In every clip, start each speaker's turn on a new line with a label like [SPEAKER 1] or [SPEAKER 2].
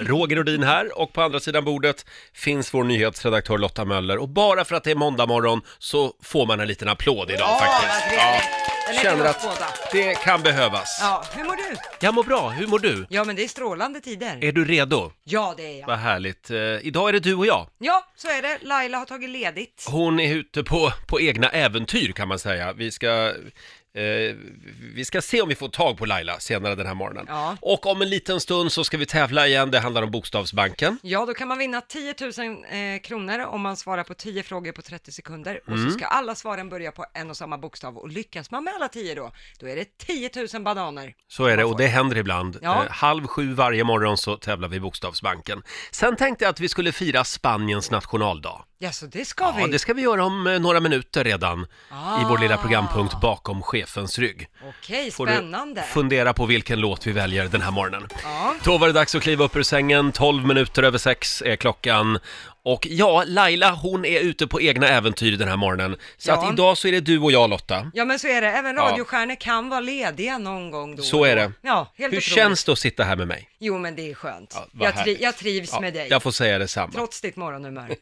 [SPEAKER 1] Roger Nordin här och på andra sidan bordet finns vår nyhetsredaktör Lotta Möller och bara för att det är måndag morgon så får man en liten applåd idag faktiskt. Ja, känner att det kan behövas.
[SPEAKER 2] Ja, hur mår du?
[SPEAKER 1] Jag mår bra, hur mår du?
[SPEAKER 2] Ja, men det är strålande tider.
[SPEAKER 1] Är du redo?
[SPEAKER 2] Ja, det är jag.
[SPEAKER 1] Vad härligt. Eh, idag är det du och jag.
[SPEAKER 2] Ja, så är det. Laila har tagit ledigt.
[SPEAKER 1] Hon är ute på, på egna äventyr kan man säga. Vi ska, eh, vi ska se om vi får tag på Laila senare den här morgonen.
[SPEAKER 2] Ja.
[SPEAKER 1] Och om en liten stund så ska vi tävla igen. Det handlar om Bokstavsbanken.
[SPEAKER 2] Ja, då kan man vinna 10 000 eh, kronor om man svarar på 10 frågor på 30 sekunder. Och
[SPEAKER 1] Mm.
[SPEAKER 2] så ska alla svaren börja på en och samma bokstav. Och lyckas man med alla 10 då, då är det 10 000 bananer.
[SPEAKER 1] Så är det
[SPEAKER 2] man
[SPEAKER 1] och
[SPEAKER 2] får.
[SPEAKER 1] det händer ibland.
[SPEAKER 2] Alltså. Ja.
[SPEAKER 1] Eh, halv sju varje morgon så tävlar vi i Bokstavsbanken. Sen tänkte jag att vi skulle fira Spaniens nationaldag.
[SPEAKER 2] Ja, så det ska
[SPEAKER 1] Ja,
[SPEAKER 2] vi.
[SPEAKER 1] det ska vi göra om eh, några minuter redan i vår lilla
[SPEAKER 2] Ah.
[SPEAKER 1] programpunkt bakom chefens rygg.
[SPEAKER 2] Okej,
[SPEAKER 1] får du
[SPEAKER 2] spännande.
[SPEAKER 1] fundera på vilken låt vi väljer den här morgonen.
[SPEAKER 2] Ja.
[SPEAKER 1] Då var det dags att kliva upp ur sängen, 12 minuter över sex är klockan. Och ja, Laila hon är ute på egna äventyr den här morgonen. Så
[SPEAKER 2] Ja.
[SPEAKER 1] att idag så är det du och jag Lotta.
[SPEAKER 2] Ja, men så är det. Även
[SPEAKER 1] Ja.
[SPEAKER 2] radiostjärnor kan vara lediga någon gång då.
[SPEAKER 1] Så är det.
[SPEAKER 2] Ja, helt
[SPEAKER 1] Hur
[SPEAKER 2] otroligt.
[SPEAKER 1] känns det att sitta här med mig?
[SPEAKER 2] Jo, men det är skönt.
[SPEAKER 1] Ja, vad
[SPEAKER 2] jag, tri-
[SPEAKER 1] härligt.
[SPEAKER 2] jag trivs
[SPEAKER 1] Ja,
[SPEAKER 2] med dig.
[SPEAKER 1] Jag får säga detsamma.
[SPEAKER 2] Trots ditt morgonhumör.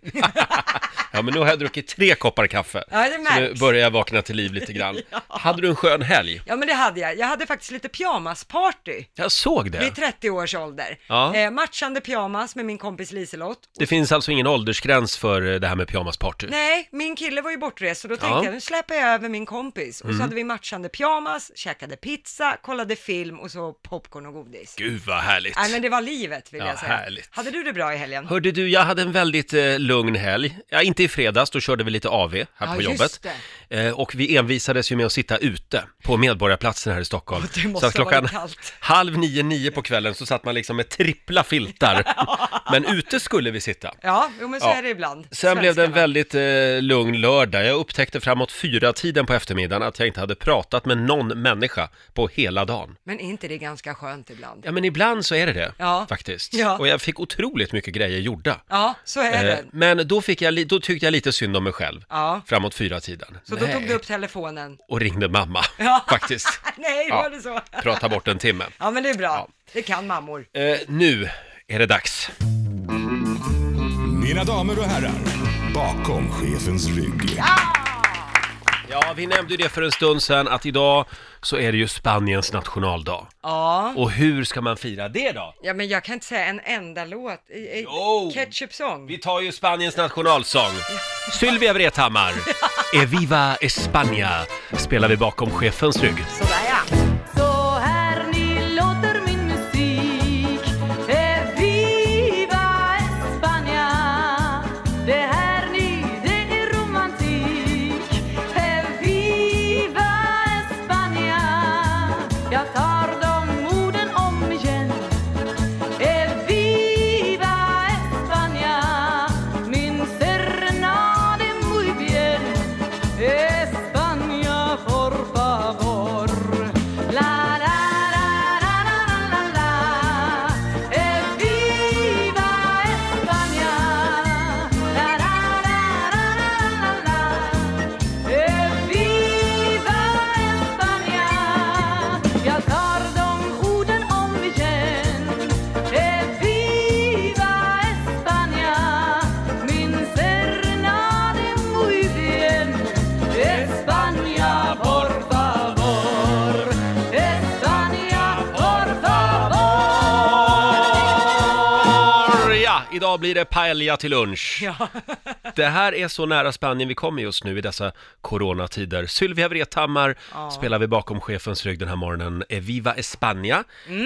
[SPEAKER 1] Ja, men nu har jag druckit tre koppar kaffe.
[SPEAKER 2] Ja, det
[SPEAKER 1] så nu
[SPEAKER 2] märks.
[SPEAKER 1] börjar jag vakna till liv lite grann. Hade du en skön helg?
[SPEAKER 2] Ja men det hade jag. Jag hade faktiskt lite pyjamasparty
[SPEAKER 1] Jag såg det.
[SPEAKER 2] vid 30 års ålder.
[SPEAKER 1] Ja.
[SPEAKER 2] Eh, matchande pyjamas med min kompis Liselott.
[SPEAKER 1] Det finns alltså ingen åldersgräns för eh, det här med pyjamasparty.
[SPEAKER 2] Nej, min kille var ju bortrest så då tänkte
[SPEAKER 1] Ja. Mm.
[SPEAKER 2] jag nu släpper jag över min kompis. Och så hade vi matchande pyjamas, käkade pizza, kollade film och så popcorn och godis.
[SPEAKER 1] Gud vad härligt.
[SPEAKER 2] Nej men det var livet vill
[SPEAKER 1] Ja,
[SPEAKER 2] jag säga.
[SPEAKER 1] härligt.
[SPEAKER 2] Hade du det bra i helgen?
[SPEAKER 1] Hörde du, jag hade en väldigt eh, lugn helg. Ja, inte i fredags, då körde vi lite AV här
[SPEAKER 2] Ja,
[SPEAKER 1] på
[SPEAKER 2] just
[SPEAKER 1] jobbet.
[SPEAKER 2] det.
[SPEAKER 1] Eh, och vi envisades ju med att sitta ute på Medborgarplatsen här i Stockholm.
[SPEAKER 2] Och det måste
[SPEAKER 1] så att
[SPEAKER 2] ha varit
[SPEAKER 1] klockan
[SPEAKER 2] kallt.
[SPEAKER 1] halv nio, nio på kvällen så satt man liksom med trippla filtar. Men ute skulle vi sitta.
[SPEAKER 2] Ja, jo, men så
[SPEAKER 1] Ja.
[SPEAKER 2] är det ibland.
[SPEAKER 1] Sen blev det en
[SPEAKER 2] Svenskarna.
[SPEAKER 1] väldigt eh, lugn lördag. Jag upptäckte framåt fyra tiden på eftermiddagen att jag inte hade pratat med någon människa på hela dagen.
[SPEAKER 2] Men är inte det ganska skönt ibland?
[SPEAKER 1] Ja, men ibland så är det det
[SPEAKER 2] Ja.
[SPEAKER 1] faktiskt.
[SPEAKER 2] Ja.
[SPEAKER 1] Och jag fick otroligt mycket grejer gjorda.
[SPEAKER 2] Ja, så är
[SPEAKER 1] Eh,
[SPEAKER 2] det.
[SPEAKER 1] Men då, fick jag, li- då tyckte jag lite synd om mig själv.
[SPEAKER 2] Ja.
[SPEAKER 1] Framåt fyra tiden.
[SPEAKER 2] Så då tog du upp telefonen.
[SPEAKER 1] Och ringde mamma,
[SPEAKER 2] Ja.
[SPEAKER 1] faktiskt.
[SPEAKER 2] Nej,
[SPEAKER 1] Ja.
[SPEAKER 2] var det så?
[SPEAKER 1] Prata bort en timme.
[SPEAKER 2] Ja, men det är bra. Det kan mammor.
[SPEAKER 1] Eh, nu är det dags.
[SPEAKER 3] Mina damer och herrar, bakom chefens rygg.
[SPEAKER 1] Ja, vi nämnde ju det för en stund sedan att idag så är det ju Spaniens nationaldag.
[SPEAKER 2] Ja.
[SPEAKER 1] Och hur ska man fira det då?
[SPEAKER 2] Ja, men jag kan inte säga en enda låt. I- i-
[SPEAKER 1] Jo.
[SPEAKER 2] Ketchup-sång.
[SPEAKER 1] Vi tar ju Spaniens nationalsång. Sylvia Vrethammar, Eviva España, spelar vi bakom chefens rygg.
[SPEAKER 2] Sådär ja.
[SPEAKER 4] Så här ni låter min musik Eh, Viva España Det här ni, det är romantik Eh, Viva España Jag tar de orden om igen Eh, Viva España Min serenade muy bien España, por favor La, la, la, la, la, la, la, la Eh, Viva España La, la, la, la, la, la, la Eh, Viva España Jag tar de orden om igen Eh, Viva España, min serenade muy bien. España, por favor. España, por favor.
[SPEAKER 1] Ja, idag blir det paella till lunch.
[SPEAKER 2] Ja.
[SPEAKER 1] Det här är så nära Spanien vi kommer just nu i dessa coronatider. Sylvia Vrethammar spelar vi bakom chefens rygg den här morgonen. Eviva España.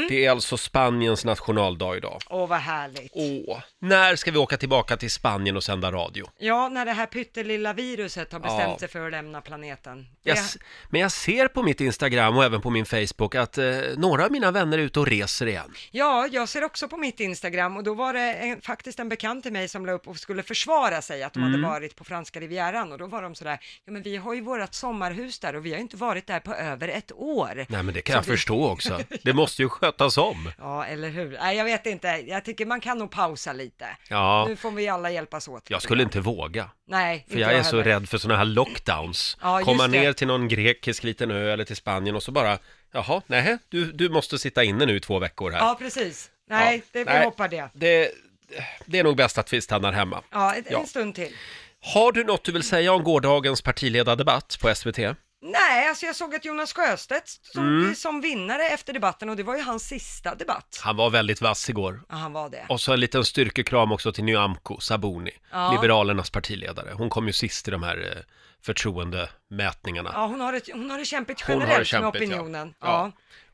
[SPEAKER 1] Det är alltså Spaniens nationaldag idag.
[SPEAKER 2] Åh, vad härligt.
[SPEAKER 1] Åh, när ska vi åka tillbaka till Spanien och sända radio?
[SPEAKER 2] Ja, när det här pyttelilla viruset har bestämt
[SPEAKER 1] Ja.
[SPEAKER 2] sig för att lämna planeten.
[SPEAKER 1] Jag, s- men jag ser på mitt Instagram och även på min Facebook att eh, några av mina vänner är ute och reser igen.
[SPEAKER 2] Ja, jag ser också på mitt Instagram och då var det en, faktiskt en bekant till mig som la upp och skulle försvara sig att de hade
[SPEAKER 1] Mm.
[SPEAKER 2] varit på franska rivieran och då var de sådär, ja men vi har ju vårt sommarhus där och vi har inte varit där på över ett år.
[SPEAKER 1] Nej, men det kan
[SPEAKER 2] Så
[SPEAKER 1] jag förstå också. Det måste ju skötas om.
[SPEAKER 2] Ja, eller hur? Nej, jag vet inte. Jag tycker man kan nog pausa lite.
[SPEAKER 1] Ja.
[SPEAKER 2] Nu får vi alla hjälpas åt. lite
[SPEAKER 1] Jag skulle
[SPEAKER 2] grann.
[SPEAKER 1] inte våga.
[SPEAKER 2] Nej,
[SPEAKER 1] För
[SPEAKER 2] inte
[SPEAKER 1] jag är så
[SPEAKER 2] heller.
[SPEAKER 1] rädd för sådana här lockdowns.
[SPEAKER 2] Ja, just
[SPEAKER 1] Komma
[SPEAKER 2] det.
[SPEAKER 1] ner till någon grekisk liten ö eller till Spanien och så bara, jaha, nej, du, du måste sitta inne nu i två veckor här.
[SPEAKER 2] Ja, precis. Nej, det, vi
[SPEAKER 1] nej.
[SPEAKER 2] hoppar det.
[SPEAKER 1] Det, det är nog bäst att vi stannar hemma.
[SPEAKER 2] Ja, en,
[SPEAKER 1] Ja.
[SPEAKER 2] en stund till.
[SPEAKER 1] Har du något du vill säga om gårdagens partiledardebatt på SVT?
[SPEAKER 2] Nej, alltså jag såg att Jonas Sjöstedt stod
[SPEAKER 1] Mm.
[SPEAKER 2] som vinnare efter debatten och det var ju hans sista debatt.
[SPEAKER 1] Han var väldigt vass igår.
[SPEAKER 2] Ja, han var det.
[SPEAKER 1] Och så en liten styrkekram också till Nyamko Sabuni,
[SPEAKER 2] Ja.
[SPEAKER 1] Liberalernas partiledare. Hon kom ju sist i de här eh, förtroendemätningarna.
[SPEAKER 2] Ja, hon har, ett, hon har det kämpigt
[SPEAKER 1] Hon har
[SPEAKER 2] generellt
[SPEAKER 1] det kämpigt,
[SPEAKER 2] med opinionen. Ja.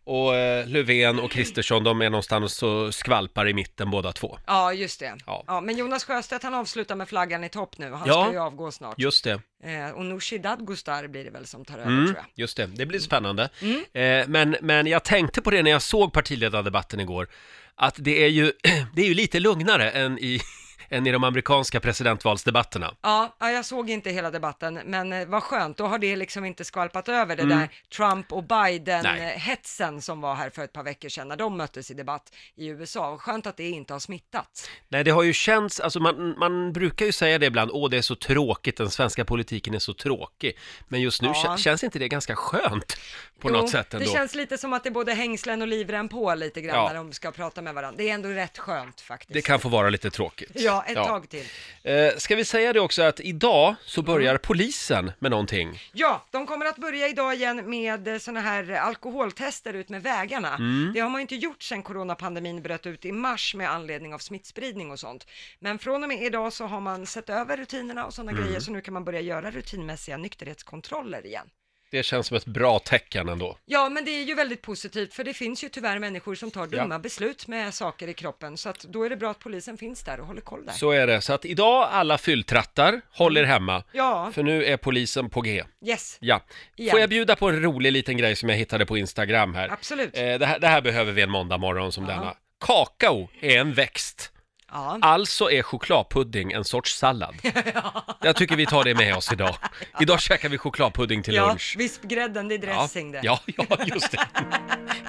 [SPEAKER 1] Och eh, Löfven och Kristersson, de är någonstans och skvalpar i mitten båda två.
[SPEAKER 2] Ja. just det.
[SPEAKER 1] Ja.
[SPEAKER 2] Ja. men Jonas Sjöstedt han avslutar med flaggan i topp nu. Han
[SPEAKER 1] Ja.
[SPEAKER 2] ska ju avgå snart.
[SPEAKER 1] Just det,
[SPEAKER 2] Eh, och Nooshi Dadgostar blir det väl som tar över
[SPEAKER 1] Mm.
[SPEAKER 2] tror jag.
[SPEAKER 1] just det. Det blir spännande.
[SPEAKER 2] Mm.
[SPEAKER 1] Eh, men, men jag tänkte på det när jag såg partiledardebatten igår, att det är ju, det är ju lite lugnare än i, än i de amerikanska presidentvalsdebatterna.
[SPEAKER 2] Ja, ja, jag såg inte hela debatten, men eh, vad skönt, då har det liksom inte skvalpat över det där Trump och
[SPEAKER 1] Mm. Nej.
[SPEAKER 2] Biden-hetsen som var här för ett par veckor sedan när de möttes i debatt i USA. Och Skönt att det inte har smittat.
[SPEAKER 1] Nej, det har ju känts, alltså man, man brukar ju säga det ibland, åh det är så tråkigt, den svenska politiken är så tråkig. Men just nu
[SPEAKER 2] Ja.
[SPEAKER 1] kä- känns inte det ganska skönt på
[SPEAKER 2] Jo,
[SPEAKER 1] något sätt ändå?
[SPEAKER 2] Det känns lite som att det är både hängslen och livrem på lite grann
[SPEAKER 1] Ja.
[SPEAKER 2] när de ska prata med varandra. Det är ändå rätt skönt faktiskt.
[SPEAKER 1] Det kan få vara lite tråkigt.
[SPEAKER 2] Ja, ett tag Mm. till.
[SPEAKER 1] Eh, ska vi säga det också att idag så börjar polisen med någonting.
[SPEAKER 2] Ja, de kommer att börja idag igen med sådana här alkoholtester ut med vägarna.
[SPEAKER 1] Mm.
[SPEAKER 2] Det har man ju inte gjort sedan coronapandemin bröt ut i mars med anledning av smittspridning och sånt. Men från och med idag så har man sett över rutinerna och sådana
[SPEAKER 1] Mm.
[SPEAKER 2] grejer, så nu kan man börja göra rutinmässiga nykterhetskontroller igen.
[SPEAKER 1] Det känns som ett bra tecken ändå.
[SPEAKER 2] Ja, men det är ju väldigt positivt, för det finns ju tyvärr människor som tar dumma beslut med saker i kroppen, så att då är det bra att polisen finns där och håller koll där.
[SPEAKER 1] Så är det. Så att idag alla fylltrattar, håll er hemma.
[SPEAKER 2] Ja,
[SPEAKER 1] För nu är polisen på G.
[SPEAKER 2] yes.
[SPEAKER 1] Ja. Får
[SPEAKER 2] Igen.
[SPEAKER 1] jag bjuda på en rolig liten grej som jag hittade på Instagram här?
[SPEAKER 2] Absolut.
[SPEAKER 1] Eh, det, här det här behöver vi en måndag morgon som denna. Kakao är en växt.
[SPEAKER 2] Ja.
[SPEAKER 1] Alltså är chokladpudding en sorts sallad. Jag tycker vi tar det med oss idag. Idag käkar vi chokladpudding till
[SPEAKER 2] Ja,
[SPEAKER 1] lunch.
[SPEAKER 2] vispgrädden, det är dressing det.
[SPEAKER 1] Ja, ja, ja, just det.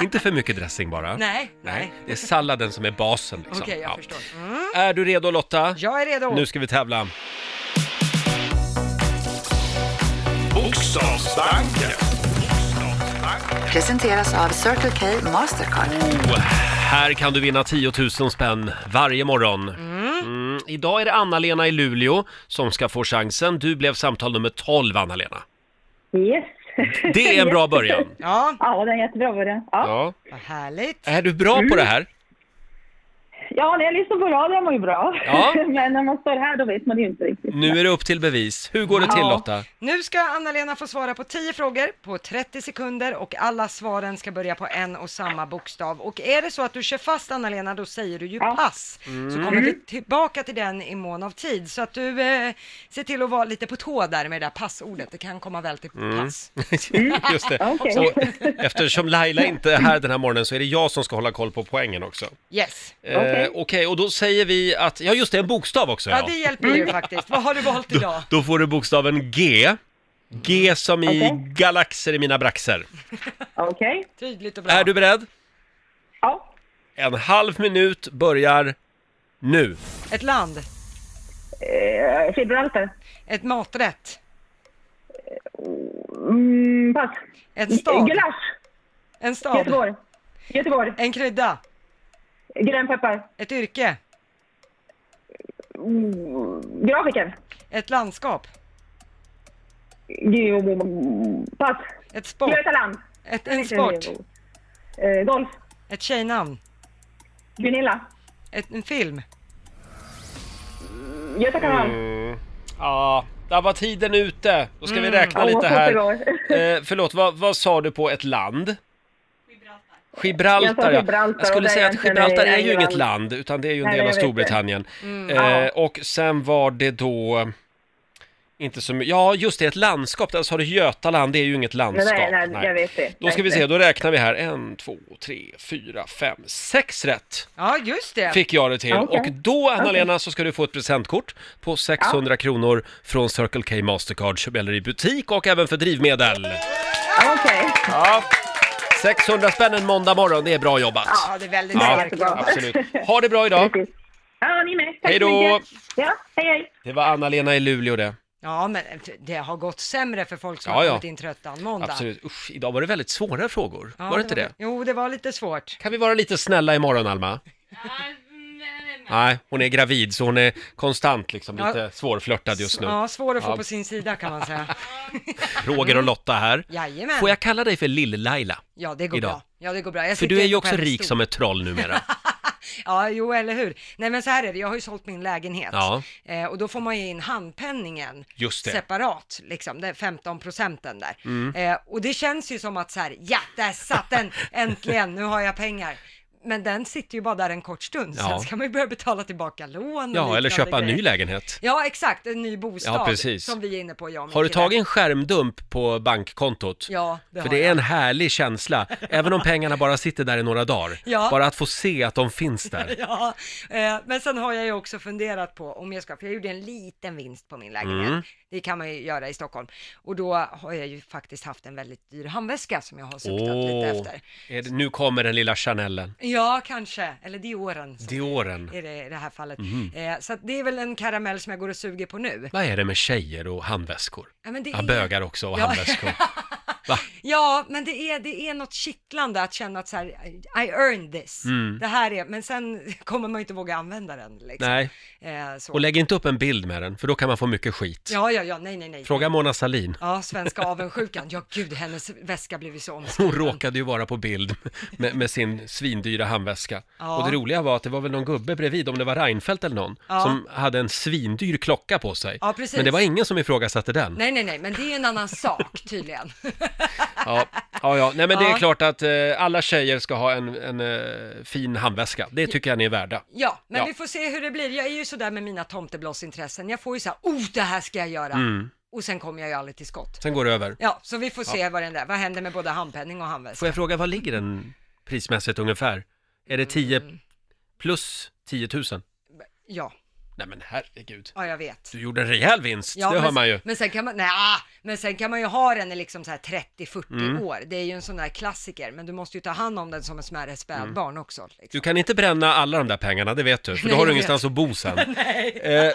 [SPEAKER 1] Inte för mycket dressing bara.
[SPEAKER 2] Nej, nej.
[SPEAKER 1] Det är salladen som är basen liksom.
[SPEAKER 2] Okej, jag
[SPEAKER 1] Ja.
[SPEAKER 2] förstår.
[SPEAKER 1] Är du redo Lotta?
[SPEAKER 2] Jag är redo.
[SPEAKER 1] Nu ska vi tävla.
[SPEAKER 3] Bokstavsbanken.
[SPEAKER 5] Presenteras av Circle K Mastercard.
[SPEAKER 1] Oh, här kan du vinna 10 000 spänn varje morgon. Mm, idag är det Anna-Lena i Luleå som ska få chansen. Du blev samtal nummer 12, Anna-Lena.
[SPEAKER 6] Yes.
[SPEAKER 1] Det är en bra början.
[SPEAKER 2] Ja,
[SPEAKER 6] Ja, det är en jättebra början. Ja,
[SPEAKER 1] Ja.
[SPEAKER 2] vad härligt.
[SPEAKER 1] Är du bra på det här?
[SPEAKER 6] ja när jag lyssnar på radio mår ju bra.
[SPEAKER 1] Ja.
[SPEAKER 6] Men när man står här då vet man ju inte riktigt.
[SPEAKER 7] Mm.
[SPEAKER 1] Nu är det upp till bevis. Hur går det till
[SPEAKER 6] Ja.
[SPEAKER 1] Lotta?
[SPEAKER 2] Nu ska Anna-Lena få svara på 10 frågor på 30 sekunder och alla svaren ska börja på en och samma bokstav. Och är det så att du kör fast Anna-Lena, då säger du ju
[SPEAKER 6] Ja.
[SPEAKER 2] pass.
[SPEAKER 1] Mm.
[SPEAKER 2] Så kommer vi tillbaka till den i mån av tid. Så att du eh, ser till att vara lite på tå där med det där passordet. Det kan komma väl till
[SPEAKER 1] Mm.
[SPEAKER 2] pass.
[SPEAKER 1] Just det.
[SPEAKER 6] Okej.
[SPEAKER 1] Och eftersom Laila inte är här den här morgonen så är det jag som ska hålla koll på poängen också. Eh,
[SPEAKER 2] Yes.
[SPEAKER 1] Okej,
[SPEAKER 6] Okej.
[SPEAKER 1] och då säger vi att, ja just det, en bokstav också.
[SPEAKER 2] Ja, det hjälper
[SPEAKER 6] Mm.
[SPEAKER 2] ju faktiskt. Vad har du valt idag?
[SPEAKER 1] Då får du bokstaven G. G som i
[SPEAKER 6] Okej.
[SPEAKER 1] galaxer i mina braxer.
[SPEAKER 6] Okej.
[SPEAKER 2] Tydligt och bra.
[SPEAKER 1] Är du beredd?
[SPEAKER 6] Ja.
[SPEAKER 1] En halv minut börjar nu.
[SPEAKER 2] Ett land,
[SPEAKER 6] Eh, Gibraltar.
[SPEAKER 2] ett maträtt,
[SPEAKER 6] Mm, pass.
[SPEAKER 2] en stad,
[SPEAKER 6] Gulasch.
[SPEAKER 2] en stad,
[SPEAKER 6] Göteborg. Göteborg.
[SPEAKER 2] en krydda,
[SPEAKER 6] Grönpeppar.
[SPEAKER 2] ett yrke,
[SPEAKER 6] Grafiker.
[SPEAKER 2] ett landskap,
[SPEAKER 6] Geo- Pass.
[SPEAKER 2] ett sport,
[SPEAKER 6] Götaland.
[SPEAKER 2] ett, en sport,
[SPEAKER 6] Eh, Golf.
[SPEAKER 2] ett tjejnamn,
[SPEAKER 6] Gunilla.
[SPEAKER 2] ett, en film.
[SPEAKER 6] Göta kanal.
[SPEAKER 1] Eh. Ja, där var tiden ute. Då ska vi räkna
[SPEAKER 6] Mm. Ja,
[SPEAKER 1] lite
[SPEAKER 6] så
[SPEAKER 1] här.
[SPEAKER 6] bra.
[SPEAKER 1] Eh, förlåt, vad, vad sa du på ett land?
[SPEAKER 6] Jag sa
[SPEAKER 1] Gibraltar, ja.
[SPEAKER 6] Gibraltar
[SPEAKER 1] Jag
[SPEAKER 6] och
[SPEAKER 1] skulle
[SPEAKER 6] det
[SPEAKER 1] säga att
[SPEAKER 6] egentligen
[SPEAKER 1] Gibraltar
[SPEAKER 6] är
[SPEAKER 1] är ju inget
[SPEAKER 6] England.
[SPEAKER 1] land, utan det är ju en
[SPEAKER 6] Nej,
[SPEAKER 1] del av
[SPEAKER 6] jag vet Mm. det.
[SPEAKER 1] Storbritannien. Eh, och sen var det då... Inte så mycket. Ja, just det, ett landskap. Där sa du Götaland, det är ju inget landskap.
[SPEAKER 6] Nej, nej, jag vet det.
[SPEAKER 1] Då ska vi se, då räknar vi här. En, två, tre, fyra, fem, sex rätt
[SPEAKER 2] Ja, just det.
[SPEAKER 1] fick jag det till.
[SPEAKER 6] Okej.
[SPEAKER 1] Och då, Anna-Lena, så ska du få ett presentkort på 600 kronor från Circle K Mastercard, köp eller i butik och även för drivmedel.
[SPEAKER 6] Okej.
[SPEAKER 1] Ja. 600 spänn en måndag morgon, det är bra jobbat.
[SPEAKER 2] Ja, det är väldigt
[SPEAKER 1] Ja,
[SPEAKER 2] starkt.
[SPEAKER 6] jättebra.
[SPEAKER 1] absolut. Ha det bra idag.
[SPEAKER 6] Precis. Ja, ni med. Tack
[SPEAKER 1] Hej då.
[SPEAKER 6] så mycket. Ja, hej hej.
[SPEAKER 1] Det var Anna-Lena i Luleå det.
[SPEAKER 2] Ja, men eh, det har gått sämre för folk som
[SPEAKER 1] Ja,
[SPEAKER 2] har
[SPEAKER 1] ja.
[SPEAKER 2] kommit in trötta en måndag.
[SPEAKER 1] Absolut. Usch, idag var det väldigt svåra frågor.
[SPEAKER 2] Ja,
[SPEAKER 1] var det inte det?
[SPEAKER 2] Jo, det var lite svårt.
[SPEAKER 1] Kan vi vara lite snälla imorgon, Alma? Nej, hon är gravid så hon är konstant liksom
[SPEAKER 2] Ja.
[SPEAKER 1] lite svårflörtad just nu.
[SPEAKER 2] Ja, svår att få
[SPEAKER 1] Ja.
[SPEAKER 2] på sin sida kan man säga.
[SPEAKER 1] Roger och Lotta här.
[SPEAKER 2] Mm. Jajamän.
[SPEAKER 1] Får jag kalla dig för Lill-Laila?
[SPEAKER 2] Ja, det går
[SPEAKER 1] Idag.
[SPEAKER 2] bra. Ja, det går bra. Jag
[SPEAKER 1] För du
[SPEAKER 2] sitter
[SPEAKER 1] är ju
[SPEAKER 2] på
[SPEAKER 1] också
[SPEAKER 2] en
[SPEAKER 1] rik
[SPEAKER 2] stol.
[SPEAKER 1] som ett troll numera.
[SPEAKER 2] Ja, jo, eller hur. Nej, men så här är det. Jag har ju sålt min lägenhet
[SPEAKER 1] Ja.
[SPEAKER 2] eh, och då får man ju in handpenningen
[SPEAKER 1] Just det. Mm.
[SPEAKER 2] separat, liksom, det är 15 procenten där. Eh, och det känns ju som att så här, ja, där satt den, äntligen, nu har jag pengar. Men den sitter ju bara där en kort stund,
[SPEAKER 1] Ja.
[SPEAKER 2] sen ska man ju börja betala tillbaka lån och
[SPEAKER 1] Ja, eller
[SPEAKER 2] liknande
[SPEAKER 1] köpa en ny
[SPEAKER 2] grejer.
[SPEAKER 1] lägenhet.
[SPEAKER 2] Ja, exakt, en ny bostad
[SPEAKER 1] Ja, precis.
[SPEAKER 2] som vi är inne på, jag och min
[SPEAKER 1] Har du
[SPEAKER 2] kille.
[SPEAKER 1] tagit en skärmdump på bankkontot?
[SPEAKER 2] Ja, det
[SPEAKER 1] För
[SPEAKER 2] har
[SPEAKER 1] det är
[SPEAKER 2] jag.
[SPEAKER 1] en härlig känsla, även om pengarna bara sitter där i några dagar.
[SPEAKER 2] Ja.
[SPEAKER 1] Bara att få se att de finns där.
[SPEAKER 2] Ja, eh, men sen har jag ju också funderat på om jag ska, för jag gjorde en liten vinst på min lägenhet.
[SPEAKER 1] Mm.
[SPEAKER 2] Det kan man ju göra i Stockholm. Och då har jag ju faktiskt haft en väldigt dyr handväska som jag har suktat lite efter.
[SPEAKER 1] är det, nu kommer den lilla Chanelen.
[SPEAKER 2] Ja, kanske. Eller Dioren. som
[SPEAKER 1] Dioren. Mm-hmm.
[SPEAKER 2] Är det i det här fallet. Eh, så att det är väl en karamell som jag går och suger på nu.
[SPEAKER 1] Vad är det med tjejer och handväskor?
[SPEAKER 2] Ja, men det
[SPEAKER 1] Ja,
[SPEAKER 2] är-
[SPEAKER 1] bögar också och
[SPEAKER 2] Ja.
[SPEAKER 1] handväskor. Va?
[SPEAKER 2] Ja, men det är, det är något kittlande att känna att så här, I earned this.
[SPEAKER 1] Mm.
[SPEAKER 2] Det här är, men sen kommer man ju inte våga använda den liksom.
[SPEAKER 1] Nej,
[SPEAKER 2] Eh, så.
[SPEAKER 1] och lägg inte upp en bild med den, för då kan man få mycket skit.
[SPEAKER 2] Ja, ja, ja, nej, nej, nej.
[SPEAKER 1] Fråga Mona Sahlin.
[SPEAKER 2] Ja, svenska avundsjukan. Ja, gud, hennes väska blev ju så
[SPEAKER 1] Hon
[SPEAKER 2] omskriven.
[SPEAKER 1] råkade ju vara på bild med, med sin svindyra handväska.
[SPEAKER 2] Ja.
[SPEAKER 1] Och det roliga var att det var väl någon gubbe bredvid, om det var Reinfeldt eller någon,
[SPEAKER 2] Ja.
[SPEAKER 1] som hade en svindyr klocka på sig.
[SPEAKER 2] Ja, precis.
[SPEAKER 1] Men det var ingen som ifrågasatte den.
[SPEAKER 2] Nej, nej, nej, men det är en annan sak tydligen.
[SPEAKER 1] Ja, ja, ja. Nej, men det är
[SPEAKER 2] Ja.
[SPEAKER 1] klart att eh, alla tjejer ska ha en, en eh, fin handväska. Det tycker jag ni är värda.
[SPEAKER 2] Ja, men
[SPEAKER 1] Ja.
[SPEAKER 2] vi får se hur det blir. Jag är ju sådär med mina tomteblossintressen. Jag får ju såhär, oh, det här ska jag göra.
[SPEAKER 1] Mm.
[SPEAKER 2] Och sen kommer jag ju aldrig till skott.
[SPEAKER 1] Sen går det över.
[SPEAKER 2] Ja, så vi får se vad den där, vad händer med både handpenning och handväska?
[SPEAKER 1] Får jag fråga, vad ligger den prismässigt ungefär? Är det 10
[SPEAKER 2] Mm.
[SPEAKER 1] plus 10 000?
[SPEAKER 2] Ja,
[SPEAKER 1] Nej men herregud.
[SPEAKER 2] ja, jag vet.
[SPEAKER 1] Du gjorde en rejäl vinst,
[SPEAKER 2] Ja,
[SPEAKER 1] det
[SPEAKER 2] men,
[SPEAKER 1] hör man ju.
[SPEAKER 2] Men sen kan man, nej, ah, men sen kan man ju ha den i liksom så här 30-40
[SPEAKER 1] Mm.
[SPEAKER 2] år. Det är ju en sån där klassiker, men du måste ju ta hand om den som en smärre spädbarn också. Liksom.
[SPEAKER 1] Mm. Du kan inte bränna alla de där pengarna, det vet du, för då
[SPEAKER 2] Nej,
[SPEAKER 1] har du
[SPEAKER 2] jag
[SPEAKER 1] ingenstans att bo sen. Eh,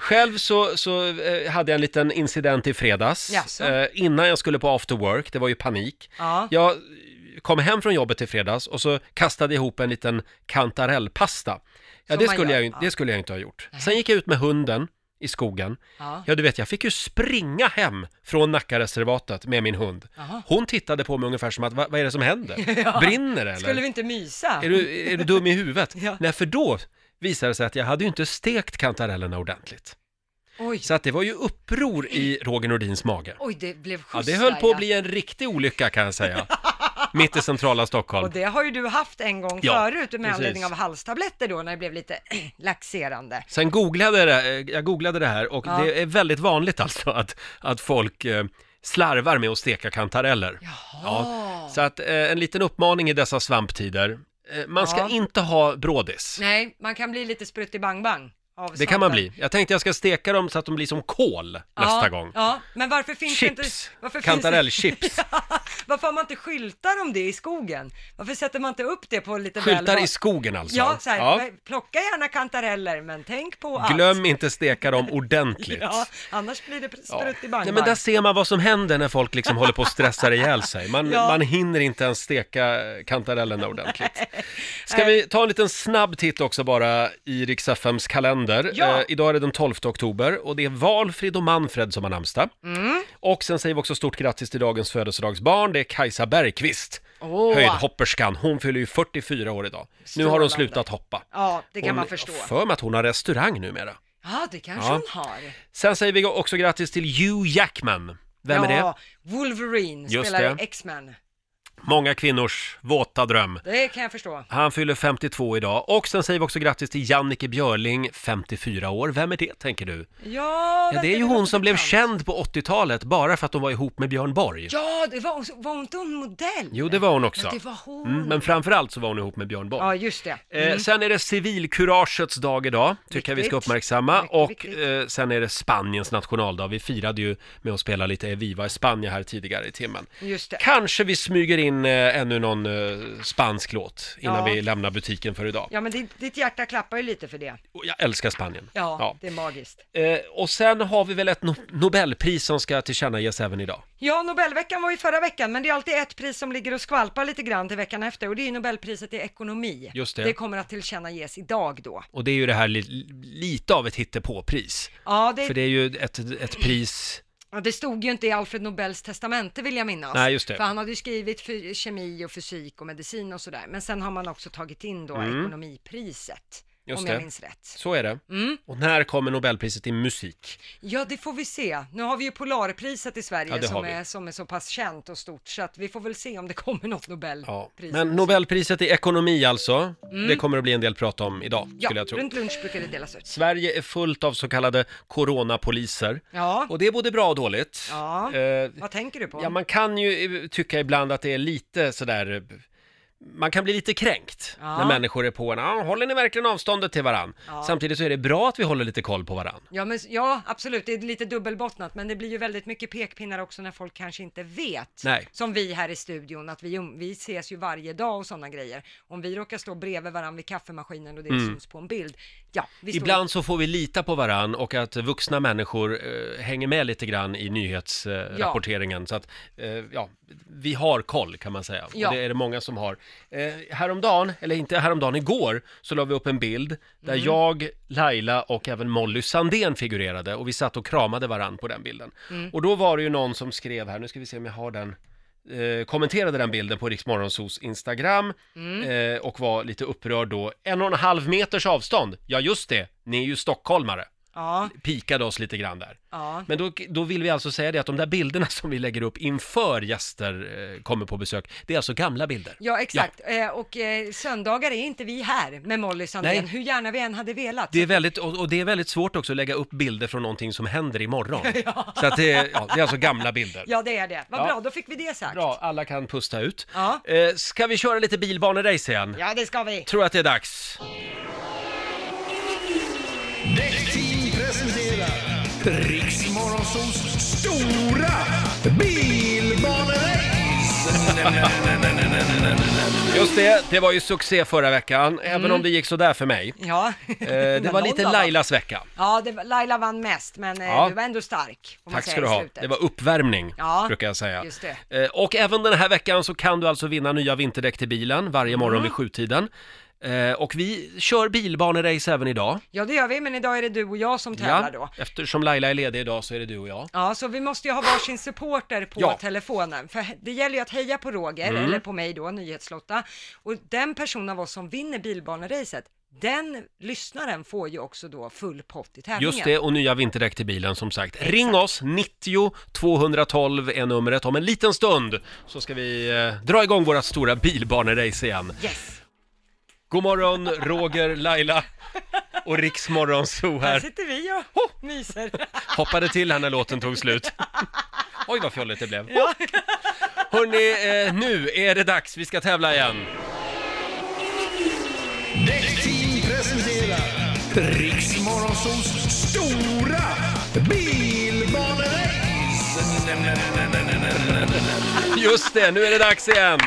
[SPEAKER 1] själv så, så eh, hade jag en liten incident i fredags,
[SPEAKER 2] Jaså?
[SPEAKER 1] eh, innan jag skulle på after work, det var ju panik.
[SPEAKER 2] Ja.
[SPEAKER 1] Jag kom hem från jobbet i fredags och så kastade jag ihop en liten kantarellpasta. Ja,
[SPEAKER 2] Som
[SPEAKER 1] det
[SPEAKER 2] man
[SPEAKER 1] skulle,
[SPEAKER 2] gör,
[SPEAKER 1] jag, ju-
[SPEAKER 2] ja.
[SPEAKER 1] det skulle jag inte ha gjort. Sen gick jag ut med hunden i skogen.
[SPEAKER 2] Ja.
[SPEAKER 1] Ja, du vet, jag fick ju springa hem från Nackareservatet med min hund.
[SPEAKER 2] Jaha.
[SPEAKER 1] Hon tittade på mig ungefär som att, "Va- vad är det som händer? Brinner det eller?
[SPEAKER 2] Skulle vi inte mysa?
[SPEAKER 1] Är du, är du dum i huvudet?
[SPEAKER 2] Ja.
[SPEAKER 1] Nej, för då visade det sig att jag hade ju inte stekt kantarellerna ordentligt.
[SPEAKER 2] Oj.
[SPEAKER 1] Så att det var ju uppror i Roger Nordins mage.
[SPEAKER 2] Oj, det blev skjuts
[SPEAKER 1] Ja, det höll
[SPEAKER 2] där,
[SPEAKER 1] på att
[SPEAKER 2] ja.
[SPEAKER 1] bli en riktig olycka kan jag säga. Mitt i centrala
[SPEAKER 2] Och
[SPEAKER 1] Stockholm.
[SPEAKER 2] det har ju du haft en gång
[SPEAKER 1] Ja,
[SPEAKER 2] förut med
[SPEAKER 1] precis.
[SPEAKER 2] anledning av halstabletter då när det blev lite äh, laxerande.
[SPEAKER 1] Sen googlade jag det, eh, jag googlade det här och
[SPEAKER 2] Ja.
[SPEAKER 1] det är väldigt vanligt alltså att, att folk eh, slarvar med att steka kantareller. Ja, så att eh, en liten uppmaning i dessa svamptider. Eh, man ska
[SPEAKER 2] Ja.
[SPEAKER 1] inte ha brådis.
[SPEAKER 2] Nej, man kan bli lite sprutt i bang-bang. av
[SPEAKER 1] Det kan man
[SPEAKER 2] svampen.
[SPEAKER 1] bli. Jag tänkte jag ska steka dem så att de blir som kål nästa
[SPEAKER 2] ja,
[SPEAKER 1] gång.
[SPEAKER 2] Ja, men varför finns det inte...
[SPEAKER 1] Chips!
[SPEAKER 2] varför finns det-
[SPEAKER 1] Kantarellchips!
[SPEAKER 2] varför har man inte skyltar om det i skogen? Varför sätter man inte upp det på lite
[SPEAKER 1] Skyltar
[SPEAKER 2] väl...
[SPEAKER 1] i skogen alltså?
[SPEAKER 2] Ja, så här,
[SPEAKER 1] Ja.
[SPEAKER 2] plocka gärna kantareller, men tänk på att...
[SPEAKER 1] Glöm inte steka dem ordentligt.
[SPEAKER 2] Ja, annars blir det sprutt i bang-bang.
[SPEAKER 1] Nej, men där ser man vad som händer när folk liksom håller på och stressar ihjäl sig. Man,
[SPEAKER 2] Ja.
[SPEAKER 1] man hinner inte ens steka kantarellerna ordentligt. Ska vi ta en liten snabb titt också bara i Rix FMs kalender.
[SPEAKER 2] Ja.
[SPEAKER 1] Eh, idag är det den 12 oktober och det är Valfrid och Manfred som har namnsdag.
[SPEAKER 2] Mm.
[SPEAKER 1] Och sen säger vi också stort grattis till dagens födelsedagsbarn. Det är Kajsa Bergqvist,
[SPEAKER 2] Åh.
[SPEAKER 1] höjdhopperskan. Hon fyller ju 44 år idag. Nu har hon
[SPEAKER 2] Strålande.
[SPEAKER 1] slutat hoppa.
[SPEAKER 2] Ja, det kan
[SPEAKER 1] Hon-
[SPEAKER 2] man förstå.
[SPEAKER 1] jag har för mig att hon har restaurang numera.
[SPEAKER 2] Ja, det kanske
[SPEAKER 1] Ja.
[SPEAKER 2] hon har.
[SPEAKER 1] Sen säger vi också grattis till Hugh Jackman. Vem är det?
[SPEAKER 2] ja, Wolverine,
[SPEAKER 1] Just
[SPEAKER 2] spelar
[SPEAKER 1] det.
[SPEAKER 2] i X-Men.
[SPEAKER 1] Många kvinnors våta dröm.
[SPEAKER 2] Det kan jag förstå.
[SPEAKER 1] Han fyller 52 idag. Och sen säger vi också grattis till Jannike Björling, 54 år. Vem är det, tänker du?
[SPEAKER 2] Ja,
[SPEAKER 1] Ja,
[SPEAKER 2] vänta,
[SPEAKER 1] det är ju
[SPEAKER 2] låter
[SPEAKER 1] hon som blev
[SPEAKER 2] bekant.
[SPEAKER 1] känd på 80-talet bara för att hon var ihop med Björn Borg.
[SPEAKER 2] Ja, det var, hon- var inte hon modell?
[SPEAKER 1] Jo, det var hon också.
[SPEAKER 2] Ja, det var hon.
[SPEAKER 1] Mm, men framförallt så var hon ihop med Björn Borg.
[SPEAKER 2] Ja, just det. Mm,
[SPEAKER 1] Eh, sen är det civilkuragets dag idag, tycker jag vi ska
[SPEAKER 2] Viktigt.
[SPEAKER 1] uppmärksamma.
[SPEAKER 2] Mycket
[SPEAKER 1] Och
[SPEAKER 2] viktigt.
[SPEAKER 1] eh, sen är det Spaniens nationaldag. Vi firade ju med att spela lite Eviva i Spanien här tidigare i timmen.
[SPEAKER 2] Just det.
[SPEAKER 1] Kanske vi smyger in in eh, ännu någon eh, spansk låt innan
[SPEAKER 2] Ja.
[SPEAKER 1] vi lämnar butiken för idag.
[SPEAKER 2] Ja, men ditt, ditt hjärta klappar ju lite för det.
[SPEAKER 1] Och Jag älskar Spanien.
[SPEAKER 2] Ja,
[SPEAKER 1] Ja.
[SPEAKER 2] det är magiskt.
[SPEAKER 1] Eh, och sen har vi väl ett no- Nobelpris som ska tillkännages även idag.
[SPEAKER 2] Ja, Nobelveckan var ju förra veckan, men det är alltid ett pris som ligger och skvalpar lite grann till veckan efter och det är ju Nobelpriset i ekonomi.
[SPEAKER 1] Just det.
[SPEAKER 2] Det kommer att tillkännages idag då.
[SPEAKER 1] Och det är ju det här li- lite av ett hittepåpris.
[SPEAKER 2] Ja, det,
[SPEAKER 1] För
[SPEAKER 2] det...
[SPEAKER 1] det är ju ett, ett pris...
[SPEAKER 2] det stod ju inte i Alfred Nobels testamente vill jag minnas.
[SPEAKER 1] Nej, just det.
[SPEAKER 2] För han hade ju skrivit för kemi och fysik och medicin och sådär. Men sen har man också tagit in då ekonomipriset.
[SPEAKER 1] Mm. Just
[SPEAKER 2] om jag
[SPEAKER 1] det.
[SPEAKER 2] minns rätt.
[SPEAKER 1] Så är det.
[SPEAKER 2] Mm.
[SPEAKER 1] Och när kommer Nobelpriset i musik?
[SPEAKER 2] Ja, det får vi se. Nu har vi ju Polarpriset i Sverige
[SPEAKER 1] Ja, det har
[SPEAKER 2] som,
[SPEAKER 1] vi.
[SPEAKER 2] är, som är så pass känt och stort, så att vi får väl se om det kommer något
[SPEAKER 1] Ja.
[SPEAKER 2] Nobelpris.
[SPEAKER 1] Men Nobelpriset i ekonomi alltså, det kommer att bli en del prat om idag,
[SPEAKER 2] Mm. ja,
[SPEAKER 1] skulle jag tro.
[SPEAKER 2] runt lunch brukar det delas ut.
[SPEAKER 1] Sverige är fullt av så kallade coronapoliser.
[SPEAKER 2] Ja,
[SPEAKER 1] Och det är både bra och dåligt.
[SPEAKER 2] Ja.
[SPEAKER 1] Eh,
[SPEAKER 2] vad tänker du på?
[SPEAKER 1] ja, man kan ju eh, tycka ibland att det är lite sådär... eh, Man kan bli lite kränkt
[SPEAKER 2] Ja.
[SPEAKER 1] när människor är på en. Ja, håller ni verkligen avståndet till varann?
[SPEAKER 2] Ja.
[SPEAKER 1] Samtidigt så är det bra att vi håller lite koll på varann.
[SPEAKER 2] Ja, men, ja, absolut, det är lite dubbelbottnat, men det blir ju väldigt mycket pekpinnar också när folk kanske inte vet.
[SPEAKER 1] Nej.
[SPEAKER 2] Som vi här i studion, att vi, um- vi ses ju varje dag och sådana grejer. Om vi råkar stå bredvid varandra vid kaffemaskinen och det syns på en bild, ja, vi står
[SPEAKER 1] Mm. Ibland så får vi lita på varann och att vuxna människor eh, hänger med lite grann i nyhetsrapporteringen. Eh,
[SPEAKER 2] Ja.
[SPEAKER 1] rapporteringen. Så att, eh, ja, vi har koll kan man säga.
[SPEAKER 2] Ja.
[SPEAKER 1] Och det är det många som har. Eh, häromdagen, eller inte häromdagen, igår så la vi upp en bild där jag, Laila och även Molly Sandén figurerade och vi satt och kramade varann på den bilden. Och då var det ju någon som skrev här, nu ska vi se om jag har den. Eh, kommenterade den bilden på Riksmorgonsos Instagram eh, och var lite upprörd då. En och en halv meters avstånd, ja just det, ni är ju stockholmare.
[SPEAKER 2] Ja,
[SPEAKER 1] Pikade oss lite grann där.
[SPEAKER 2] ja.
[SPEAKER 1] Men då, då vill vi alltså säga det att de där bilderna som vi lägger upp inför gäster eh, kommer på besök, det är alltså gamla bilder.
[SPEAKER 2] Ja, exakt. Eh, och eh, söndagar är inte vi här med Molly Sandén,
[SPEAKER 1] Nej.
[SPEAKER 2] hur gärna vi än hade velat.
[SPEAKER 1] Det är väldigt, och, och det är väldigt svårt också att lägga upp bilder från någonting som händer imorgon. Så att det, är- ja, det är alltså gamla bilder.
[SPEAKER 2] Ja, det är det. Vad
[SPEAKER 1] Ja.
[SPEAKER 2] bra, då fick vi det sagt.
[SPEAKER 1] Bra, alla kan pusta ut.
[SPEAKER 2] Ja.
[SPEAKER 1] Eh, ska vi köra lite bilbanerace igen?
[SPEAKER 2] Ja, det ska vi.
[SPEAKER 1] Tror att det är dags.
[SPEAKER 3] Däckteam presenterar Riksmorgonsols stora bilbanerace.
[SPEAKER 1] Just det, det var ju succé förra veckan, även om det gick sådär för mig.
[SPEAKER 2] Ja.
[SPEAKER 1] Eh, det
[SPEAKER 2] Mm. Men
[SPEAKER 1] var
[SPEAKER 2] någon
[SPEAKER 1] lite
[SPEAKER 2] av dem.
[SPEAKER 1] Lailas vecka.
[SPEAKER 2] Ja, det var, Laila vann mest, men eh,
[SPEAKER 1] Ja.
[SPEAKER 2] du var ändå stark. får man
[SPEAKER 1] Tack
[SPEAKER 2] säga,
[SPEAKER 1] ska du
[SPEAKER 2] i
[SPEAKER 1] ha.
[SPEAKER 2] slutet.
[SPEAKER 1] Det var uppvärmning,
[SPEAKER 2] Ja,
[SPEAKER 1] brukar jag säga.
[SPEAKER 2] just
[SPEAKER 1] Eh, Och även den här veckan så kan du alltså vinna nya vinterdäck till bilen
[SPEAKER 2] Mm.
[SPEAKER 1] varje morgon vid sjutiden. Eh, Och vi kör bilbanerace även idag.
[SPEAKER 2] Ja, det gör vi, men idag är det du och jag som tävlar då.
[SPEAKER 1] Eftersom Laila är ledig idag så är det du och jag.
[SPEAKER 2] Ja, så vi måste ju ha varsin supporter på
[SPEAKER 1] Ja. Mm.
[SPEAKER 2] telefonen. För det gäller ju att heja på Roger, eller på mig då, Nyhetslotta. Och den person av oss som vinner bilbaneracet, den lyssnaren får ju också då full pott i tävlingen.
[SPEAKER 1] Just det, och nya vinterdäck till bilen som sagt. Ring oss, 90 212 är numret. Om en liten stund så ska vi eh, dra igång våra stora bilbanerace igen.
[SPEAKER 2] Yes,
[SPEAKER 1] God morgon Roger, Laila och Riksmorgon Zoo
[SPEAKER 2] här
[SPEAKER 1] här.
[SPEAKER 2] sitter vi och myser.
[SPEAKER 1] Hoppade till här när låten tog slut. Oj vad fjolligt det blev. Hörni, eh, nu är det dags, vi ska tävla igen.
[SPEAKER 3] Däckteam presenterar Riksmorgonsols stora bilbanerace.
[SPEAKER 1] Just det, nu är det dags igen.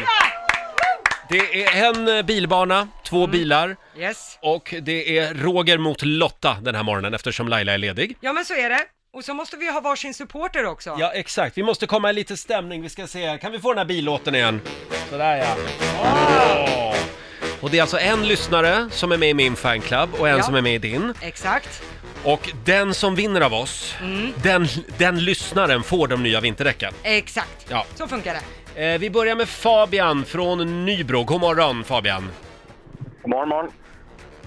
[SPEAKER 1] Det är en eh, bilbana, två bilar.
[SPEAKER 2] Yes.
[SPEAKER 1] Och det är Roger mot Lotta den här morgonen eftersom Laila är ledig.
[SPEAKER 2] Ja, men så är det. Och så måste vi ha varsin supporter också.
[SPEAKER 1] Ja, exakt. Vi måste komma i lite stämning. Vi ska se. Kan vi få den här billåten igen? Sådär ja. Åh! Och det är alltså en lyssnare som är med i min fanclub och en
[SPEAKER 2] Ja.
[SPEAKER 1] som är med i din.
[SPEAKER 2] Exakt.
[SPEAKER 1] Och den som vinner av oss, den, den lyssnaren får de nya vinterdäcken.
[SPEAKER 2] Exakt.
[SPEAKER 1] Ja.
[SPEAKER 2] Så funkar det.
[SPEAKER 1] Eh, vi börjar med Fabian från Nybro. God morgon Fabian.
[SPEAKER 7] God morgon, morgon.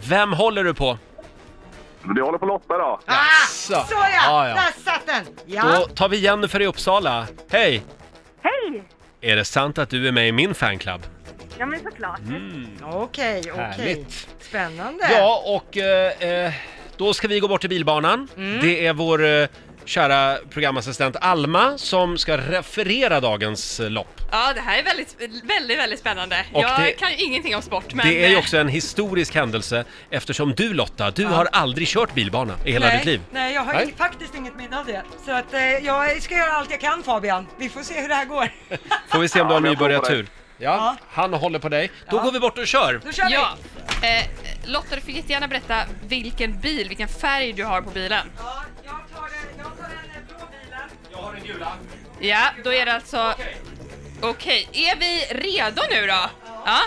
[SPEAKER 1] Vem håller du på?
[SPEAKER 7] Vi håller på Lotta då.
[SPEAKER 1] Jaså.
[SPEAKER 2] Ah, så ja.
[SPEAKER 1] Ja, ja.
[SPEAKER 2] Där satt den! Ja.
[SPEAKER 1] Då tar vi Jennifer i Uppsala. Hej!
[SPEAKER 6] Hej!
[SPEAKER 1] Är det sant att du är med i min fanclub?
[SPEAKER 6] Ja, men såklart.
[SPEAKER 2] Okej, okej.
[SPEAKER 1] Härligt.
[SPEAKER 2] Spännande.
[SPEAKER 1] Ja, och eh, eh, då ska vi gå bort till bilbanan. Det är vår eh, kära programassistent Alma som ska referera dagens eh, lopp.
[SPEAKER 8] Ja, det här är väldigt, väldigt, väldigt spännande.
[SPEAKER 1] Och
[SPEAKER 8] jag
[SPEAKER 1] det-
[SPEAKER 8] kan ju ingenting om sport, men...
[SPEAKER 1] Det är ju
[SPEAKER 8] eh,
[SPEAKER 1] också en historisk händelse eftersom du Lotta, du har aldrig kört bilbana i hela
[SPEAKER 2] nej,
[SPEAKER 1] ditt liv.
[SPEAKER 2] Nej, jag har
[SPEAKER 1] Nej.
[SPEAKER 2] ing- faktiskt inget minne av det. Så att eh, jag ska göra allt jag kan Fabian. Vi får se hur det här går.
[SPEAKER 1] Får vi se om du
[SPEAKER 7] Ja,
[SPEAKER 1] har
[SPEAKER 7] men jag tror på
[SPEAKER 1] nybörjartur. Ja, han håller på dig. Då
[SPEAKER 2] Ja.
[SPEAKER 1] går vi bort och kör.
[SPEAKER 2] Då kör
[SPEAKER 8] Ja.
[SPEAKER 2] vi!
[SPEAKER 8] Eh, Lotta, du får jättegärna berätta vilken bil, vilken färg du har på bilen.
[SPEAKER 2] Ja, jag tar, det- jag tar den eh, blå bilen.
[SPEAKER 1] Jag har en gula.
[SPEAKER 8] Ja, då är det alltså... Okej, är vi redo nu då? Ja.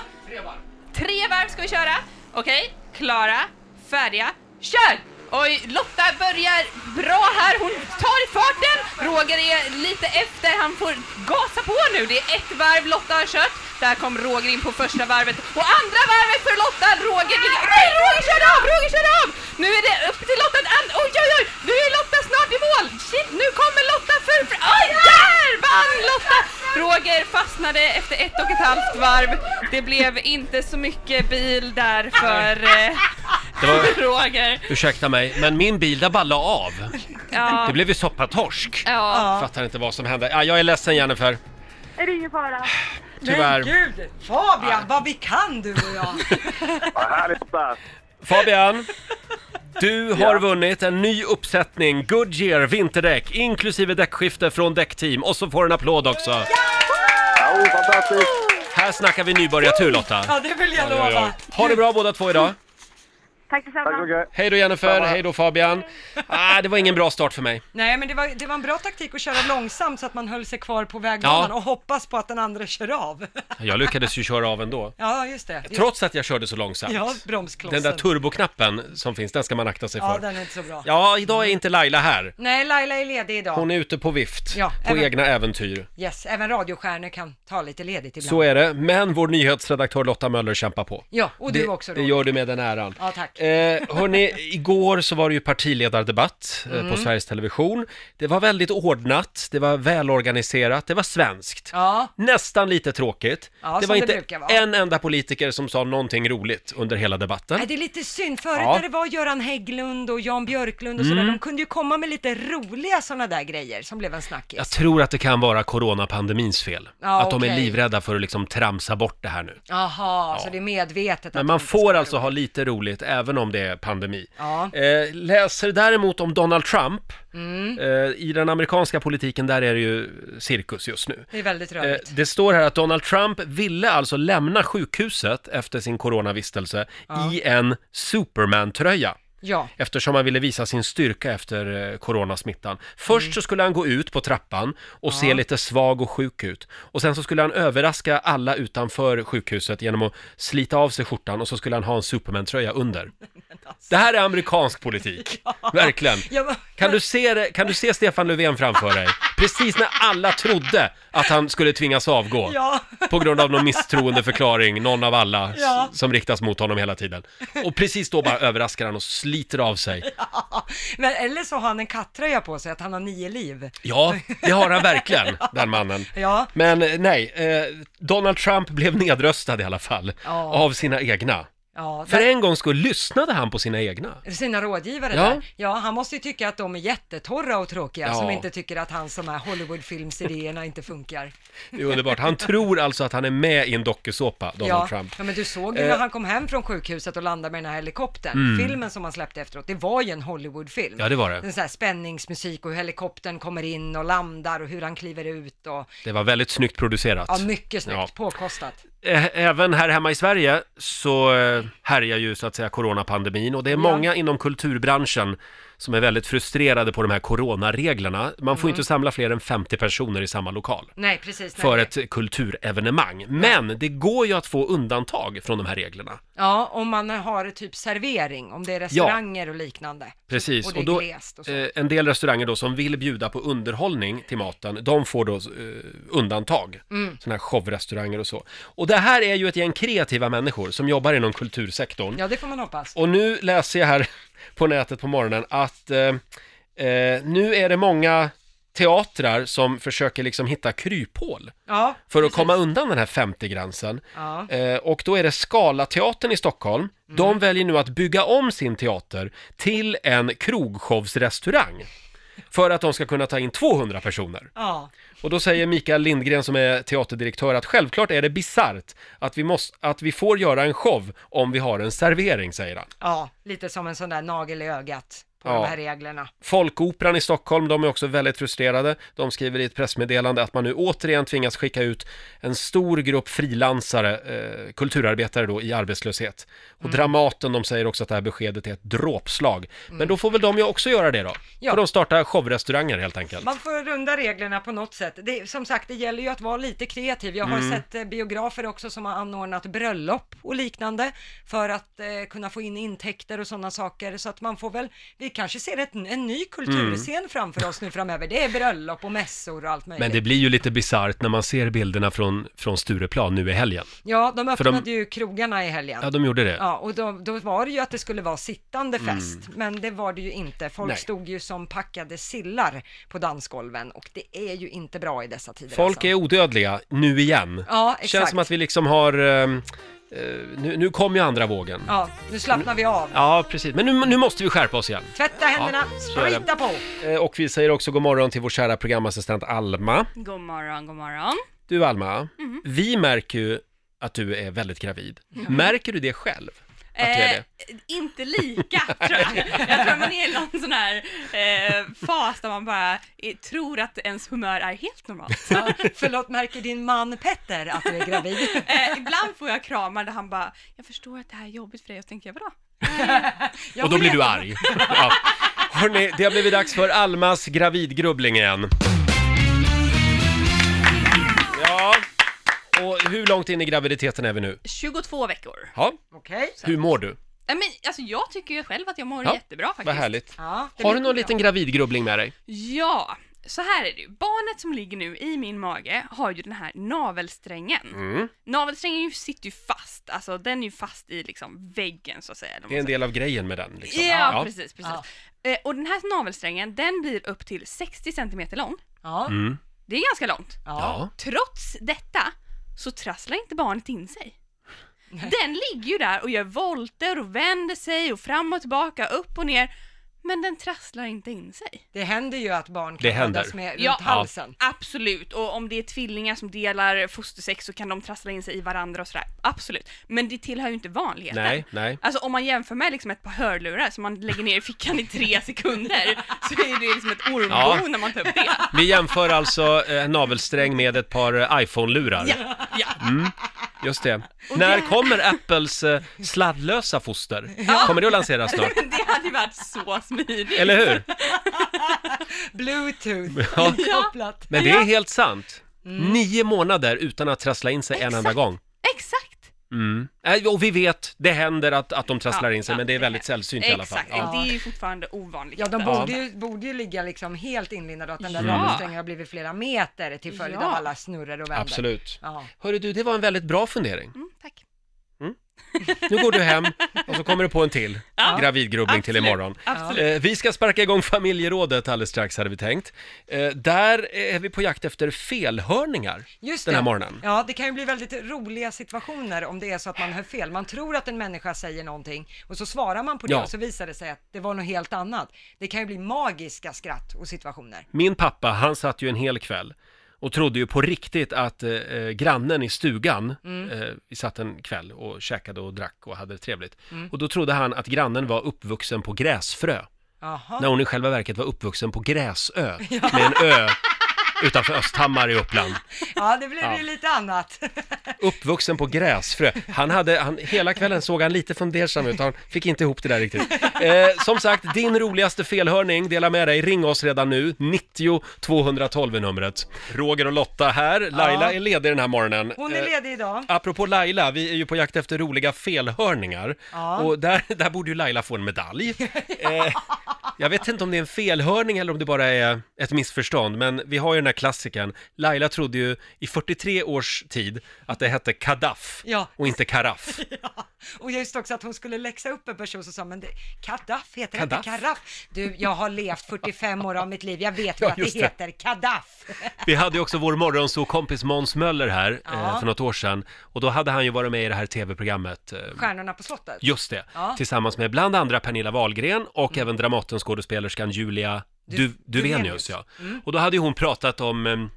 [SPEAKER 8] Tre varv ska vi köra. Okej, klara, färdiga, kör! Oj, Lotta börjar bra här. Hon tar i farten. Roger är lite efter. Han får gasa på nu. Det är ett varv Lotta har kört. Där kom Roger in på första varvet och andra varvet för Lotta. Roger ligger... Nej, Roger körde av! Roger körde av! Nu är det upp till Lotta. And- oj, oj, oj! Nu är Lotta snart i mål. Shit, nu kommer Lotta för... för- Oj, där vann Lotta! Roger fastnade efter ett och ett halvt varv. Det blev inte så mycket bil där för eh,
[SPEAKER 1] Det var,
[SPEAKER 8] Roger.
[SPEAKER 1] ursäkta mig, men min bil där bara la av. Det
[SPEAKER 8] Ja,
[SPEAKER 1] blev ju soppatorsk.
[SPEAKER 8] ja.
[SPEAKER 1] Fattar inte vad som hände. Ja, jag är ledsen Jennifer.
[SPEAKER 6] Är det ingen fara?
[SPEAKER 1] Tyvärr.
[SPEAKER 2] Men gud! Fabian, vad vi kan du och jag!
[SPEAKER 7] Vad härligt där.
[SPEAKER 1] Fabian, du har
[SPEAKER 7] Ja.
[SPEAKER 1] vunnit en ny uppsättning Goodyear vinterdäck inklusive däckskifte från Däckteam och så får du en applåd också.
[SPEAKER 7] Ja, oh, fantastiskt.
[SPEAKER 1] Här snackar vi nybörjartur Lotta.
[SPEAKER 2] Ja, det vill jag lova!
[SPEAKER 1] Ha det bra båda två idag.
[SPEAKER 6] Tack
[SPEAKER 7] Tack så
[SPEAKER 6] detsamma.
[SPEAKER 7] mycket.
[SPEAKER 1] Hej då Jennifer, hej då Fabian. Ah, det var ingen bra start för mig.
[SPEAKER 2] Nej, men det var, det var en bra taktik att köra långsamt så att man höll sig kvar på vägbanan
[SPEAKER 1] Ja.
[SPEAKER 2] och hoppas på att den andra kör av.
[SPEAKER 1] Jag lyckades ju köra av ändå.
[SPEAKER 2] Ja, just det. Just,
[SPEAKER 1] Trots att jag körde så långsamt.
[SPEAKER 2] ja, bromsklossen.
[SPEAKER 1] Den där turboknappen som finns, den ska man akta sig
[SPEAKER 2] Ja,
[SPEAKER 1] för.
[SPEAKER 2] den är inte så bra.
[SPEAKER 1] Ja, idag är inte Laila här.
[SPEAKER 2] Nej, Laila är ledig idag.
[SPEAKER 1] Hon är ute på vift,
[SPEAKER 2] Ja,
[SPEAKER 1] på
[SPEAKER 2] även-
[SPEAKER 1] egna äventyr.
[SPEAKER 2] Yes, även radiostjärnor kan ta lite ledigt ibland.
[SPEAKER 1] Så är det, men vår nyhetsredaktör Lotta Möller kämpar på.
[SPEAKER 2] Ja, och du
[SPEAKER 1] det,
[SPEAKER 2] också
[SPEAKER 1] Det
[SPEAKER 2] Roger.
[SPEAKER 1] gör du med den äran.
[SPEAKER 2] Ja, tack.
[SPEAKER 1] Eh, hörni, igår så var det ju partiledardebatt eh,
[SPEAKER 2] Mm.
[SPEAKER 1] på Sveriges Television. Det var väldigt ordnat, det var välorganiserat, det var svenskt.
[SPEAKER 2] Ja,
[SPEAKER 1] Nästan lite tråkigt.
[SPEAKER 2] Ja,
[SPEAKER 1] det
[SPEAKER 2] som
[SPEAKER 1] var
[SPEAKER 2] det
[SPEAKER 1] inte
[SPEAKER 2] brukar vara.
[SPEAKER 1] en enda politiker som sa någonting roligt under hela debatten.
[SPEAKER 2] Nej, det är lite synd. Förut
[SPEAKER 1] Ja. Mm.
[SPEAKER 2] när det var Göran Hägglund och Jan Björklund och sådär, de kunde ju komma med lite roliga sådana där grejer som blev en snackis.
[SPEAKER 1] Jag tror att det kan vara coronapandemins fel.
[SPEAKER 2] Ja,
[SPEAKER 1] att de är
[SPEAKER 2] okej.
[SPEAKER 1] livrädda för att liksom tramsa bort det här nu.
[SPEAKER 2] Jaha, så det är medvetet att
[SPEAKER 1] Men
[SPEAKER 2] de
[SPEAKER 1] man
[SPEAKER 2] inte ska
[SPEAKER 1] får
[SPEAKER 2] vara
[SPEAKER 1] alltså
[SPEAKER 2] roliga.
[SPEAKER 1] ha lite roligt även om det är pandemi.
[SPEAKER 2] Ja.
[SPEAKER 1] Eh, läser däremot om Donald Trump.
[SPEAKER 2] Mm.
[SPEAKER 1] Eh, I den amerikanska politiken där är det ju cirkus just nu.
[SPEAKER 2] Det är väldigt
[SPEAKER 1] Eh,
[SPEAKER 2] rörigt.
[SPEAKER 1] det står här att Donald Trump ville alltså lämna sjukhuset efter sin coronavistelse i en Superman-tröja.
[SPEAKER 2] Ja.
[SPEAKER 1] Eftersom han ville visa sin styrka efter eh, coronasmittan. Först
[SPEAKER 2] Mm.
[SPEAKER 1] så skulle han gå ut på trappan och se lite svag och sjuk ut. Och sen så skulle han överraska alla utanför sjukhuset genom att slita av sig skjortan och så skulle han ha en Superman-tröja under. Det här är amerikansk politik, verkligen.
[SPEAKER 2] alltså. Ja, men-
[SPEAKER 1] Kan du, se, det- kan du se Stefan Löfven framför dig? Precis när alla trodde att han skulle tvingas avgå.
[SPEAKER 2] Ja.
[SPEAKER 1] På grund av någon misstroendeförklaring, någon av alla s-
[SPEAKER 2] Ja.
[SPEAKER 1] som riktas mot honom hela tiden. Och precis då bara överraskar han och sliter av sig.
[SPEAKER 2] Men, eller så har han en kattröja på sig, att han har nio liv.
[SPEAKER 1] Ja, det har han verkligen, den mannen.
[SPEAKER 2] Ja.
[SPEAKER 1] Men eh, nej, eh, Donald Trump blev nedröstad i alla fall,
[SPEAKER 2] Ja.
[SPEAKER 1] av sina egna.
[SPEAKER 2] Ja,
[SPEAKER 1] För
[SPEAKER 2] där,
[SPEAKER 1] en gång skulle lyssnade han på sina egna.
[SPEAKER 2] Sina rådgivare
[SPEAKER 1] Ja.
[SPEAKER 2] där. Ja, han måste ju tycka att de är jättetorra och tråkiga
[SPEAKER 1] Ja.
[SPEAKER 2] som inte tycker att hans de här Hollywoodfilmsidéerna inte funkar.
[SPEAKER 1] Det är underbart. Han tror alltså att han är med i en dokusåpa, Donald
[SPEAKER 2] Ja.
[SPEAKER 1] Trump. Eh,
[SPEAKER 2] ja, men du såg ju när han kom hem från sjukhuset och landade med den här helikoptern. Filmen som han släppte efteråt, det var ju en Hollywoodfilm.
[SPEAKER 1] Mm. Ja, det var det.
[SPEAKER 2] En sån här spänningsmusik och hur helikoptern kommer in och landar och hur han kliver ut och
[SPEAKER 1] Det var väldigt snyggt producerat.
[SPEAKER 2] ja, mycket snyggt
[SPEAKER 1] Ja.
[SPEAKER 2] påkostat.
[SPEAKER 1] Ä- Även här hemma i Sverige så eh, härjar ju så att säga coronapandemin och det är många inom kulturbranschen som är väldigt frustrerade på de här coronareglerna. Man får inte samla fler än 50 personer i samma lokal
[SPEAKER 2] Mm. Nej, precis. nej.
[SPEAKER 1] för ett kulturevenemang. Men det går ju att få undantag från de här reglerna.
[SPEAKER 2] Ja, om man har typ servering, om det är restauranger och liknande.
[SPEAKER 1] Precis.
[SPEAKER 2] Och det är
[SPEAKER 1] då,
[SPEAKER 2] glest och så.
[SPEAKER 1] eh, en del restauranger då som vill bjuda på underhållning till maten, de får då eh, undantag.
[SPEAKER 2] Mm.
[SPEAKER 1] Sådana här showrestauranger och så. Och det här är ju ett gäng kreativa människor som jobbar inom kultursektorn.
[SPEAKER 2] Ja, det får man hoppas.
[SPEAKER 1] Och nu läser jag här på nätet på morgonen att eh, eh, nu är det många teatrar som försöker liksom hitta kryphål
[SPEAKER 2] Ja,
[SPEAKER 1] för att komma undan den här 50-gränsen.
[SPEAKER 2] Ja.
[SPEAKER 1] Eh, och då är det Scalateatern i Stockholm. De väljer nu att bygga om sin teater till en krogshowsrestaurang för att de ska kunna ta in 200 personer.
[SPEAKER 2] ja.
[SPEAKER 1] Och då säger Mikael Lindgren som är teaterdirektör att självklart är det bisarrt att vi, måste, att vi får göra en show om vi har en servering, säger han.
[SPEAKER 2] Ja, lite som en sån där nagel i ögat. på
[SPEAKER 1] Ja.
[SPEAKER 2] de här reglerna.
[SPEAKER 1] Folkoperan i Stockholm, de är också väldigt frustrerade. De skriver i ett pressmeddelande att man nu återigen tvingas skicka ut en stor grupp frilansare, eh, kulturarbetare då, i arbetslöshet. Och
[SPEAKER 2] Mm.
[SPEAKER 1] Dramaten, de säger också att det här beskedet är ett dråpslag. Men då får väl de ju också göra det då?
[SPEAKER 2] Mm. Ja.
[SPEAKER 1] För de startar showrestauranger helt enkelt.
[SPEAKER 2] Man får runda reglerna på något sätt. Det, som sagt, det gäller ju att vara lite kreativ. Jag har
[SPEAKER 1] Mm.
[SPEAKER 2] sett eh, biografer också som har anordnat bröllop och liknande för att eh, kunna få in intäkter och sådana saker. Så att man får väl, vi kanske ser ett, en ny kulturscen framför oss nu framöver. Det är bröllop och mässor och allt möjligt.
[SPEAKER 1] Mm. Men det blir ju lite bisarrt när man ser bilderna från, från Stureplan nu i helgen.
[SPEAKER 2] Ja, de
[SPEAKER 1] För de-
[SPEAKER 2] öppnade ju krogarna i helgen.
[SPEAKER 1] Ja, de gjorde det.
[SPEAKER 2] Ja, och då, då var det ju att det skulle vara sittande fest, men det var det ju inte. Folk
[SPEAKER 1] Mm. Nej.
[SPEAKER 2] stod ju som packade sillar på dansgolven och det är ju inte bra i dessa tider.
[SPEAKER 1] Folk
[SPEAKER 2] alltså.
[SPEAKER 1] är odödliga, nu igen.
[SPEAKER 2] Ja, exakt.
[SPEAKER 1] Känns som att vi liksom har... ehm, Eh, nu, nu kom ju andra vågen.
[SPEAKER 2] Ja, nu slappnar vi av.
[SPEAKER 1] Ja, precis. Men nu, nu måste vi skärpa oss igen.
[SPEAKER 2] Tvätta händerna,
[SPEAKER 1] så är det.
[SPEAKER 2] sprita på!
[SPEAKER 1] Eh, Och vi säger också god morgon till vår kära programassistent Alma.
[SPEAKER 8] God morgon, god morgon.
[SPEAKER 1] Du Alma,
[SPEAKER 8] Mhm.
[SPEAKER 1] vi märker ju att du är väldigt gravid. Märker du det själv? Att du är det?
[SPEAKER 8] Eh, inte lika, tror jag. Jag tror man är i någon sån här eh, fas där man bara eh, tror att ens humör är helt normalt.
[SPEAKER 2] Ja, förlåt, märker din man Petter att du är gravid?
[SPEAKER 8] Eh, ibland får jag kramar där han bara, jag förstår att det här är jobbigt för dig, och så tänker jag vadå?
[SPEAKER 2] Jag
[SPEAKER 1] Och då blir
[SPEAKER 2] vet
[SPEAKER 1] du
[SPEAKER 2] att-
[SPEAKER 1] arg. Ja. Hörrni, det har blivit dags för Almas gravidgrubbling igen. Ja, och hur långt in i graviditeten är vi nu?
[SPEAKER 8] 22 veckor.
[SPEAKER 1] Ja,
[SPEAKER 2] Okej.
[SPEAKER 1] hur mår du?
[SPEAKER 8] Nej, men alltså jag tycker ju själv att jag mår
[SPEAKER 1] Ja,
[SPEAKER 8] jättebra faktiskt.
[SPEAKER 1] Vad härligt.
[SPEAKER 2] Ja, det
[SPEAKER 1] Har
[SPEAKER 2] blir-
[SPEAKER 1] du någon liten gravidgrubbling med dig?
[SPEAKER 8] Ja, så här är det ju. Barnet som ligger nu i min mage har ju den här navelsträngen.
[SPEAKER 1] Mm.
[SPEAKER 8] Navelsträngen ju- sitter ju fast, alltså den är ju fast i liksom väggen så att säga. eller vad
[SPEAKER 1] Det är
[SPEAKER 8] man
[SPEAKER 1] en del av grejen med den. Liksom.
[SPEAKER 8] säger. Ja, precis, precis.
[SPEAKER 2] Ja.
[SPEAKER 8] Eh, Och den här navelsträngen, den blir upp till 60 cm lång.
[SPEAKER 2] Ja.
[SPEAKER 1] Mm.
[SPEAKER 8] Det är ganska långt.
[SPEAKER 2] Ja.
[SPEAKER 1] Ja.
[SPEAKER 8] Trots detta så trasslar inte barnet in sig. Den ligger ju där och gör volter och vänder sig och fram och tillbaka, upp och ner. Men den trasslar inte in sig.
[SPEAKER 2] Det händer ju att barn
[SPEAKER 1] Det
[SPEAKER 2] kan
[SPEAKER 1] händer.
[SPEAKER 2] födas med runt
[SPEAKER 8] Ja.
[SPEAKER 2] halsen.
[SPEAKER 8] Absolut, och om det är tvillingar som delar fostersex så kan de trassla in sig i varandra och sådär. Absolut, men det tillhör ju inte vanligheten.
[SPEAKER 1] Nej, nej.
[SPEAKER 8] Alltså om man jämför med liksom ett par hörlurar som man lägger ner i fickan i tre sekunder så är det liksom ett ormbo
[SPEAKER 1] Ja.
[SPEAKER 8] när man tar upp det.
[SPEAKER 1] Vi jämför alltså eh, en navelsträng med ett par eh, iPhone-lurar. Mm,
[SPEAKER 8] Ja, ja.
[SPEAKER 1] Just det. När kommer Apples eh, sladdlösa foster? Kommer det att lanseras snart?
[SPEAKER 8] Det hade ju varit så smidigt.
[SPEAKER 1] Eller hur?
[SPEAKER 2] Bluetooth,
[SPEAKER 1] Ja.
[SPEAKER 2] kopplat.
[SPEAKER 1] Men det är helt sant. Nio månader utan att trassla in sig en enda
[SPEAKER 8] Mm. Exakt.
[SPEAKER 1] gång.
[SPEAKER 8] Exakt!
[SPEAKER 1] Mm. Nej, Och vi vet, det händer att, att de trasslar
[SPEAKER 8] Ja,
[SPEAKER 1] in sig,
[SPEAKER 8] ja,
[SPEAKER 1] men det är
[SPEAKER 8] det
[SPEAKER 1] väldigt
[SPEAKER 8] är-
[SPEAKER 1] sällsynt i alla fall.
[SPEAKER 8] Exakt,
[SPEAKER 1] Ja.
[SPEAKER 8] det är ju fortfarande ovanligt.
[SPEAKER 2] Ja, de
[SPEAKER 1] Ja.
[SPEAKER 2] borde ju, borde ju ligga liksom helt inlindade och att den där
[SPEAKER 8] Ja.
[SPEAKER 2] navelsträngen har blivit flera meter till följd
[SPEAKER 8] Ja.
[SPEAKER 2] av alla snurror och vänder.
[SPEAKER 1] Absolut.
[SPEAKER 2] Ja.
[SPEAKER 1] Hörru du, det var en väldigt bra fundering.
[SPEAKER 8] Mm, tack.
[SPEAKER 1] Nu går du hem och så kommer du på en till
[SPEAKER 8] Ja.
[SPEAKER 1] gravidgrubbling till
[SPEAKER 8] Absolut.
[SPEAKER 1] imorgon.
[SPEAKER 8] Absolut.
[SPEAKER 1] Eh, vi ska sparka igång familjerådet alldeles strax hade vi tänkt. Eh, där är vi på jakt efter felhörningar
[SPEAKER 2] Just
[SPEAKER 1] den här
[SPEAKER 2] det.
[SPEAKER 1] morgonen.
[SPEAKER 2] Ja, det kan ju bli väldigt roliga situationer om det är så att man hör fel. Man tror att en människa säger någonting och så svarar man på det
[SPEAKER 1] Ja.
[SPEAKER 2] och så visar det sig att det var något helt annat. Det kan ju bli magiska skratt och situationer.
[SPEAKER 1] Min pappa, han satt ju en hel kväll och trodde ju på riktigt att eh, eh, grannen i stugan,
[SPEAKER 8] Mm.
[SPEAKER 1] eh, vi satt en kväll och käkade och drack och hade det trevligt.
[SPEAKER 8] Mm.
[SPEAKER 1] Och då trodde han att grannen var uppvuxen på gräsfrö,
[SPEAKER 2] Jaha.
[SPEAKER 1] när hon i själva verket var uppvuxen på Gräsö, med en ö utanför Östhammar i Uppland.
[SPEAKER 2] Ja, det blev
[SPEAKER 1] Ja.
[SPEAKER 2] ju lite annat.
[SPEAKER 1] Uppvuxen på gräsfrö. Han hade, han, hela kvällen såg han lite fundersam ut, han fick inte ihop det där riktigt. Eh, som sagt, din roligaste felhörning, dela med dig, ring oss redan nu, 90 212 är numret. Roger och Lotta här, Laila är ledig den här morgonen.
[SPEAKER 2] Hon är
[SPEAKER 1] Eh,
[SPEAKER 2] ledig idag.
[SPEAKER 1] Apropå Laila, vi är ju på jakt efter roliga felhörningar.
[SPEAKER 2] Ja.
[SPEAKER 1] Och där, där borde ju Laila få en medalj. Eh, jag vet inte om det är en felhörning eller om det bara är ett missförstånd, men vi har ju den här klassiken. Laila trodde ju i 43 års tid att det hette kadaff
[SPEAKER 2] Ja.
[SPEAKER 1] och inte karaff.
[SPEAKER 2] Ja. Och just också att hon skulle läxa upp en person som sa, men det, Kadaff heter det inte
[SPEAKER 1] Kadaff?
[SPEAKER 2] Karaff. Du, jag har levt 45 år av mitt liv, jag vet ju
[SPEAKER 1] Ja,
[SPEAKER 2] att
[SPEAKER 1] just
[SPEAKER 2] det
[SPEAKER 1] det.
[SPEAKER 2] heter Kadaff.
[SPEAKER 1] Vi hade ju också vår morgonsåkompis Måns Möller här eh,
[SPEAKER 2] Ja.
[SPEAKER 1] för något år sedan och då hade han ju varit med i det här tv-programmet eh,
[SPEAKER 2] Stjärnorna på slottet.
[SPEAKER 1] Just det,
[SPEAKER 2] Ja.
[SPEAKER 1] tillsammans med bland andra Pernilla Wahlgren och även Dramatenskådespelerskan Julia Mm. du,
[SPEAKER 2] Du-
[SPEAKER 1] Duvenius. Mm.
[SPEAKER 2] Duvenius,
[SPEAKER 1] Ja. Och då hade ju hon pratat om, em,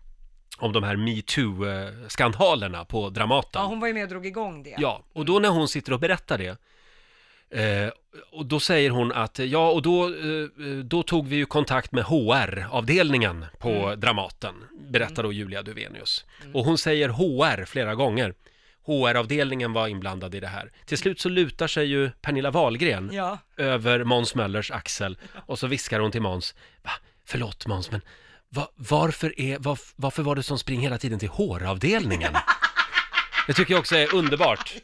[SPEAKER 1] om de här metoo-skandalerna på Dramaten.
[SPEAKER 2] Ja,
[SPEAKER 1] Ja,
[SPEAKER 2] hon var ju med och drog igång det.
[SPEAKER 1] och då när hon sitter och berättar det Eh, och då säger hon att, eh, ja och då, eh, då tog vi ju kontakt med HR-avdelningen på Dramaten, berättar då Julia Duvenius. Och hon säger HR flera gånger. HR-avdelningen var inblandad i det här. Till slut så lutar sig ju Pernilla Wahlgren
[SPEAKER 2] Ja.
[SPEAKER 1] över Måns Möllers axel och så viskar hon till Måns, Va? förlåt Måns men va, varför, är, var, varför var det som spring hela tiden till HR-avdelningen? Det tycker jag också är underbart.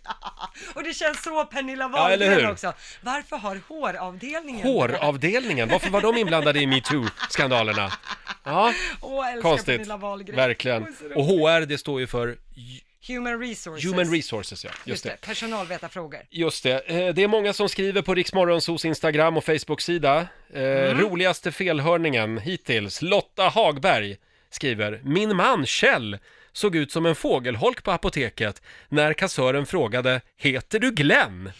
[SPEAKER 2] Och det känns så Pernilla
[SPEAKER 1] Ja, eller
[SPEAKER 2] Wahlgren
[SPEAKER 1] hur?
[SPEAKER 2] också. Varför har håravdelningen
[SPEAKER 1] HR-avdelningen, varför var de inblandade i metoo-skandalerna? Ja,
[SPEAKER 2] Åh, jag älskar
[SPEAKER 1] konstigt.
[SPEAKER 2] Pernilla Wahlgren.
[SPEAKER 1] Verkligen.
[SPEAKER 2] Hon är så rolig.
[SPEAKER 1] Och HR, det står ju för
[SPEAKER 2] Human resources.
[SPEAKER 1] Human Resources, ja.
[SPEAKER 2] Just
[SPEAKER 1] Just det.
[SPEAKER 2] det, personalvetarfrågor.
[SPEAKER 1] Just det. Eh, Det är många som skriver på Riksmorgonsos Instagram och Facebook-sida. Eh, Roligaste felhörningen hittills. Lotta Hagberg skriver Min man Kjell såg ut som en fågelholk på apoteket när kassören frågade Heter du Glenn?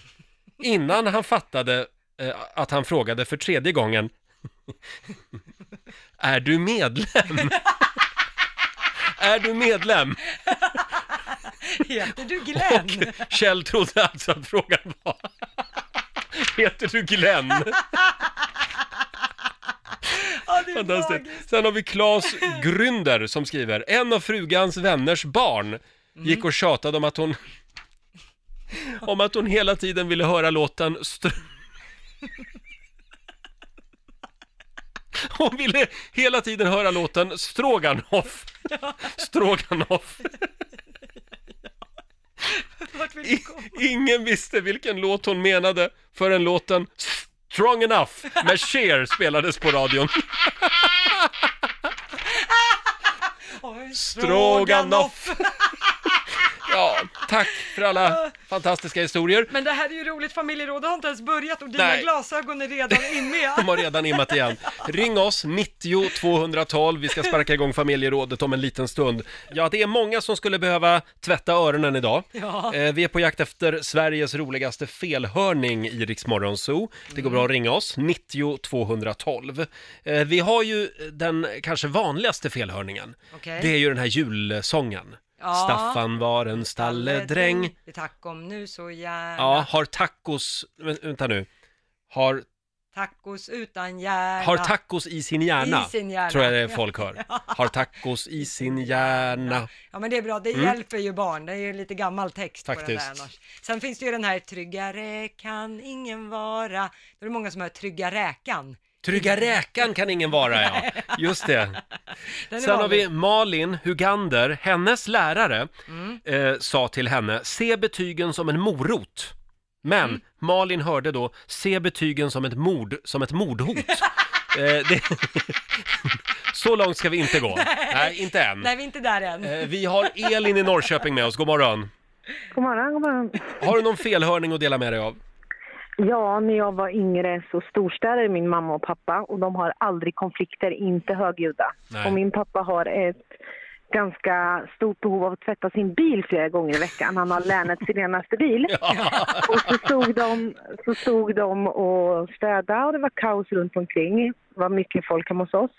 [SPEAKER 1] Innan han fattade eh, att han frågade för tredje gången Är du medlem? Är du medlem?
[SPEAKER 2] Heter du Glenn?
[SPEAKER 1] Och Kjell trodde alltså att frågan var Heter du Glenn?
[SPEAKER 2] Ja, det är
[SPEAKER 1] Fantastiskt.
[SPEAKER 2] magiskt.
[SPEAKER 1] Sen har vi Claes Grynder som skriver En av frugans vänners barn gick och tjatade om att hon om att hon hela tiden ville höra låten Str... Hon ville hela tiden höra låten Stroganoff. Stroganoff.
[SPEAKER 2] Vart vill du
[SPEAKER 1] I,
[SPEAKER 2] komma?
[SPEAKER 1] ingen visste vilken låt hon menade förrän låten Strong Enough med Cher spelades på radion.
[SPEAKER 2] Oj,
[SPEAKER 1] Stroganoff! Ja, tack för alla fantastiska historier.
[SPEAKER 2] Men det här är ju roligt, familjeråd har inte ens börjat och dina
[SPEAKER 1] Nej.
[SPEAKER 2] glasögon är redan in
[SPEAKER 1] De
[SPEAKER 2] med.
[SPEAKER 1] har redan immat igen. Ring oss, 90 212. Vi ska sparka igång familjerådet om en liten stund. Ja, det är många som skulle behöva tvätta öronen idag.
[SPEAKER 2] Ja.
[SPEAKER 1] Eh, Vi är på jakt efter Sveriges roligaste felhörning i Rix Morgon Zoo. Det går bra att ringa oss, 90 212. Eh, Vi har ju den kanske vanligaste felhörningen.
[SPEAKER 2] Okej.
[SPEAKER 1] Det är ju den här julsången.
[SPEAKER 2] Ja.
[SPEAKER 1] Staffan var en stalledräng.
[SPEAKER 2] Vi tack om nu så gärna.
[SPEAKER 1] Ja, har tacos, vä- vänta nu, har,
[SPEAKER 2] Tacos utan hjärna.
[SPEAKER 1] har tacos i sin hjärna,
[SPEAKER 2] I sin hjärna.
[SPEAKER 1] tror jag det är folk hör. Har tacos i sin hjärna.
[SPEAKER 2] Ja men det är bra, det hjälper ju barn. Det är ju lite gammal text på den där
[SPEAKER 1] Mm. Faktiskt.
[SPEAKER 2] annars. Sen finns det ju den här tryggare kan ingen vara. Då är det många som hör trygga räkan.
[SPEAKER 1] Trygga räkan kan ingen vara, ja. Just det.
[SPEAKER 2] Den är
[SPEAKER 1] Sen har
[SPEAKER 2] vanlig.
[SPEAKER 1] vi Mm. Malin Hugander, hennes lärare eh, sa till henne, se betygen som en morot. Men Malin hörde då, se betygen som ett, mord, som ett mordhot. eh, det... Så långt ska vi inte gå. Nej, inte än.
[SPEAKER 2] Nej vi är inte där än.
[SPEAKER 1] Eh, Vi har Elin i Norrköping med oss, god morgon.
[SPEAKER 9] God morgon, god morgon.
[SPEAKER 1] Har du någon felhörning att dela med dig av?
[SPEAKER 9] Ja, när jag var yngre så storstädade min mamma och pappa och de har aldrig konflikter, inte högljudda.
[SPEAKER 1] Nej.
[SPEAKER 9] Och min pappa har ett ganska stort behov av att tvätta sin bil flera gånger i veckan. Han har länets renaste bil. Och så stod, de, så stod de och städade och det var kaos runt omkring. Det var mycket folk hemma hos oss.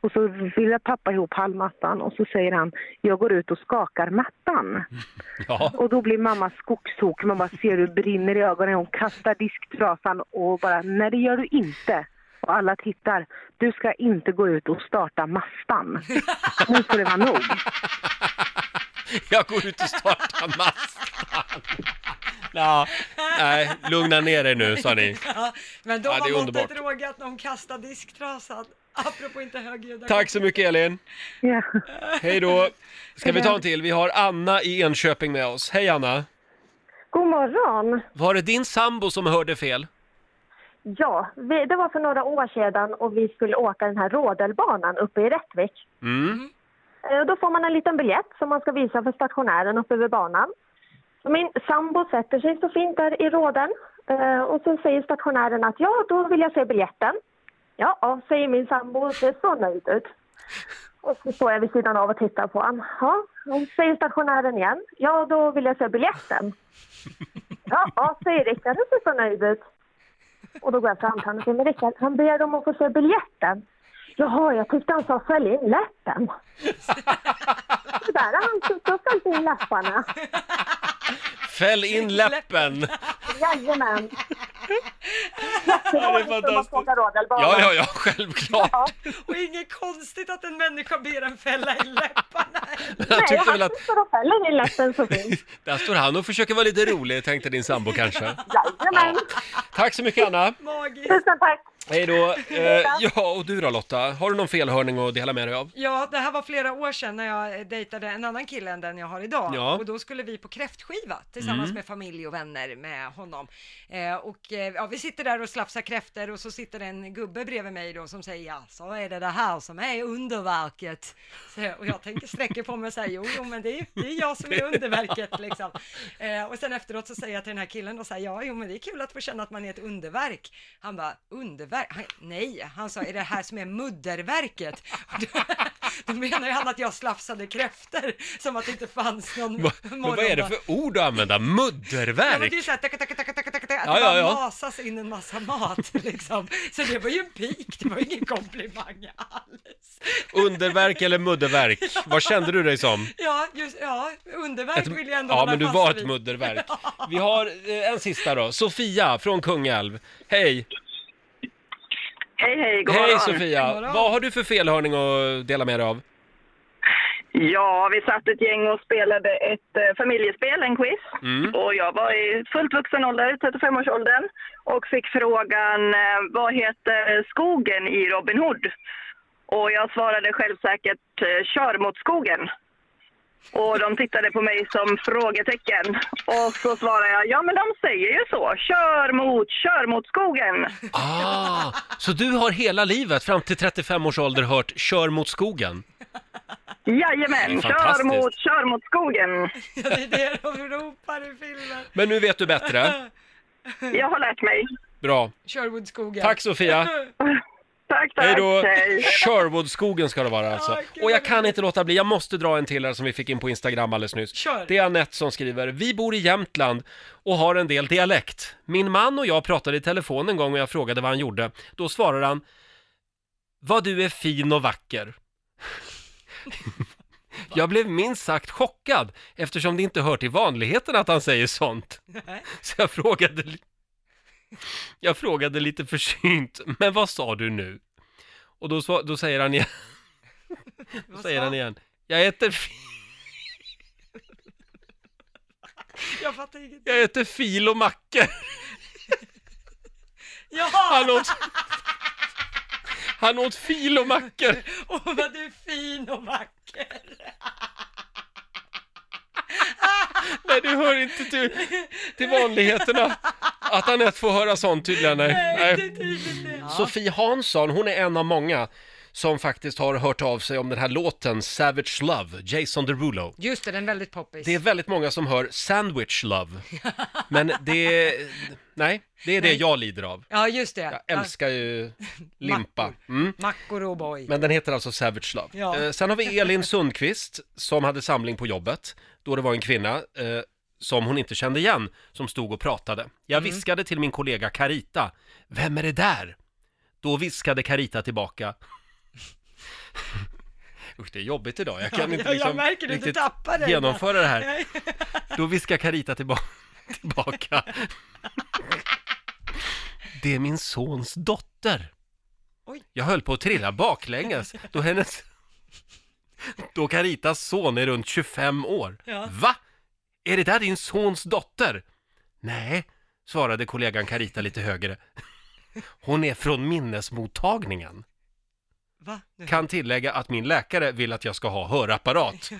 [SPEAKER 9] Och så ville pappa ihop halmmattan och så säger han, jag går ut och skakar mattan.
[SPEAKER 1] Ja,
[SPEAKER 9] Och då blir mamma skogstokig. Man bara ser hur det brinner i ögonen. Hon kastar disktrasan och bara, nej det gör du inte. Och alla tittar. Du ska inte gå ut och starta mastan. Nu får det vara nog.
[SPEAKER 1] jag går ut och startar mastan. Ja, nej, lugna ner er nu, sa ni.
[SPEAKER 2] Ja, men de
[SPEAKER 1] Ja, det är
[SPEAKER 2] har måttet
[SPEAKER 1] underbart.
[SPEAKER 2] rågat de kastar disktrasan. Apropå inte högljudda.
[SPEAKER 1] Tack så mycket Elin,
[SPEAKER 9] Ja.
[SPEAKER 1] hej då. Ska vi ta en till? Vi har Anna i Enköping med oss. Hej Anna!
[SPEAKER 9] God morgon.
[SPEAKER 1] Var det din sambo som hörde fel?
[SPEAKER 9] Ja, vi, det var för några år sedan och vi skulle åka den här rodelbanan uppe i Rättvik. Eh, och Då får man en liten biljett som man ska visa för stationären uppe vid banan. Så min sambo sätter sig så fint där i råden eh, och så säger stationären att ja, då vill jag se biljetten. Ja, ja, säger min sambo och ser så nöjd ut. Och så står jag vid sidan av och tittar på honom. Ja, och säger stationären igen. Ja, då vill jag se biljetten. Ja, ja, säger Rickard och ser så nöjd ut. Och då går jag fram till honom och säger, men Rickard, han ber om att få se biljetten. Jaha, jag tyckte han sa fäll in läppen. Så där har han suttit och fällt in läpparna.
[SPEAKER 1] Fäll in läppen!
[SPEAKER 9] Jajamän.
[SPEAKER 1] Ja, det är fantastiskt. Ja, ja, ja, självklart.
[SPEAKER 2] Och inget konstigt att en människa ber en fälla i läpparna.
[SPEAKER 1] Jag
[SPEAKER 9] Nej,
[SPEAKER 1] tyckte
[SPEAKER 9] han
[SPEAKER 1] väl att
[SPEAKER 9] står och fäller i läppen så fint.
[SPEAKER 1] där står han och försöker vara lite rolig, tänkte din sambo kanske.
[SPEAKER 9] Jajamän.
[SPEAKER 1] Tack så mycket Anna.
[SPEAKER 2] Magiskt.
[SPEAKER 9] Tusen tack.
[SPEAKER 1] Hej då. Eh, ja, och du då Lotta? Har du någon felhörning att dela med dig av?
[SPEAKER 2] Ja, det här var flera år sedan när jag eh, dejtade en annan kille än den jag har idag.
[SPEAKER 1] Ja.
[SPEAKER 2] Och då skulle vi på kräftskiva tillsammans med familj och vänner med honom. Eh, och eh, ja, vi sitter där och slafsar kräftor och så sitter en gubbe bredvid mig då som säger ja, så är det det här som är underverket. Så, och jag tänker sträcker på mig och säger jo, jo, men det är, det är jag som är underverket liksom. Eh, och sen efteråt så säger jag till den här killen och säger ja, jo, men det är kul att få känna att man är ett underverk. Han bara underverk? Han, nej, han sa är det här som är mudderverket? Och Då, då menar ju han att jag slafsade kräfter som att det inte fanns någon
[SPEAKER 1] Va, men
[SPEAKER 2] Mm. morgondag.
[SPEAKER 1] vad är det för ord att använda?
[SPEAKER 2] Ja, men
[SPEAKER 1] Mudderverk?
[SPEAKER 2] det är ju såhär, tacka, tacka, tacka, tacka, tacka, att
[SPEAKER 1] Ja,
[SPEAKER 2] det
[SPEAKER 1] ja,
[SPEAKER 2] bara
[SPEAKER 1] ja.
[SPEAKER 2] masas in en massa mat liksom. Så det var ju en pik, det var ju ingen komplimang alls.
[SPEAKER 1] Underverk eller mudderverk? Vad kände du dig som?
[SPEAKER 2] Ja, just, ja, underverk vill jag ändå
[SPEAKER 1] ja,
[SPEAKER 2] hålla
[SPEAKER 1] men du
[SPEAKER 2] fast
[SPEAKER 1] var ett
[SPEAKER 2] vid.
[SPEAKER 1] mudderverk. Vi har eh, en sista då. Sofia från Kungälv. Hej!
[SPEAKER 7] Hej, hej, god
[SPEAKER 1] Hej
[SPEAKER 7] morgon.
[SPEAKER 1] Sofia!
[SPEAKER 2] God morgon.
[SPEAKER 1] Vad har du för felhörning att dela med dig av?
[SPEAKER 7] Ja, vi satt ett gäng och spelade ett eh, familjespel, en quiz.
[SPEAKER 1] Mm.
[SPEAKER 7] Och jag var i fullt vuxen ålder, 35-årsåldern, och fick frågan eh, vad heter skogen i Robin Hood? Och jag svarade självsäkert eh, kör mot skogen. Och de tittade på mig som frågetecken. Och så svarade jag, ja men de säger ju så, kör mot, kör mot skogen.
[SPEAKER 1] Ah, så du har hela livet fram till 35 års ålder hört “Kör mot skogen”?
[SPEAKER 7] Jajamän,
[SPEAKER 1] Det är fantastiskt.
[SPEAKER 7] kör mot, kör mot skogen.
[SPEAKER 2] Ja, det är det de ropar i filmen.
[SPEAKER 1] Men nu vet du bättre.
[SPEAKER 7] Jag har lärt mig.
[SPEAKER 1] Bra.
[SPEAKER 2] Sherwoodskogen.
[SPEAKER 1] Tack Sofia!
[SPEAKER 2] Mm,
[SPEAKER 7] Tack, tack.
[SPEAKER 1] Hej då!
[SPEAKER 7] Hej.
[SPEAKER 1] Sherwoodskogen ska det vara alltså.
[SPEAKER 2] Ja, gud,
[SPEAKER 1] Och jag
[SPEAKER 2] vad
[SPEAKER 1] kan inte låta bli, jag måste dra en till här som vi fick in på Instagram alldeles nyss.
[SPEAKER 2] Kör.
[SPEAKER 1] Det är Anette som skriver, vi bor i Jämtland och har en del dialekt. Min man och jag pratade i telefon en gång och jag frågade vad han gjorde. Då svarade han, vad du är fin och vacker. Jag blev minst sagt chockad eftersom det inte hör till vanligheten att han säger sånt.
[SPEAKER 2] Nej.
[SPEAKER 1] Så jag frågade, li- jag frågade lite försynt, men vad sa du nu? Och då, sva- då säger han igen, då säger han igen, jag äter, fi-
[SPEAKER 2] Jag fattar inget.
[SPEAKER 1] jag äter fil och mackor.
[SPEAKER 2] Jaha!
[SPEAKER 1] Han åt, han åt fil och mackor.
[SPEAKER 2] Åh, vad du är fin och vacker!
[SPEAKER 1] Nej, det hör inte till, till vanligheterna att Anette får höra sånt tydligen. Nej.
[SPEAKER 2] Nej, det är tydligt det.
[SPEAKER 1] Sofie Hansson, hon är en av många som faktiskt har hört av sig om den här låten Savage Love, Jason Derulo.
[SPEAKER 2] Just det, den är väldigt poppis.
[SPEAKER 1] Det är väldigt många som hör Sandwich Love, men det, nej, det är det jag lider av.
[SPEAKER 2] Ja, just det.
[SPEAKER 1] Jag älskar ju limpa. Mm.
[SPEAKER 2] Mackor och boy.
[SPEAKER 1] Men den heter alltså Savage Love.
[SPEAKER 2] Ja.
[SPEAKER 1] Eh, sen har vi Elin Sundqvist som hade samling på jobbet då det var en kvinna eh, som hon inte kände igen som stod och pratade. Jag
[SPEAKER 2] Mm.
[SPEAKER 1] viskade till min kollega Carita, vem är det där? Då viskade Carita tillbaka. Usch, det är jobbigt idag. Jag kan
[SPEAKER 2] Ja,
[SPEAKER 1] inte
[SPEAKER 2] jag- jag
[SPEAKER 1] liksom
[SPEAKER 2] märker du inte
[SPEAKER 1] riktigt
[SPEAKER 2] tappar det.
[SPEAKER 1] genomföra det här.
[SPEAKER 2] Nej.
[SPEAKER 1] Då viskar Carita tillba- tillbaka. Det är min sons dotter.
[SPEAKER 2] Oj.
[SPEAKER 1] Jag höll på att trilla baklänges då hennes... Då Caritas son är runt 25 år.
[SPEAKER 2] Ja.
[SPEAKER 1] Va? Är det där din sons dotter? Nej, svarade kollegan Carita lite högre. Hon är från minnesmottagningen.
[SPEAKER 2] Va? Nu.
[SPEAKER 1] Kan tillägga att min läkare vill att jag ska ha hörapparat.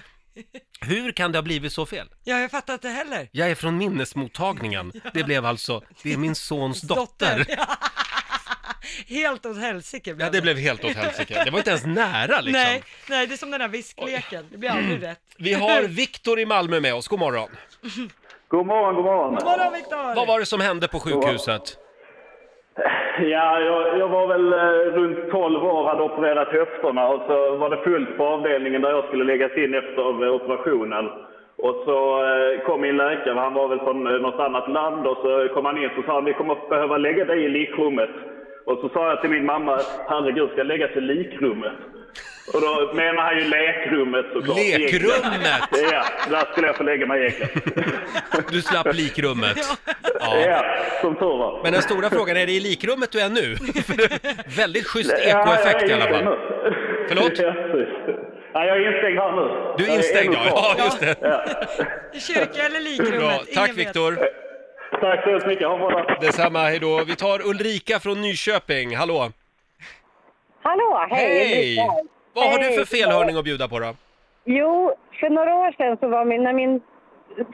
[SPEAKER 1] Hur kan det ha blivit så fel?
[SPEAKER 2] Ja, jag fattar inte heller.
[SPEAKER 1] Jag är från minnesmottagningen. Det blev alltså, det är min sons dotter.
[SPEAKER 2] Ja. Helt åt helsike blev
[SPEAKER 1] Ja, det blev helt åt helsike. Det var inte ens nära liksom. Mm.
[SPEAKER 2] Nej, nej, det är som den där viskleken. Det blir aldrig rätt.
[SPEAKER 1] Vi har Viktor i Malmö med oss, god morgon.
[SPEAKER 10] God morgon, god morgon.
[SPEAKER 2] God morgon Viktor!
[SPEAKER 1] Vad var det som hände på sjukhuset?
[SPEAKER 10] Ja, jag, jag var väl eh, runt 12 år, hade opererat höfterna och så var det fullt på avdelningen där jag skulle läggas in efter eh, operationen. Och så eh, kom min läkare, han var väl från eh, något annat land och så kom han in och sa han, vi kommer att behöva lägga dig i likrummet. Och så sa jag till min mamma, herregud ska jag läggas i likrummet? Och då menar han ju lekrummet såklart.
[SPEAKER 1] Lekrummet?
[SPEAKER 10] Ja, där skulle jag få lägga mig i eklet.
[SPEAKER 1] Du slapp likrummet.
[SPEAKER 10] Ja. som tur var.
[SPEAKER 1] Men den stora frågan, är det i likrummet du är nu? För Väldigt schysst ekoeffekt i alla fall. Förlåt?
[SPEAKER 10] Ja, precis. Ja, jag är instängd här nu.
[SPEAKER 1] Du är instängd,
[SPEAKER 10] Jag är
[SPEAKER 1] ja.
[SPEAKER 10] ännu kvar.
[SPEAKER 1] Ja, just det.
[SPEAKER 2] I kyrka eller likrummet?
[SPEAKER 1] Bra, tack
[SPEAKER 2] ingen vet.
[SPEAKER 1] Viktor.
[SPEAKER 10] Tack så hemskt mycket, ha en bra dag.
[SPEAKER 1] Detsamma, hej då. Vi tar Ulrika från Nyköping, hallå.
[SPEAKER 11] Hallå, hej! Ulrika.
[SPEAKER 1] Vad har du
[SPEAKER 11] Hej.
[SPEAKER 1] för felhörning att bjuda på då?
[SPEAKER 11] Jo, för några år sedan så var min, när min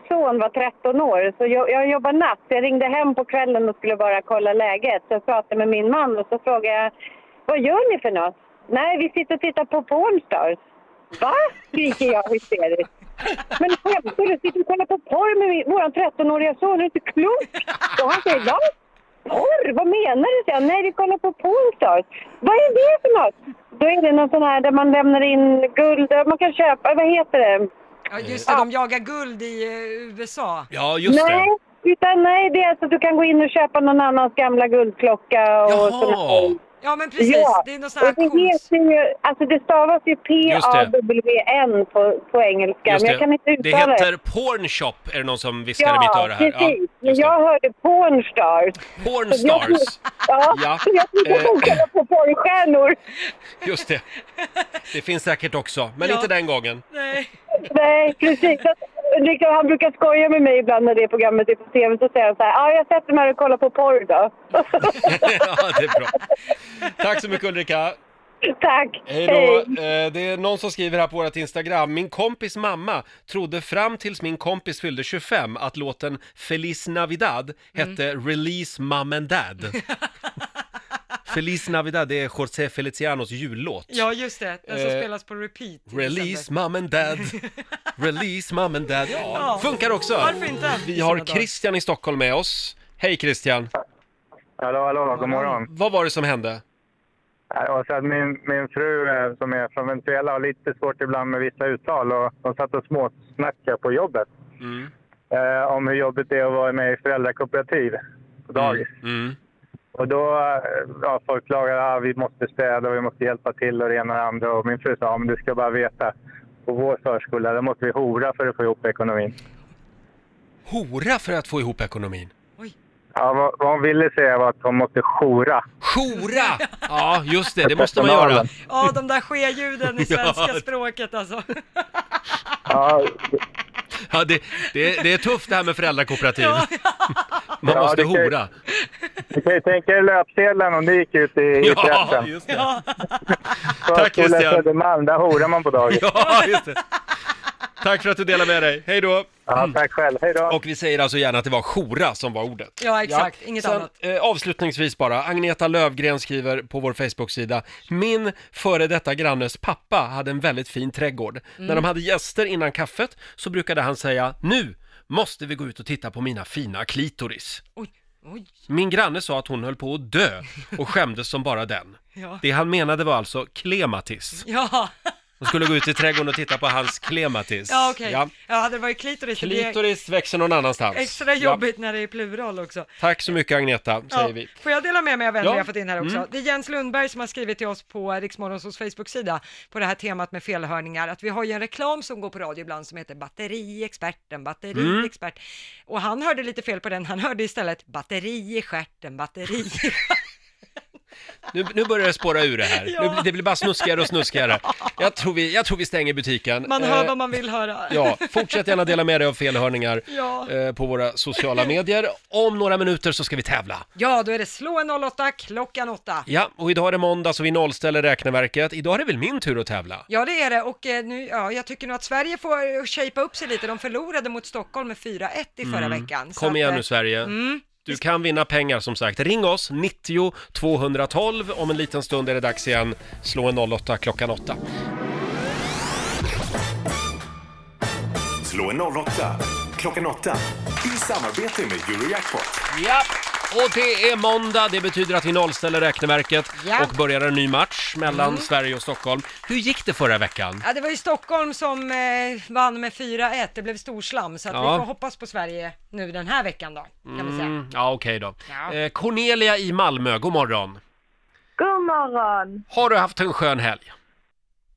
[SPEAKER 11] son var 13 år, så jag, jag jobbade natt. Jag ringde hem på kvällen och skulle bara kolla läget. Så jag pratade med min man och så frågade jag, vad gör ni för något? Nej, vi sitter och tittar på Pornstars. Va? skriker jag hysteriskt. Men skämtar du? Sitter du och kollar på porr med min, våran 13-åriga son? Är du inte klok? Och han säger, va? Porr? Vad menar du? säger jag. Nej, vi kollar på Pornstars. Vad är det för något? Då är det någon sån här där man lämnar in guld, där man kan köpa, vad heter det?
[SPEAKER 2] Ja, just det, de jagar guld i eh, USA.
[SPEAKER 1] Ja,
[SPEAKER 11] nej, Utan, nej, det är alltså att du kan gå in och köpa någon annans gamla guldklocka och sådana
[SPEAKER 2] Ja, men precis.
[SPEAKER 11] Ja,
[SPEAKER 2] Det är någon sån här
[SPEAKER 11] och det, heter ju, alltså det stavas ju P-A-W-N på, på engelska,
[SPEAKER 1] Just
[SPEAKER 11] men jag kan inte
[SPEAKER 1] det
[SPEAKER 11] uttala
[SPEAKER 1] heter Pornshop, är det någon som viskar i mitt
[SPEAKER 11] Ja,
[SPEAKER 1] öra här?
[SPEAKER 11] precis. Men jag hörde Pornstars.
[SPEAKER 1] Pornstars.
[SPEAKER 11] Ja,
[SPEAKER 1] Ja. eh,
[SPEAKER 11] så jag trodde att de kollade på porrstjärnor.
[SPEAKER 1] Ja, just det. Det finns säkert också, men
[SPEAKER 11] Ja.
[SPEAKER 1] inte den gången.
[SPEAKER 2] Nej.
[SPEAKER 11] Nej, precis. Att- Liksom, han brukar skoja med mig ibland när det programmet är på tv. Så säger han så här, ja, jag sätter mig här och kollar på porr då.
[SPEAKER 1] ja, det är bra. Tack så mycket Ulrika.
[SPEAKER 11] Tack.
[SPEAKER 1] Hej då. Eh, Det är någon som skriver här på vårt Instagram. Min kompis mamma trodde fram tills min kompis fyllde 25 att låten Feliz Navidad hette
[SPEAKER 2] Mm.
[SPEAKER 1] Release Mom and Dad. Feliz Navidad, det är José Felicianos jullåt.
[SPEAKER 2] Ja, just det. Den som
[SPEAKER 1] Eh,
[SPEAKER 2] spelas på repeat. i
[SPEAKER 1] Release
[SPEAKER 2] december.
[SPEAKER 1] mom and dad, release mom and dad. Ja,
[SPEAKER 2] Ja.
[SPEAKER 1] funkar också.
[SPEAKER 2] Varför inte?
[SPEAKER 1] Vi har Christian i Stockholm med oss. Hej Christian.
[SPEAKER 12] Hallå, hallå, god morgon.
[SPEAKER 1] Vad var det som hände?
[SPEAKER 12] Ja, det var så att min, min fru eh, som är från Venezuela har lite svårt ibland med vissa uttal och de satt och småsnackade på jobbet
[SPEAKER 1] Mm.
[SPEAKER 12] eh, om hur jobbigt det är att vara med i föräldrakooperativ på dagis.
[SPEAKER 1] Mm.
[SPEAKER 12] Och då, eh, ja, folk klagade att ah, vi måste städa och vi måste hjälpa till och det ena och det andra och min fru sa ah, men du ska bara veta på vår förskola där måste vi hora för att få ihop ekonomin.
[SPEAKER 1] Hora för att få ihop ekonomin.
[SPEAKER 12] Ja, vad, vad hon ville säga var att hon måste jora.
[SPEAKER 1] Jora! Ja, just det, det måste man göra.
[SPEAKER 2] Ja, de där skeljuden i svenska
[SPEAKER 1] Ja.
[SPEAKER 2] språket alltså.
[SPEAKER 12] Ja,
[SPEAKER 1] Ja, det, det, det är tufft det här med föräldrakooperativ. Man
[SPEAKER 12] Ja,
[SPEAKER 1] måste
[SPEAKER 12] det kan ju-
[SPEAKER 1] hora.
[SPEAKER 12] Ni kan ju tänka er löpsedlarna om ni gick ut i, i
[SPEAKER 1] Ja,
[SPEAKER 12] pressen.
[SPEAKER 1] just
[SPEAKER 12] det.
[SPEAKER 1] Tack, Christian.
[SPEAKER 12] Södermalm, där horar man på dagis.
[SPEAKER 1] Ja, just det. Tack för att du delar med dig. Hej då!
[SPEAKER 12] Ja, tack själv. Hej då!
[SPEAKER 1] Och vi säger alltså gärna att det var jora som var ordet.
[SPEAKER 2] Ja, exakt. Inget
[SPEAKER 1] Sen,
[SPEAKER 2] annat.
[SPEAKER 1] Eh, avslutningsvis bara, Agneta Lövgren skriver på vår Facebook-sida Min före detta grannes pappa hade en väldigt fin trädgård.
[SPEAKER 13] Mm.
[SPEAKER 1] När de hade gäster innan kaffet så brukade han säga Nu måste vi gå ut och titta på mina fina klitoris.
[SPEAKER 2] Oj, oj.
[SPEAKER 1] Min granne sa att hon höll på att dö och skämdes som bara den.
[SPEAKER 2] Ja.
[SPEAKER 1] Det han menade var alltså klematis.
[SPEAKER 2] Ja,
[SPEAKER 1] De skulle gå ut i trädgården och titta på hans klematis.
[SPEAKER 2] ja okej. Ja. hade det varit klitoris, det blir
[SPEAKER 1] Klitoris växer någon annanstans. Ja.
[SPEAKER 2] extra jobbigt när det är plural också.
[SPEAKER 1] Tack så mycket Agneta, säger vi.
[SPEAKER 2] Får jag dela med mig av en
[SPEAKER 1] Ja.
[SPEAKER 2] vi har fått in här också?
[SPEAKER 1] Mm.
[SPEAKER 2] Det är Jens Lundberg som har skrivit till oss på Riksmorgonsols Facebook-sida på det här temat med felhörningar, att vi har ju en reklam som går på radio ibland som heter batteriexperten,
[SPEAKER 1] Mm.
[SPEAKER 2] batteriexpert. Och han hörde lite fel på den, han hörde istället batteri i stjärten, batteri i
[SPEAKER 1] Nu, nu börjar det spåra ur det här.
[SPEAKER 2] Ja.
[SPEAKER 1] Nu, blir- det blir bara snuskigare och snuskigare. Jag tror vi, jag tror vi stänger butiken.
[SPEAKER 2] Man
[SPEAKER 1] Eh,
[SPEAKER 2] hör vad man vill höra.
[SPEAKER 1] Ja, fortsätt gärna dela med dig av felhörningar
[SPEAKER 2] Ja.
[SPEAKER 1] eh, på våra sociala medier. Om några minuter så ska vi tävla.
[SPEAKER 2] Ja, då är det slå en 08 klockan 8.
[SPEAKER 1] Ja, och idag är det måndag så vi nollställer räkneverket. Idag är det väl min tur att tävla?
[SPEAKER 2] Ja, det är det. Och eh, nu, ja, jag tycker nog att Sverige får eh, shapea upp sig lite. De förlorade mot Stockholm med 4-1 i förra
[SPEAKER 1] Mm.
[SPEAKER 2] veckan. Så
[SPEAKER 1] Kom
[SPEAKER 2] att,
[SPEAKER 1] igen
[SPEAKER 2] eh,
[SPEAKER 1] nu Sverige.
[SPEAKER 2] Mm.
[SPEAKER 1] Du kan vinna pengar som sagt. Ring oss, 90 212. Om en liten stund är det dags igen. Slå en 08 klockan 8.
[SPEAKER 3] Slå en 08 klockan 8 i samarbete med Eurojackpot.
[SPEAKER 1] Ja, och det är måndag. Det betyder att vi nollställer räkneverket
[SPEAKER 2] Ja.
[SPEAKER 1] och börjar en ny match mellan
[SPEAKER 2] Mm.
[SPEAKER 1] Sverige och Stockholm. Hur gick det förra veckan?
[SPEAKER 2] Ja, det var ju Stockholm som eh, vann med 4-1. Det blev storslam, så att
[SPEAKER 1] Ja.
[SPEAKER 2] vi får hoppas på Sverige nu den här veckan då, kan vi säga.
[SPEAKER 1] Mm, ja, okej då.
[SPEAKER 2] Ja.
[SPEAKER 1] Eh, Cornelia i Malmö, god morgon.
[SPEAKER 14] God morgon!
[SPEAKER 1] Har du haft en skön helg?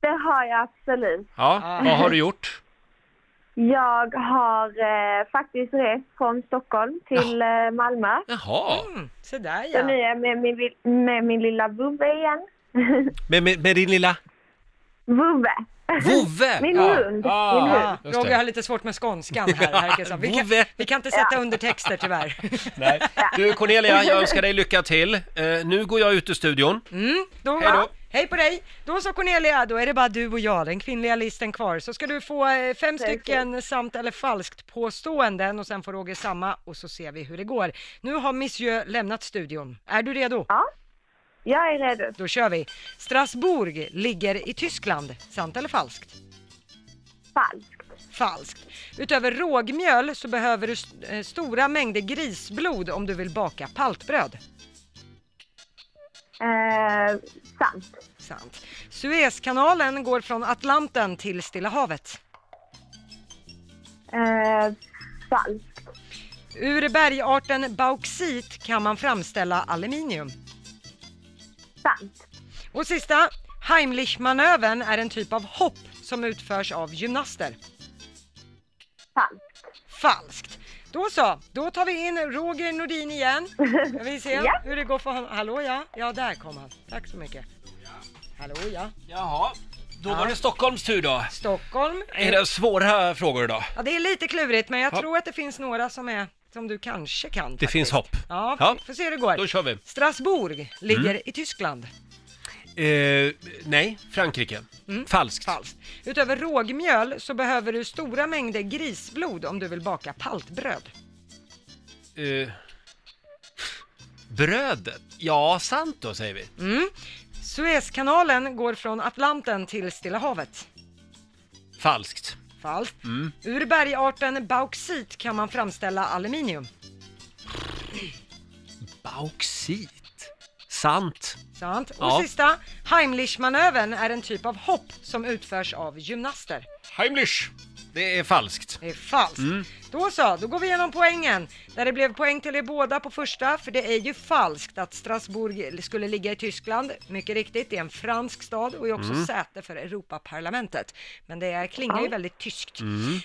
[SPEAKER 13] Det har jag absolut.
[SPEAKER 1] Ja, vad har du gjort?
[SPEAKER 13] Jag har eh, faktiskt rest från Stockholm till eh, Malmö.
[SPEAKER 1] Jaha,
[SPEAKER 2] Så där
[SPEAKER 13] Så nu är jag med min, vill- med min lilla vovve igen.
[SPEAKER 1] med, med, med din lilla...
[SPEAKER 13] Vovve!
[SPEAKER 1] Vovve!
[SPEAKER 13] Min
[SPEAKER 1] Ja. Ah.
[SPEAKER 13] hund! Min hund.
[SPEAKER 1] just det.
[SPEAKER 2] Roger har lite svårt med skånskan här. här vi, kan, vi kan inte sätta undertexter tyvärr.
[SPEAKER 1] Nej. Du Cornelia, jag önskar dig lycka till. Eh, nu går jag ut ur studion.
[SPEAKER 2] Mm, då,
[SPEAKER 1] Hej då.
[SPEAKER 2] Hej på dig! Då så Cornelia, då är det bara du och jag, den kvinnliga listen kvar. Så ska du få eh, fem stycken sant eller falskt påståenden och sen får Roger samma och så ser vi hur det går. Nu har Monsieur lämnat studion. Är du redo? Ja,
[SPEAKER 13] jag är redo.
[SPEAKER 2] Då kör vi. Strasbourg ligger i Tyskland. Sant eller falskt? Falskt. Falskt. Utöver rågmjöl så behöver du st- eh, stora mängder grisblod om du vill baka paltbröd.
[SPEAKER 13] Eh, sant.
[SPEAKER 2] Sant. Suezkanalen går från Atlanten till Stilla havet.
[SPEAKER 13] Eh, falskt.
[SPEAKER 2] Ur bergarten bauxit kan man framställa aluminium.
[SPEAKER 13] Sant.
[SPEAKER 2] Och sista, Heimlich-manövern är en typ av hopp som utförs av gymnaster.
[SPEAKER 13] Falskt.
[SPEAKER 2] Falskt. Då så, då tar vi in Roger Nordin igen. Ska vi se
[SPEAKER 4] Ja.
[SPEAKER 2] hur det går för honom. Hallå ja, ja där kom han. Tack så mycket. Hallå ja.
[SPEAKER 1] Jaha, Då var det Stockholms tur då.
[SPEAKER 2] Stockholm.
[SPEAKER 1] Är det svåra frågor idag?
[SPEAKER 2] Ja, det är lite klurigt men jag
[SPEAKER 1] Ja.
[SPEAKER 2] tror att det finns några som är som du kanske kan.
[SPEAKER 1] Det
[SPEAKER 2] faktiskt.
[SPEAKER 1] finns hopp.
[SPEAKER 2] Ja,
[SPEAKER 1] Ja.
[SPEAKER 2] får se hur det går.
[SPEAKER 1] Då kör vi.
[SPEAKER 2] Strasbourg ligger
[SPEAKER 1] Mm.
[SPEAKER 2] i Tyskland.
[SPEAKER 1] Eh, nej, Frankrike. Mm. Falskt.
[SPEAKER 2] Utöver rågmjöl så behöver du stora mängder grisblod om du vill baka paltbröd.
[SPEAKER 1] Eh, brödet? Ja, sant då säger vi.
[SPEAKER 2] Mm. Suezkanalen går från Atlanten till Stilla havet.
[SPEAKER 1] Falskt.
[SPEAKER 2] Falskt.
[SPEAKER 1] Mm.
[SPEAKER 2] Ur bergarten bauxit kan man framställa aluminium.
[SPEAKER 1] Bauxit. Sant.
[SPEAKER 2] Sant. Och
[SPEAKER 1] Ja.
[SPEAKER 2] sista, Heimlich-manövern är en typ av hopp som utförs av gymnaster.
[SPEAKER 1] Heimlich. Det är falskt.
[SPEAKER 2] Det är falskt.
[SPEAKER 1] Mm.
[SPEAKER 2] Då så, då går vi igenom poängen. Där det blev poäng till er båda på första, för det är ju falskt att Strasbourg skulle ligga i Tyskland. Mycket riktigt, det är en fransk stad och är också
[SPEAKER 4] Mm.
[SPEAKER 2] säte för Europaparlamentet. Men det är- klingar ju
[SPEAKER 4] Ja. Mm.
[SPEAKER 2] väldigt tyskt.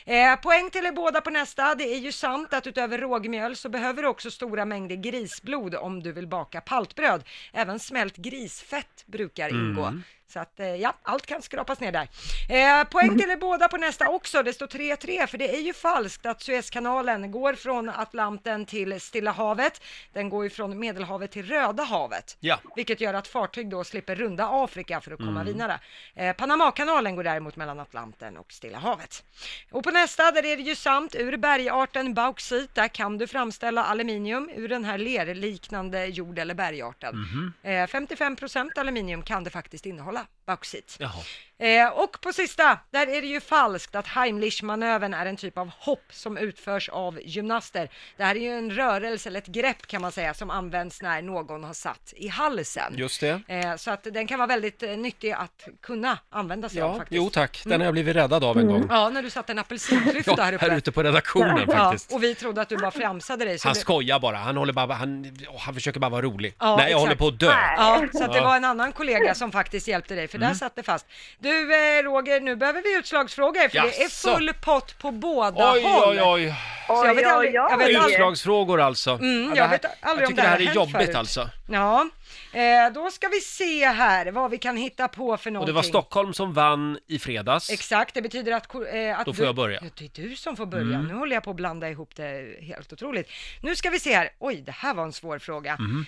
[SPEAKER 2] Eh, poäng till er båda på nästa. Det är ju sant att utöver rågmjöl så behöver du också stora mängder grisblod om du vill baka paltbröd. Även smält grisfett brukar ingå.
[SPEAKER 4] Mm.
[SPEAKER 2] Så att eh, ja, allt kan skrapas ner där. Eh, poäng till er båda på nästa också. Det står 3-3 för det är ju falskt att Suezkanalen går från Atlanten till Stilla havet. Den går ju från Medelhavet till Röda havet.
[SPEAKER 1] Ja.
[SPEAKER 2] Vilket gör att fartyg då slipper runda Afrika för att komma
[SPEAKER 1] Mm.
[SPEAKER 2] vidare. Eh, Panamakanalen går däremot mellan Atlanten och Stilla havet. Och på nästa, där är det ju sant, ur bergarten bauxit, där kan du framställa aluminium ur den här lerliknande jord eller bergarten.
[SPEAKER 4] Mhm.
[SPEAKER 2] Eh, 55% aluminium kan det faktiskt innehålla, bauxit.
[SPEAKER 1] Jaha.
[SPEAKER 2] Eh, och på sista, där är det ju falskt att Heimlich-manövern är en typ av hopp som utförs av gymnaster. Det här är ju en rörelse eller ett grepp kan man säga som används när någon har satt i halsen.
[SPEAKER 1] Just det.
[SPEAKER 2] Eh, så att den kan vara väldigt eh, nyttig att kunna använda sig av
[SPEAKER 1] Ja,
[SPEAKER 2] faktiskt.
[SPEAKER 1] jo tack. Den
[SPEAKER 2] Mm.
[SPEAKER 1] har jag blivit räddad av en gång.
[SPEAKER 2] Ja, när du satte en apelsinklyfta
[SPEAKER 1] Ja,
[SPEAKER 2] här uppe.
[SPEAKER 1] här ute på redaktionen faktiskt.
[SPEAKER 2] Ja, och vi trodde att du bara framsade dig. så
[SPEAKER 1] Han
[SPEAKER 2] det-
[SPEAKER 1] skojar bara. Han, håller bara, han, åh, han försöker bara vara rolig.
[SPEAKER 2] Ja,
[SPEAKER 1] Nej, jag
[SPEAKER 2] exakt.
[SPEAKER 1] håller på att dö.
[SPEAKER 2] Ja, så att det
[SPEAKER 1] Ja.
[SPEAKER 2] var en annan kollega som faktiskt hjälpte dig, för där
[SPEAKER 1] Mm.
[SPEAKER 2] satt det fast. Du eh, Roger, nu behöver vi utslagsfrågor, för det är
[SPEAKER 1] Jaså?
[SPEAKER 2] full pott på båda
[SPEAKER 1] Oj,
[SPEAKER 2] håll.
[SPEAKER 1] oj, oj.
[SPEAKER 2] Så jag vet
[SPEAKER 4] Oj,
[SPEAKER 2] aldrig,
[SPEAKER 4] oj, oj.
[SPEAKER 2] jag vet aldrig.
[SPEAKER 1] Utslagsfrågor alltså.
[SPEAKER 2] Mm,
[SPEAKER 1] Ja, det
[SPEAKER 2] jag
[SPEAKER 1] här-
[SPEAKER 2] vet aldrig
[SPEAKER 1] jag tycker
[SPEAKER 2] om
[SPEAKER 1] det
[SPEAKER 2] det här
[SPEAKER 1] här är
[SPEAKER 2] har hänt
[SPEAKER 1] jobbigt
[SPEAKER 2] förut.
[SPEAKER 1] alltså.
[SPEAKER 2] Ja, eh, då ska vi se här vad vi kan hitta på för någonting.
[SPEAKER 1] Och det var Stockholm som vann i fredags.
[SPEAKER 2] Exakt, det betyder att... ko- Eh, att
[SPEAKER 1] Då får jag börja.
[SPEAKER 2] Du, det är du som får börja.
[SPEAKER 1] Mm.
[SPEAKER 2] Nu håller jag på att blanda ihop det helt otroligt. Nu ska vi se här. Oj, det här var en svår fråga.
[SPEAKER 1] Mm.
[SPEAKER 4] Mhm.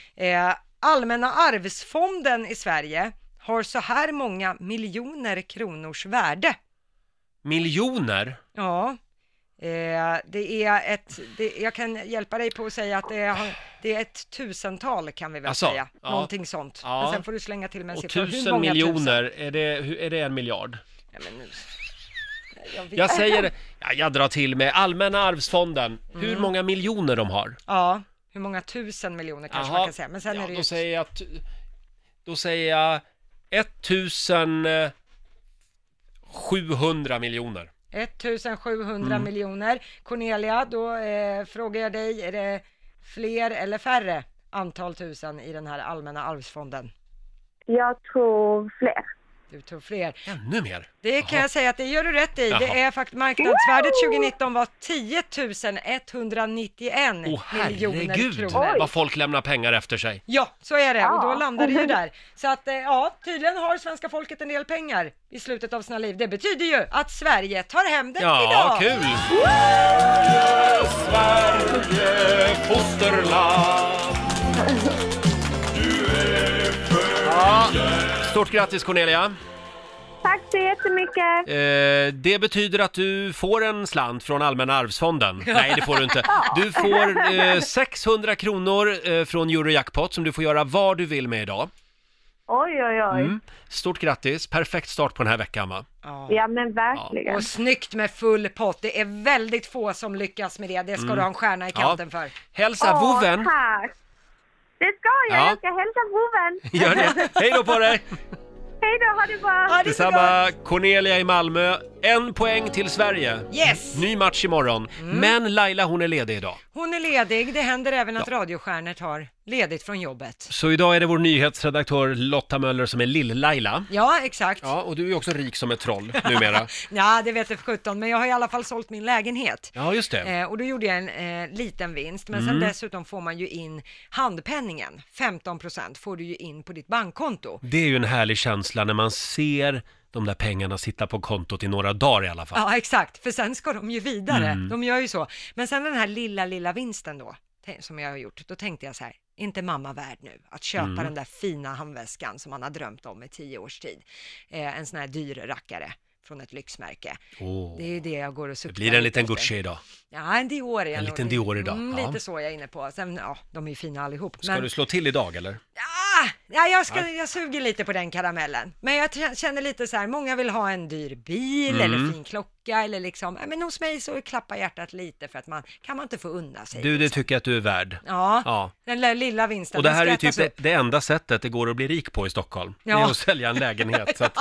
[SPEAKER 2] Eh, Allmänna arvsfonden i Sverige har så här många miljoner kronors värde.
[SPEAKER 1] Miljoner?
[SPEAKER 2] Ja, eh, det är ett... Det, jag kan hjälpa dig på att säga att det är, det är ett tusental kan vi väl
[SPEAKER 1] Alltså,
[SPEAKER 2] säga.
[SPEAKER 1] ja.
[SPEAKER 2] Någonting sånt.
[SPEAKER 1] Ja.
[SPEAKER 2] Men sen får du slänga till med en
[SPEAKER 1] Och
[SPEAKER 2] siffra. Hur
[SPEAKER 1] tusen
[SPEAKER 2] många tusen?
[SPEAKER 1] miljoner, Är, det, hur- är det en miljard?
[SPEAKER 2] Ja, men nu... Jag, vet-
[SPEAKER 1] Jag säger, ja, jag drar till med Allmänna arvsfonden, hur
[SPEAKER 2] Mm.
[SPEAKER 1] många miljoner de har.
[SPEAKER 2] Ja, hur många tusen miljoner kanske
[SPEAKER 1] Jaha.
[SPEAKER 2] man kan säga. Men sen
[SPEAKER 1] Ja,
[SPEAKER 2] är det
[SPEAKER 1] då
[SPEAKER 2] ju...
[SPEAKER 1] säger jag, att- då säger jag 1700 miljoner.
[SPEAKER 2] 1700
[SPEAKER 1] Mm.
[SPEAKER 2] miljoner. Cornelia, då eh, frågar jag dig, är det fler eller färre antal tusen i den här allmänna arvsfonden?
[SPEAKER 13] Jag tror fler.
[SPEAKER 2] Du tog fler.
[SPEAKER 1] Ännu mer?
[SPEAKER 2] Det kan jag säga att det gör du rätt i.
[SPEAKER 1] Jaha.
[SPEAKER 2] Det är faktiskt marknadsvärdet 2019 var 10 191
[SPEAKER 1] Åh
[SPEAKER 2] miljoner
[SPEAKER 1] herregud
[SPEAKER 2] kronor.
[SPEAKER 1] vad folk lämnar pengar efter sig.
[SPEAKER 2] Ja, så är det och då
[SPEAKER 1] Ja.
[SPEAKER 2] landar det ju där. Så att eh, ja, tydligen har svenska folket en del pengar i slutet av sina liv. Det betyder ju att Sverige tar hem det
[SPEAKER 1] Ja,
[SPEAKER 2] idag.
[SPEAKER 1] kul. Sverige, fosterland. Ja, stort grattis Cornelia.
[SPEAKER 13] Tack så jättemycket!
[SPEAKER 1] Eh, det betyder att du får en slant från Allmänna arvsfonden. Nej, det får du inte. Du får eh, 600 kronor eh, från Eurojackpot som du får göra vad du vill med idag.
[SPEAKER 13] Oj, oj, oj.
[SPEAKER 1] Mm. Stort grattis, perfekt start på den här veckan va?
[SPEAKER 13] Ja, men verkligen.
[SPEAKER 2] Och snyggt med full pott. Det är väldigt få som lyckas med det. Det ska
[SPEAKER 1] Mm.
[SPEAKER 2] du ha en stjärna i
[SPEAKER 1] Ja.
[SPEAKER 2] kanten för.
[SPEAKER 1] Hälsa
[SPEAKER 13] Åh,
[SPEAKER 1] vovven.
[SPEAKER 13] tack! Det ska jag!
[SPEAKER 1] Ja.
[SPEAKER 13] Jag ska hälsa vovven!
[SPEAKER 1] Gör det. Hej då på dig!
[SPEAKER 13] Hej då, ha det bra!
[SPEAKER 1] Detsamma, Cornelia i Malmö. En poäng till Sverige.
[SPEAKER 2] Yes! Mm.
[SPEAKER 1] Ny match imorgon. Men Laila hon är ledig idag.
[SPEAKER 2] Hon är ledig. Det händer även att radiostjärnor tar ledigt från jobbet.
[SPEAKER 1] Så idag är det vår nyhetsredaktör Lotta Möller som är lill-Laila.
[SPEAKER 2] Ja, exakt.
[SPEAKER 1] Ja, och du är också rik som ett troll numera.
[SPEAKER 2] Ja, det vet jag för sjutton, men jag har i alla fall sålt min lägenhet.
[SPEAKER 1] Ja, just det.
[SPEAKER 2] Eh, och då gjorde jag en eh, liten vinst, men sen
[SPEAKER 1] Mm.
[SPEAKER 2] dessutom får man ju in handpenningen, 15 procent får du ju in på ditt bankkonto.
[SPEAKER 1] Det är ju en härlig känsla när man ser de där pengarna sitta på kontot i några dagar i alla fall.
[SPEAKER 2] Ja, exakt, för sen ska de ju vidare,
[SPEAKER 1] Mm.
[SPEAKER 2] de gör ju så. Men sen den här lilla, lilla vinsten då, te- som jag har gjort, då tänkte jag så här, inte mamma värd nu att köpa
[SPEAKER 1] Mm.
[SPEAKER 2] den där fina handväskan som man har drömt om i tio års tid. Eh, en sån här dyr rackare från ett lyxmärke.
[SPEAKER 1] Åh,
[SPEAKER 2] Det är ju det jag går och
[SPEAKER 1] det
[SPEAKER 2] suktar
[SPEAKER 1] blir en liten
[SPEAKER 2] efter.
[SPEAKER 1] Gucci idag.
[SPEAKER 2] Ja, en Dior är jag
[SPEAKER 1] En
[SPEAKER 2] nog.
[SPEAKER 1] liten Dior idag,
[SPEAKER 2] Mm,
[SPEAKER 1] ja.
[SPEAKER 2] Lite så jag är inne på. Sen, ja, de är ju fina allihop.
[SPEAKER 1] Ska
[SPEAKER 2] men,
[SPEAKER 1] du slå till idag eller?
[SPEAKER 2] ah, ja, jag, ska,
[SPEAKER 1] Nej.
[SPEAKER 2] jag suger lite på den karamellen. Men jag t- känner lite så här, många vill ha en dyr
[SPEAKER 1] Mm.
[SPEAKER 2] bil eller fin klocka eller liksom, ja, men hos mig så klappar hjärtat lite för att man, kan man inte få unna sig.
[SPEAKER 1] Du, det tycker jag att du är värd.
[SPEAKER 2] Ja,
[SPEAKER 1] Ja.
[SPEAKER 2] den där lilla vinsten.
[SPEAKER 1] Och det
[SPEAKER 2] den
[SPEAKER 1] här är ju
[SPEAKER 2] ska
[SPEAKER 1] typ
[SPEAKER 2] ätas
[SPEAKER 1] det,
[SPEAKER 2] upp.
[SPEAKER 1] det enda sättet det går att bli rik på i Stockholm. Det
[SPEAKER 2] Ja.
[SPEAKER 1] är att sälja en lägenhet. Så, att,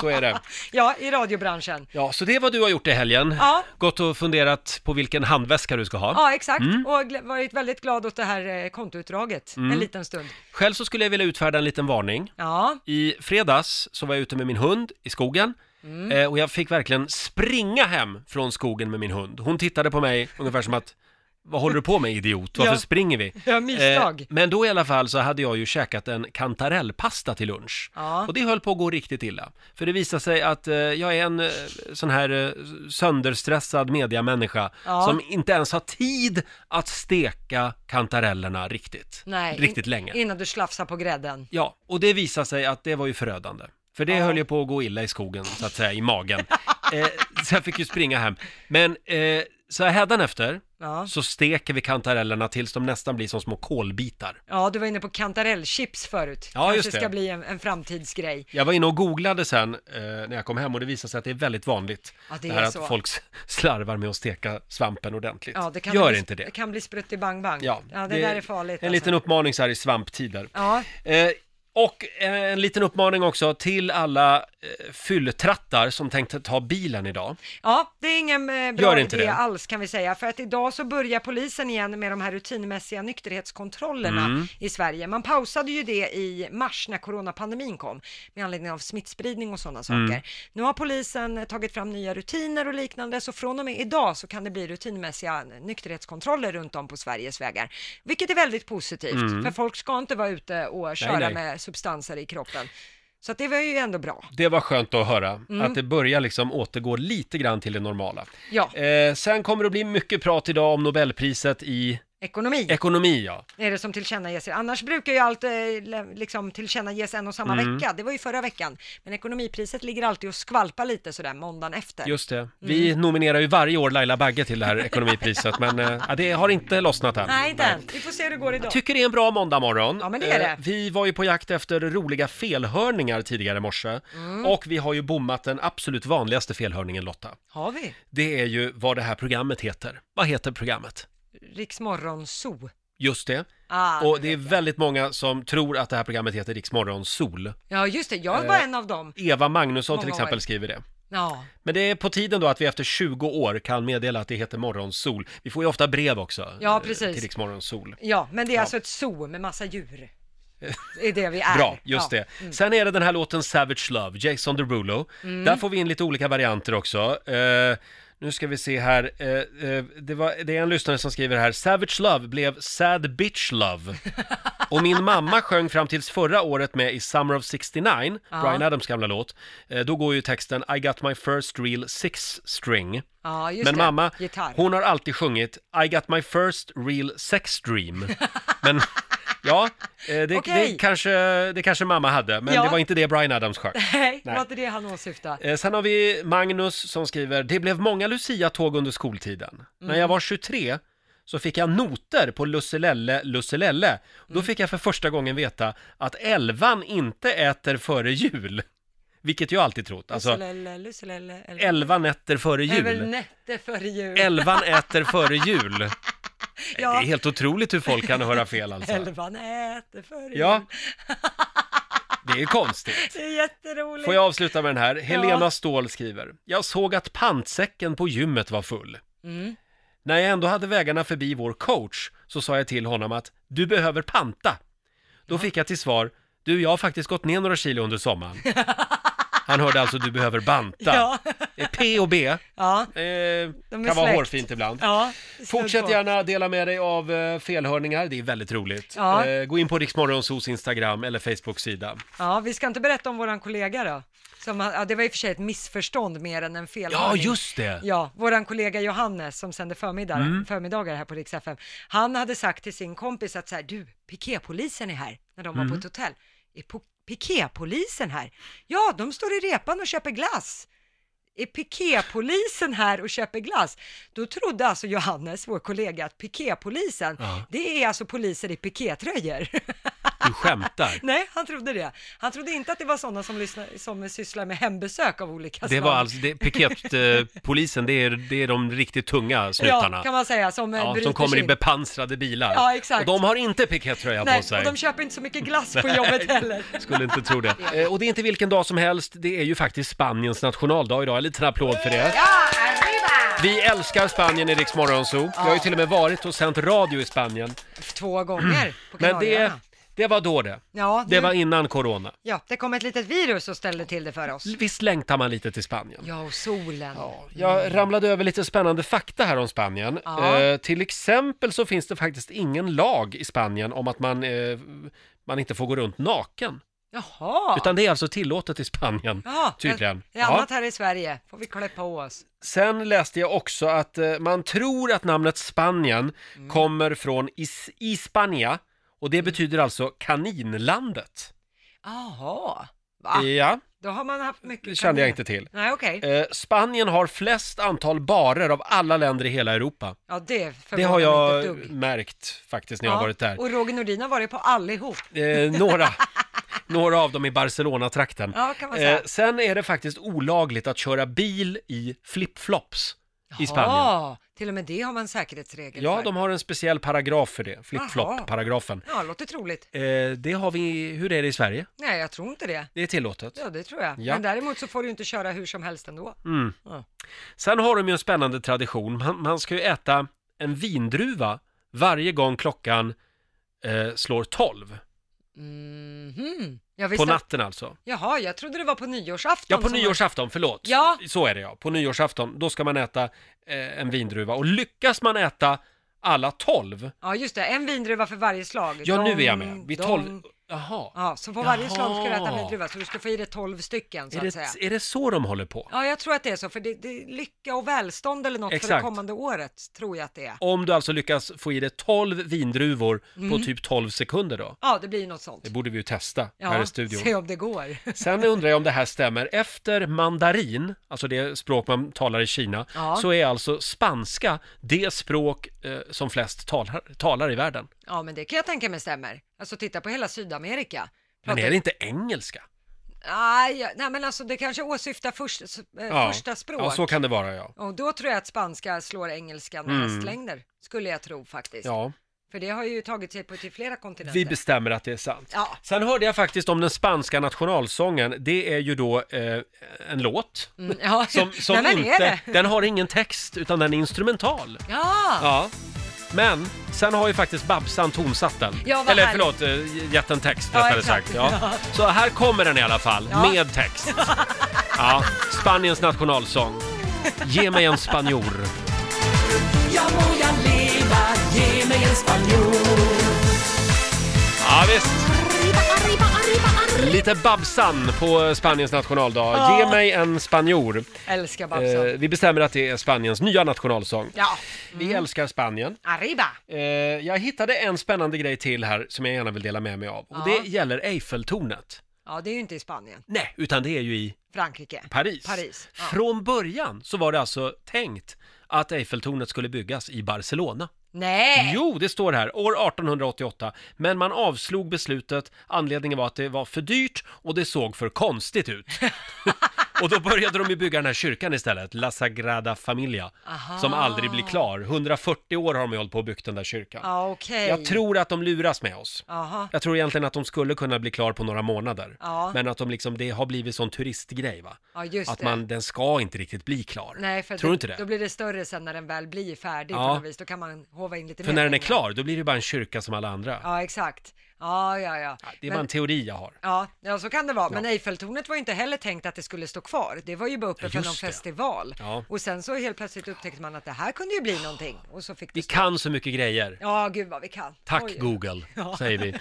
[SPEAKER 1] så är det.
[SPEAKER 2] Ja, i radiobranschen.
[SPEAKER 1] Ja, så det är vad du har gjort i helgen.
[SPEAKER 2] Ja.
[SPEAKER 1] Gått och funderat på vilken handväska du ska ha.
[SPEAKER 2] Ja, exakt.
[SPEAKER 1] Mm.
[SPEAKER 2] Och gl- varit väldigt glad åt det här eh, kontoutdraget
[SPEAKER 1] Mm.
[SPEAKER 2] en liten stund.
[SPEAKER 1] Själv så skulle jag vilja utfärda en liten varning.
[SPEAKER 2] Ja.
[SPEAKER 1] I fredags så var jag ute med min hund i skogen
[SPEAKER 2] Mm.
[SPEAKER 1] eh, och jag fick verkligen springa hem från skogen med min hund. Hon tittade på mig ungefär som att vad håller du på med idiot? Varför
[SPEAKER 2] Ja.
[SPEAKER 1] springer vi?
[SPEAKER 2] Ja, misstag.
[SPEAKER 1] Eh, men då i alla fall så hade jag ju käkat en kantarellpasta till lunch.
[SPEAKER 2] Ja.
[SPEAKER 1] Och det höll på att gå riktigt illa. För det visade sig att eh, jag är en eh, sån här eh, sönderstressad mediamänniska
[SPEAKER 2] Ja.
[SPEAKER 1] som inte ens har tid att steka kantarellerna riktigt.
[SPEAKER 2] Nej, in-
[SPEAKER 1] riktigt länge.
[SPEAKER 2] Innan du slafsar på grädden.
[SPEAKER 1] Ja, och det visade sig att det var ju förödande. För det höll ju på att gå illa i skogen, så att säga, i magen. eh, så jag fick ju springa hem. Men eh, så här hädanefter
[SPEAKER 2] Ja.
[SPEAKER 1] så steker vi kantarellerna tills de nästan blir som små kolbitar.
[SPEAKER 2] Ja, du var inne på kantarellchips förut.
[SPEAKER 1] Ja,
[SPEAKER 2] Kanske
[SPEAKER 1] just det.
[SPEAKER 2] ska bli en, en framtidsgrej.
[SPEAKER 1] Jag var inne och googlade sen eh, när jag kom hem och det visade sig att det är väldigt vanligt.
[SPEAKER 2] Ja, det
[SPEAKER 1] det här
[SPEAKER 2] är
[SPEAKER 1] att
[SPEAKER 2] så.
[SPEAKER 1] folk s- slarvar med att steka svampen ordentligt.
[SPEAKER 2] Ja, det kan
[SPEAKER 1] Gör
[SPEAKER 2] bli,
[SPEAKER 1] inte det.
[SPEAKER 2] Det kan bli sprutt i bang bang.
[SPEAKER 1] Ja,
[SPEAKER 2] det, där är farligt. alltså.
[SPEAKER 1] En liten uppmaning så här i svamptider.
[SPEAKER 2] Ja,
[SPEAKER 1] Eh, och eh, en liten uppmaning också till alla eh, fylltrattar som tänkte ta bilen idag.
[SPEAKER 2] ja, det är ingen eh,
[SPEAKER 1] Gör
[SPEAKER 2] bra
[SPEAKER 1] inte
[SPEAKER 2] idé
[SPEAKER 1] det.
[SPEAKER 2] alls kan vi säga. För att idag så börjar polisen igen med de här rutinmässiga nykterhetskontrollerna
[SPEAKER 1] Mm.
[SPEAKER 2] i Sverige. Man pausade ju det i mars när coronapandemin kom med anledning av smittspridning och sådana
[SPEAKER 1] Mm.
[SPEAKER 2] saker. Nu har polisen eh, tagit fram nya rutiner och liknande, så från och med idag så kan det bli rutinmässiga eh, nykterhetskontroller runt om på Sveriges vägar, vilket är väldigt positivt,
[SPEAKER 1] Mm.
[SPEAKER 2] för folk ska inte vara ute och köra
[SPEAKER 1] nej.
[SPEAKER 2] med substanser i kroppen. Så att det var ju ändå bra.
[SPEAKER 1] Det var skönt att höra,
[SPEAKER 2] Mm.
[SPEAKER 1] att det börjar liksom återgå lite grann till det normala.
[SPEAKER 2] Ja,
[SPEAKER 1] Eh, sen kommer det att bli mycket prat idag om Nobelpriset i
[SPEAKER 2] ekonomi
[SPEAKER 1] ekonomi, ja.
[SPEAKER 2] är det som tillkännages. Annars brukar ju allt eh, le- liksom tillkännages en och samma
[SPEAKER 1] Mm.
[SPEAKER 2] vecka. Det var ju förra veckan. Men ekonomipriset ligger alltid och skvalpar lite sådär måndagen efter.
[SPEAKER 1] Just det. Mm. Vi nominerar ju varje år Laila Bagge till det här ekonomipriset, men eh, ja, det har inte lossnat än.
[SPEAKER 2] Nej, inte än. Vi får se hur det går idag.
[SPEAKER 1] Jag tycker det är en bra måndagmorgon.
[SPEAKER 2] Ja, men det är det.
[SPEAKER 1] Eh, Vi var ju på jakt efter roliga felhörningar tidigare i morse.
[SPEAKER 2] Mm.
[SPEAKER 1] Och vi har ju bommat den absolut vanligaste felhörningen Lotta.
[SPEAKER 2] Har vi?
[SPEAKER 1] Det är ju vad det här programmet heter. Vad heter programmet?
[SPEAKER 2] Riksmorgon Zoo.
[SPEAKER 1] Just det.
[SPEAKER 2] Ah,
[SPEAKER 1] och det är väldigt många som tror att det här programmet heter Riksmorgon Sol.
[SPEAKER 2] Ja, just det. Jag var
[SPEAKER 1] Eh,
[SPEAKER 2] en av dem.
[SPEAKER 1] Eva Magnusson till
[SPEAKER 2] Många
[SPEAKER 1] exempel
[SPEAKER 2] år.
[SPEAKER 1] skriver det.
[SPEAKER 2] Ja.
[SPEAKER 1] Men det är på tiden då att vi efter 20 år kan meddela att det heter Morgonsol. Vi får ju ofta brev också
[SPEAKER 2] Ja,
[SPEAKER 1] eh,
[SPEAKER 2] precis.
[SPEAKER 1] till Riksmorgonsol.
[SPEAKER 2] ja, men det är alltså ett zoo med massa djur. Det är det vi är.
[SPEAKER 1] Bra, just
[SPEAKER 2] Ja.
[SPEAKER 1] det. Sen är det den här låten Savage Love, Jason Derulo.
[SPEAKER 2] Mm.
[SPEAKER 1] Där får vi in lite olika varianter också. Eh, nu ska vi se här. Eh, eh, det, var, det är en lyssnare som skriver här. Savage Love blev Sad Bitch Love. Och min mamma sjöng fram tills förra året med i Summer of 69,
[SPEAKER 2] Ja.
[SPEAKER 1] Bryan Adams gamla låt. Eh, då går ju texten I got my first real six string.
[SPEAKER 2] Ja, just
[SPEAKER 1] Men
[SPEAKER 2] det.
[SPEAKER 1] mamma,
[SPEAKER 2] Gitarr.
[SPEAKER 1] hon har alltid sjungit I got my first real sex dream. Men ja, eh, det,
[SPEAKER 2] Okej.
[SPEAKER 1] det, kanske, det kanske mamma hade, men
[SPEAKER 2] Ja.
[SPEAKER 1] det var inte det Bryan Adams sjöng.
[SPEAKER 2] Nej, det
[SPEAKER 1] Nej.
[SPEAKER 2] var inte det han åsyftade.
[SPEAKER 1] Eh, Sen har vi Magnus som skriver, det blev många Lucia-tåg under skoltiden. När
[SPEAKER 2] Mm.
[SPEAKER 1] jag var 23 så fick jag noter på Lusselelle, Lusselelle.
[SPEAKER 2] Mm.
[SPEAKER 1] Då fick jag för första gången veta att elvan inte äter före jul. Vilket jag alltid trott. Alltså,
[SPEAKER 2] Lusselelle, Lusselelle, elva-
[SPEAKER 1] elva nätter före
[SPEAKER 2] Det är väl
[SPEAKER 1] jul.
[SPEAKER 2] nätter före jul.
[SPEAKER 1] Elvan äter före jul.
[SPEAKER 2] Ja.
[SPEAKER 1] Det är helt otroligt hur folk kan höra fel alltså.
[SPEAKER 2] Elvan äter före
[SPEAKER 1] Ja.
[SPEAKER 2] jul.
[SPEAKER 1] Det är konstigt.
[SPEAKER 2] Det är jätteroligt.
[SPEAKER 1] Får jag avsluta med den här?
[SPEAKER 2] Ja.
[SPEAKER 1] Helena Ståhl skriver. Jag såg att pantsäcken på gymmet var full.
[SPEAKER 2] Mm.
[SPEAKER 1] När jag ändå hade vägarna förbi vår coach så sa jag till honom att du behöver panta. Då fick jag till svar, du jag har faktiskt gått ner några kilo under sommaren. Han hörde alltså du behöver banta.
[SPEAKER 2] Ja.
[SPEAKER 1] Eh, P och B
[SPEAKER 2] Ja.
[SPEAKER 1] eh,
[SPEAKER 2] De är
[SPEAKER 1] kan vara
[SPEAKER 2] släkt.
[SPEAKER 1] hårfint ibland.
[SPEAKER 2] Ja, snudd
[SPEAKER 1] Fortsätt
[SPEAKER 2] på.
[SPEAKER 1] gärna dela med dig av eh, felhörningar, det är väldigt roligt.
[SPEAKER 2] Ja.
[SPEAKER 1] Eh, Gå in på Riksmorgonsos Instagram eller Facebook-sida.
[SPEAKER 2] Ja, vi ska inte berätta om våran kollega då. Som, ja, det var i och för sig ett missförstånd mer än en fel.
[SPEAKER 1] Ja, just det.
[SPEAKER 2] Ja, våran kollega Johannes som sänder förmiddagar,
[SPEAKER 1] Mm.
[SPEAKER 2] förmiddagar här på Rix FM. Han hade sagt till sin kompis att så här, du, piketpolisen är här, när de var
[SPEAKER 4] Mm.
[SPEAKER 2] på ett hotell. Är po- piketpolisen här? Ja, de står i repan och köper glass. Är piketpolisen här och köper glass? Då trodde alltså Johannes, vår kollega, att piketpolisen,
[SPEAKER 1] Ja.
[SPEAKER 2] det är alltså poliser i pikétröjor.
[SPEAKER 1] Du skämtar.
[SPEAKER 2] Nej, han trodde det. Han trodde inte att det var sådana som, lyssnar, som sysslar med hembesök av olika
[SPEAKER 1] Det
[SPEAKER 2] slag.
[SPEAKER 1] var alltså, det, piketpolisen, det är, det är de riktigt tunga snutarna.
[SPEAKER 2] Ja, kan man säga, som eh,
[SPEAKER 1] Ja,
[SPEAKER 2] bryter
[SPEAKER 1] som kommer
[SPEAKER 2] sig
[SPEAKER 1] i
[SPEAKER 2] in.
[SPEAKER 1] bepansrade bilar.
[SPEAKER 2] Ja, exakt.
[SPEAKER 1] Och de har inte pikettröja
[SPEAKER 2] Nej,
[SPEAKER 1] på sig.
[SPEAKER 2] och de köper inte så mycket glass på
[SPEAKER 1] Nej.
[SPEAKER 2] jobbet heller.
[SPEAKER 1] Skulle inte tro det. Eh, Och det är inte vilken dag som helst, det är ju faktiskt Spaniens nationaldag idag. En liten applåd för det. Vi älskar Spanien i Rix Morgonzoo. Jag har ju till och med varit och sänt radio i Spanien.
[SPEAKER 2] Två gånger på
[SPEAKER 1] Men det,
[SPEAKER 2] Kanarieöarna.
[SPEAKER 1] det var då det.
[SPEAKER 2] Ja, nu,
[SPEAKER 1] Det var innan corona.
[SPEAKER 2] ja, det kom ett litet virus och ställde till det för oss.
[SPEAKER 1] Visst längtar man lite till Spanien? Mm.
[SPEAKER 2] Ja, och solen.
[SPEAKER 1] Jag ramlade över lite spännande fakta här om Spanien.
[SPEAKER 2] Ja.
[SPEAKER 1] Eh, till exempel så finns det faktiskt ingen lag i Spanien om att man, eh, man inte får gå runt naken.
[SPEAKER 2] Jaha.
[SPEAKER 1] Utan det är alltså tillåtet i Spanien,
[SPEAKER 2] Jaha,
[SPEAKER 1] tydligen.
[SPEAKER 2] Det är annat
[SPEAKER 1] Ja.
[SPEAKER 2] här i Sverige. Får vi klä på oss.
[SPEAKER 1] Sen läste jag också att eh, man tror att namnet Spanien kommer från Is- Hispania och det betyder alltså kaninlandet.
[SPEAKER 2] Jaha. Va?
[SPEAKER 1] Ja,
[SPEAKER 2] Då har man haft mycket
[SPEAKER 1] Ah, det kände jag
[SPEAKER 2] kanin.
[SPEAKER 1] inte till.
[SPEAKER 2] Nej, okej.
[SPEAKER 1] Eh, Spanien har flest antal barer av alla länder i hela Europa.
[SPEAKER 2] Ja, det
[SPEAKER 1] Det har
[SPEAKER 2] förvånar mig inte ett
[SPEAKER 1] jag
[SPEAKER 2] dugg.
[SPEAKER 1] märkt faktiskt när jag
[SPEAKER 2] Ja,
[SPEAKER 1] har varit där.
[SPEAKER 2] Och Roger Nordin har varit på allihop.
[SPEAKER 1] Eh, några, några av dem i Barcelona-trakten. Eh,
[SPEAKER 2] Ja, kan man säga.
[SPEAKER 1] sen är det faktiskt olagligt att köra bil i flipflops i Spanien.
[SPEAKER 2] Ja, till och med det har man säkerhetsregel
[SPEAKER 1] Ja,
[SPEAKER 2] för.
[SPEAKER 1] de har en speciell paragraf för det, flipflop-paragrafen.
[SPEAKER 2] Ja, låter troligt.
[SPEAKER 1] Eh, det har vi, hur är det i Sverige?
[SPEAKER 2] Nej, jag tror inte det.
[SPEAKER 1] Det är tillåtet.
[SPEAKER 2] Ja, det tror jag.
[SPEAKER 1] Ja.
[SPEAKER 2] Men däremot så får du inte köra hur som helst ändå.
[SPEAKER 1] Mm.
[SPEAKER 2] Ja.
[SPEAKER 1] Sen har de ju en spännande tradition. Man, man ska ju äta en vindruva varje gång klockan eh, slår 12.
[SPEAKER 2] Mhm. Jag visste
[SPEAKER 1] På
[SPEAKER 2] att-
[SPEAKER 1] natten alltså.
[SPEAKER 2] Jaha, jag trodde det var på nyårsafton.
[SPEAKER 1] Ja, på
[SPEAKER 2] som-
[SPEAKER 1] nyårsafton, förlåt.
[SPEAKER 2] Ja.
[SPEAKER 1] Så är det ja. På nyårsafton, då ska man äta eh, en vindruva. Och lyckas man äta alla tolv,
[SPEAKER 2] Ja, just det. En vindruva för varje slag.
[SPEAKER 1] ja nu
[SPEAKER 2] Dong,
[SPEAKER 1] är jag med. Vid
[SPEAKER 2] dong.
[SPEAKER 1] tolv, jaha.
[SPEAKER 2] Ja, så på varje
[SPEAKER 1] Jaha.
[SPEAKER 2] slag ska du äta en vindruva, så du ska få i dig tolv stycken så
[SPEAKER 1] Är
[SPEAKER 2] att säga.
[SPEAKER 1] det, är det så de håller på?
[SPEAKER 2] Ja, jag tror att det är så, för det, det är lycka och välstånd eller något för det
[SPEAKER 1] Exakt.
[SPEAKER 2] kommande året, tror jag att det är.
[SPEAKER 1] Om du alltså lyckas få i dig tolv vindruvor på
[SPEAKER 2] Mm.
[SPEAKER 1] typ tolv sekunder då?
[SPEAKER 2] Ja, det blir ju något sånt.
[SPEAKER 1] Det borde vi ju testa här
[SPEAKER 2] Ja,
[SPEAKER 1] i studion.
[SPEAKER 2] se om det går.
[SPEAKER 1] Sen undrar jag om det här stämmer. Efter mandarin, alltså det språk man talar i Kina,
[SPEAKER 2] Ja.
[SPEAKER 1] så är alltså spanska det språk eh, som flest talar, talar i världen.
[SPEAKER 2] Ja, men det kan jag tänka mig stämmer. Alltså titta på hela Sydamerika.
[SPEAKER 1] Men är det inte engelska?
[SPEAKER 2] Nej, jag- nej men alltså det kanske åsyftar först, s- eh, första språk.
[SPEAKER 1] ja, så kan det vara ja.
[SPEAKER 2] Och då tror jag att spanska slår engelskan med
[SPEAKER 1] Mm.
[SPEAKER 2] hästlängder, skulle jag tro faktiskt.
[SPEAKER 1] ja.
[SPEAKER 2] För det har ju tagit sig på till flera kontinenter.
[SPEAKER 1] Vi bestämmer att det är sant.
[SPEAKER 2] Ja.
[SPEAKER 1] Sen hörde jag faktiskt om den spanska nationalsången. Det är ju då eh, en låt.
[SPEAKER 2] Mm, ja.
[SPEAKER 1] Som, som
[SPEAKER 2] nej, men
[SPEAKER 1] inte,
[SPEAKER 2] är det?
[SPEAKER 1] den har ingen text utan den är instrumental.
[SPEAKER 2] Ja.
[SPEAKER 1] Ja. Men sen har ju faktiskt Babsan tonsatt den.
[SPEAKER 2] Ja, vad
[SPEAKER 1] Eller
[SPEAKER 2] härligt.
[SPEAKER 1] förlåt, eh, gett en text
[SPEAKER 2] Ja,
[SPEAKER 1] rättare
[SPEAKER 2] exakt.
[SPEAKER 1] sagt. Ja. Så här kommer den i alla fall,
[SPEAKER 2] Ja.
[SPEAKER 1] med text. Ja, Spaniens nationalsång. Ge mig en spanjor.
[SPEAKER 4] Ja må jag leva, ge mig en spanjor
[SPEAKER 1] Ja, visst. Lite Babsan på Spaniens nationaldag.
[SPEAKER 2] Ja.
[SPEAKER 1] Ge mig en spanjor.
[SPEAKER 2] Älskar
[SPEAKER 1] Eh,
[SPEAKER 2] Babsan.
[SPEAKER 1] vi bestämmer att det är Spaniens nya nationalsång.
[SPEAKER 2] Ja. Mm.
[SPEAKER 1] Vi älskar Spanien.
[SPEAKER 2] Arriba!
[SPEAKER 1] Eh, jag hittade en spännande grej till här som jag gärna vill dela med mig av. Och
[SPEAKER 2] Ja.
[SPEAKER 1] det gäller Eiffeltornet.
[SPEAKER 2] Ja, det är ju inte i Spanien.
[SPEAKER 1] Nej, utan det är ju i
[SPEAKER 2] Frankrike.
[SPEAKER 1] Paris.
[SPEAKER 2] Paris. Ja.
[SPEAKER 1] Från början så var det alltså tänkt att Eiffeltornet skulle byggas i Barcelona.
[SPEAKER 2] Nej!
[SPEAKER 1] Jo, det står här, år 1888. Men man avslog beslutet, anledningen var att det var för dyrt och det såg för konstigt ut. och då började de ju bygga den här kyrkan istället, La Sagrada Familia,
[SPEAKER 2] Aha.
[SPEAKER 1] som aldrig blir klar. 140 år har de ju hållit på och byggt den där kyrkan.
[SPEAKER 2] Ja, okej.
[SPEAKER 1] Jag tror att de luras med oss.
[SPEAKER 2] Jaha.
[SPEAKER 1] Jag tror egentligen att de skulle kunna bli klar på några månader.
[SPEAKER 2] Ja.
[SPEAKER 1] Men att de liksom, det har blivit sån turistgrej va?
[SPEAKER 2] Ja, just
[SPEAKER 1] att
[SPEAKER 2] det.
[SPEAKER 1] man, den ska inte riktigt bli klar.
[SPEAKER 2] Nej, för
[SPEAKER 1] tror
[SPEAKER 2] då-
[SPEAKER 1] du inte det?
[SPEAKER 2] Då blir det större sen när den väl blir färdig
[SPEAKER 1] Ja.
[SPEAKER 2] på något vis. Då kan man hova in lite
[SPEAKER 1] För
[SPEAKER 2] mer
[SPEAKER 1] när den är
[SPEAKER 2] pengar.
[SPEAKER 1] klar, då blir det ju bara en kyrka som alla andra.
[SPEAKER 2] Ja, exakt. Ja, ja, ja.
[SPEAKER 1] Det är
[SPEAKER 2] Men-
[SPEAKER 1] bara en teori jag har.
[SPEAKER 2] Ja, ja, så kan det vara. Men
[SPEAKER 1] Ja.
[SPEAKER 2] Eiffeltornet var ju inte heller tänkt att det skulle stå kvar. Det var ju bara uppe
[SPEAKER 1] Ja,
[SPEAKER 2] för
[SPEAKER 1] just
[SPEAKER 2] någon
[SPEAKER 1] det.
[SPEAKER 2] festival.
[SPEAKER 1] Ja.
[SPEAKER 2] Och sen så helt plötsligt upptäckte man att det här kunde ju bli någonting. Och så fick det...
[SPEAKER 1] Vi kan så mycket grejer.
[SPEAKER 2] Ja, gud vad vi kan.
[SPEAKER 1] Tack
[SPEAKER 2] Oj.
[SPEAKER 1] Google,
[SPEAKER 2] Ja.
[SPEAKER 1] säger vi.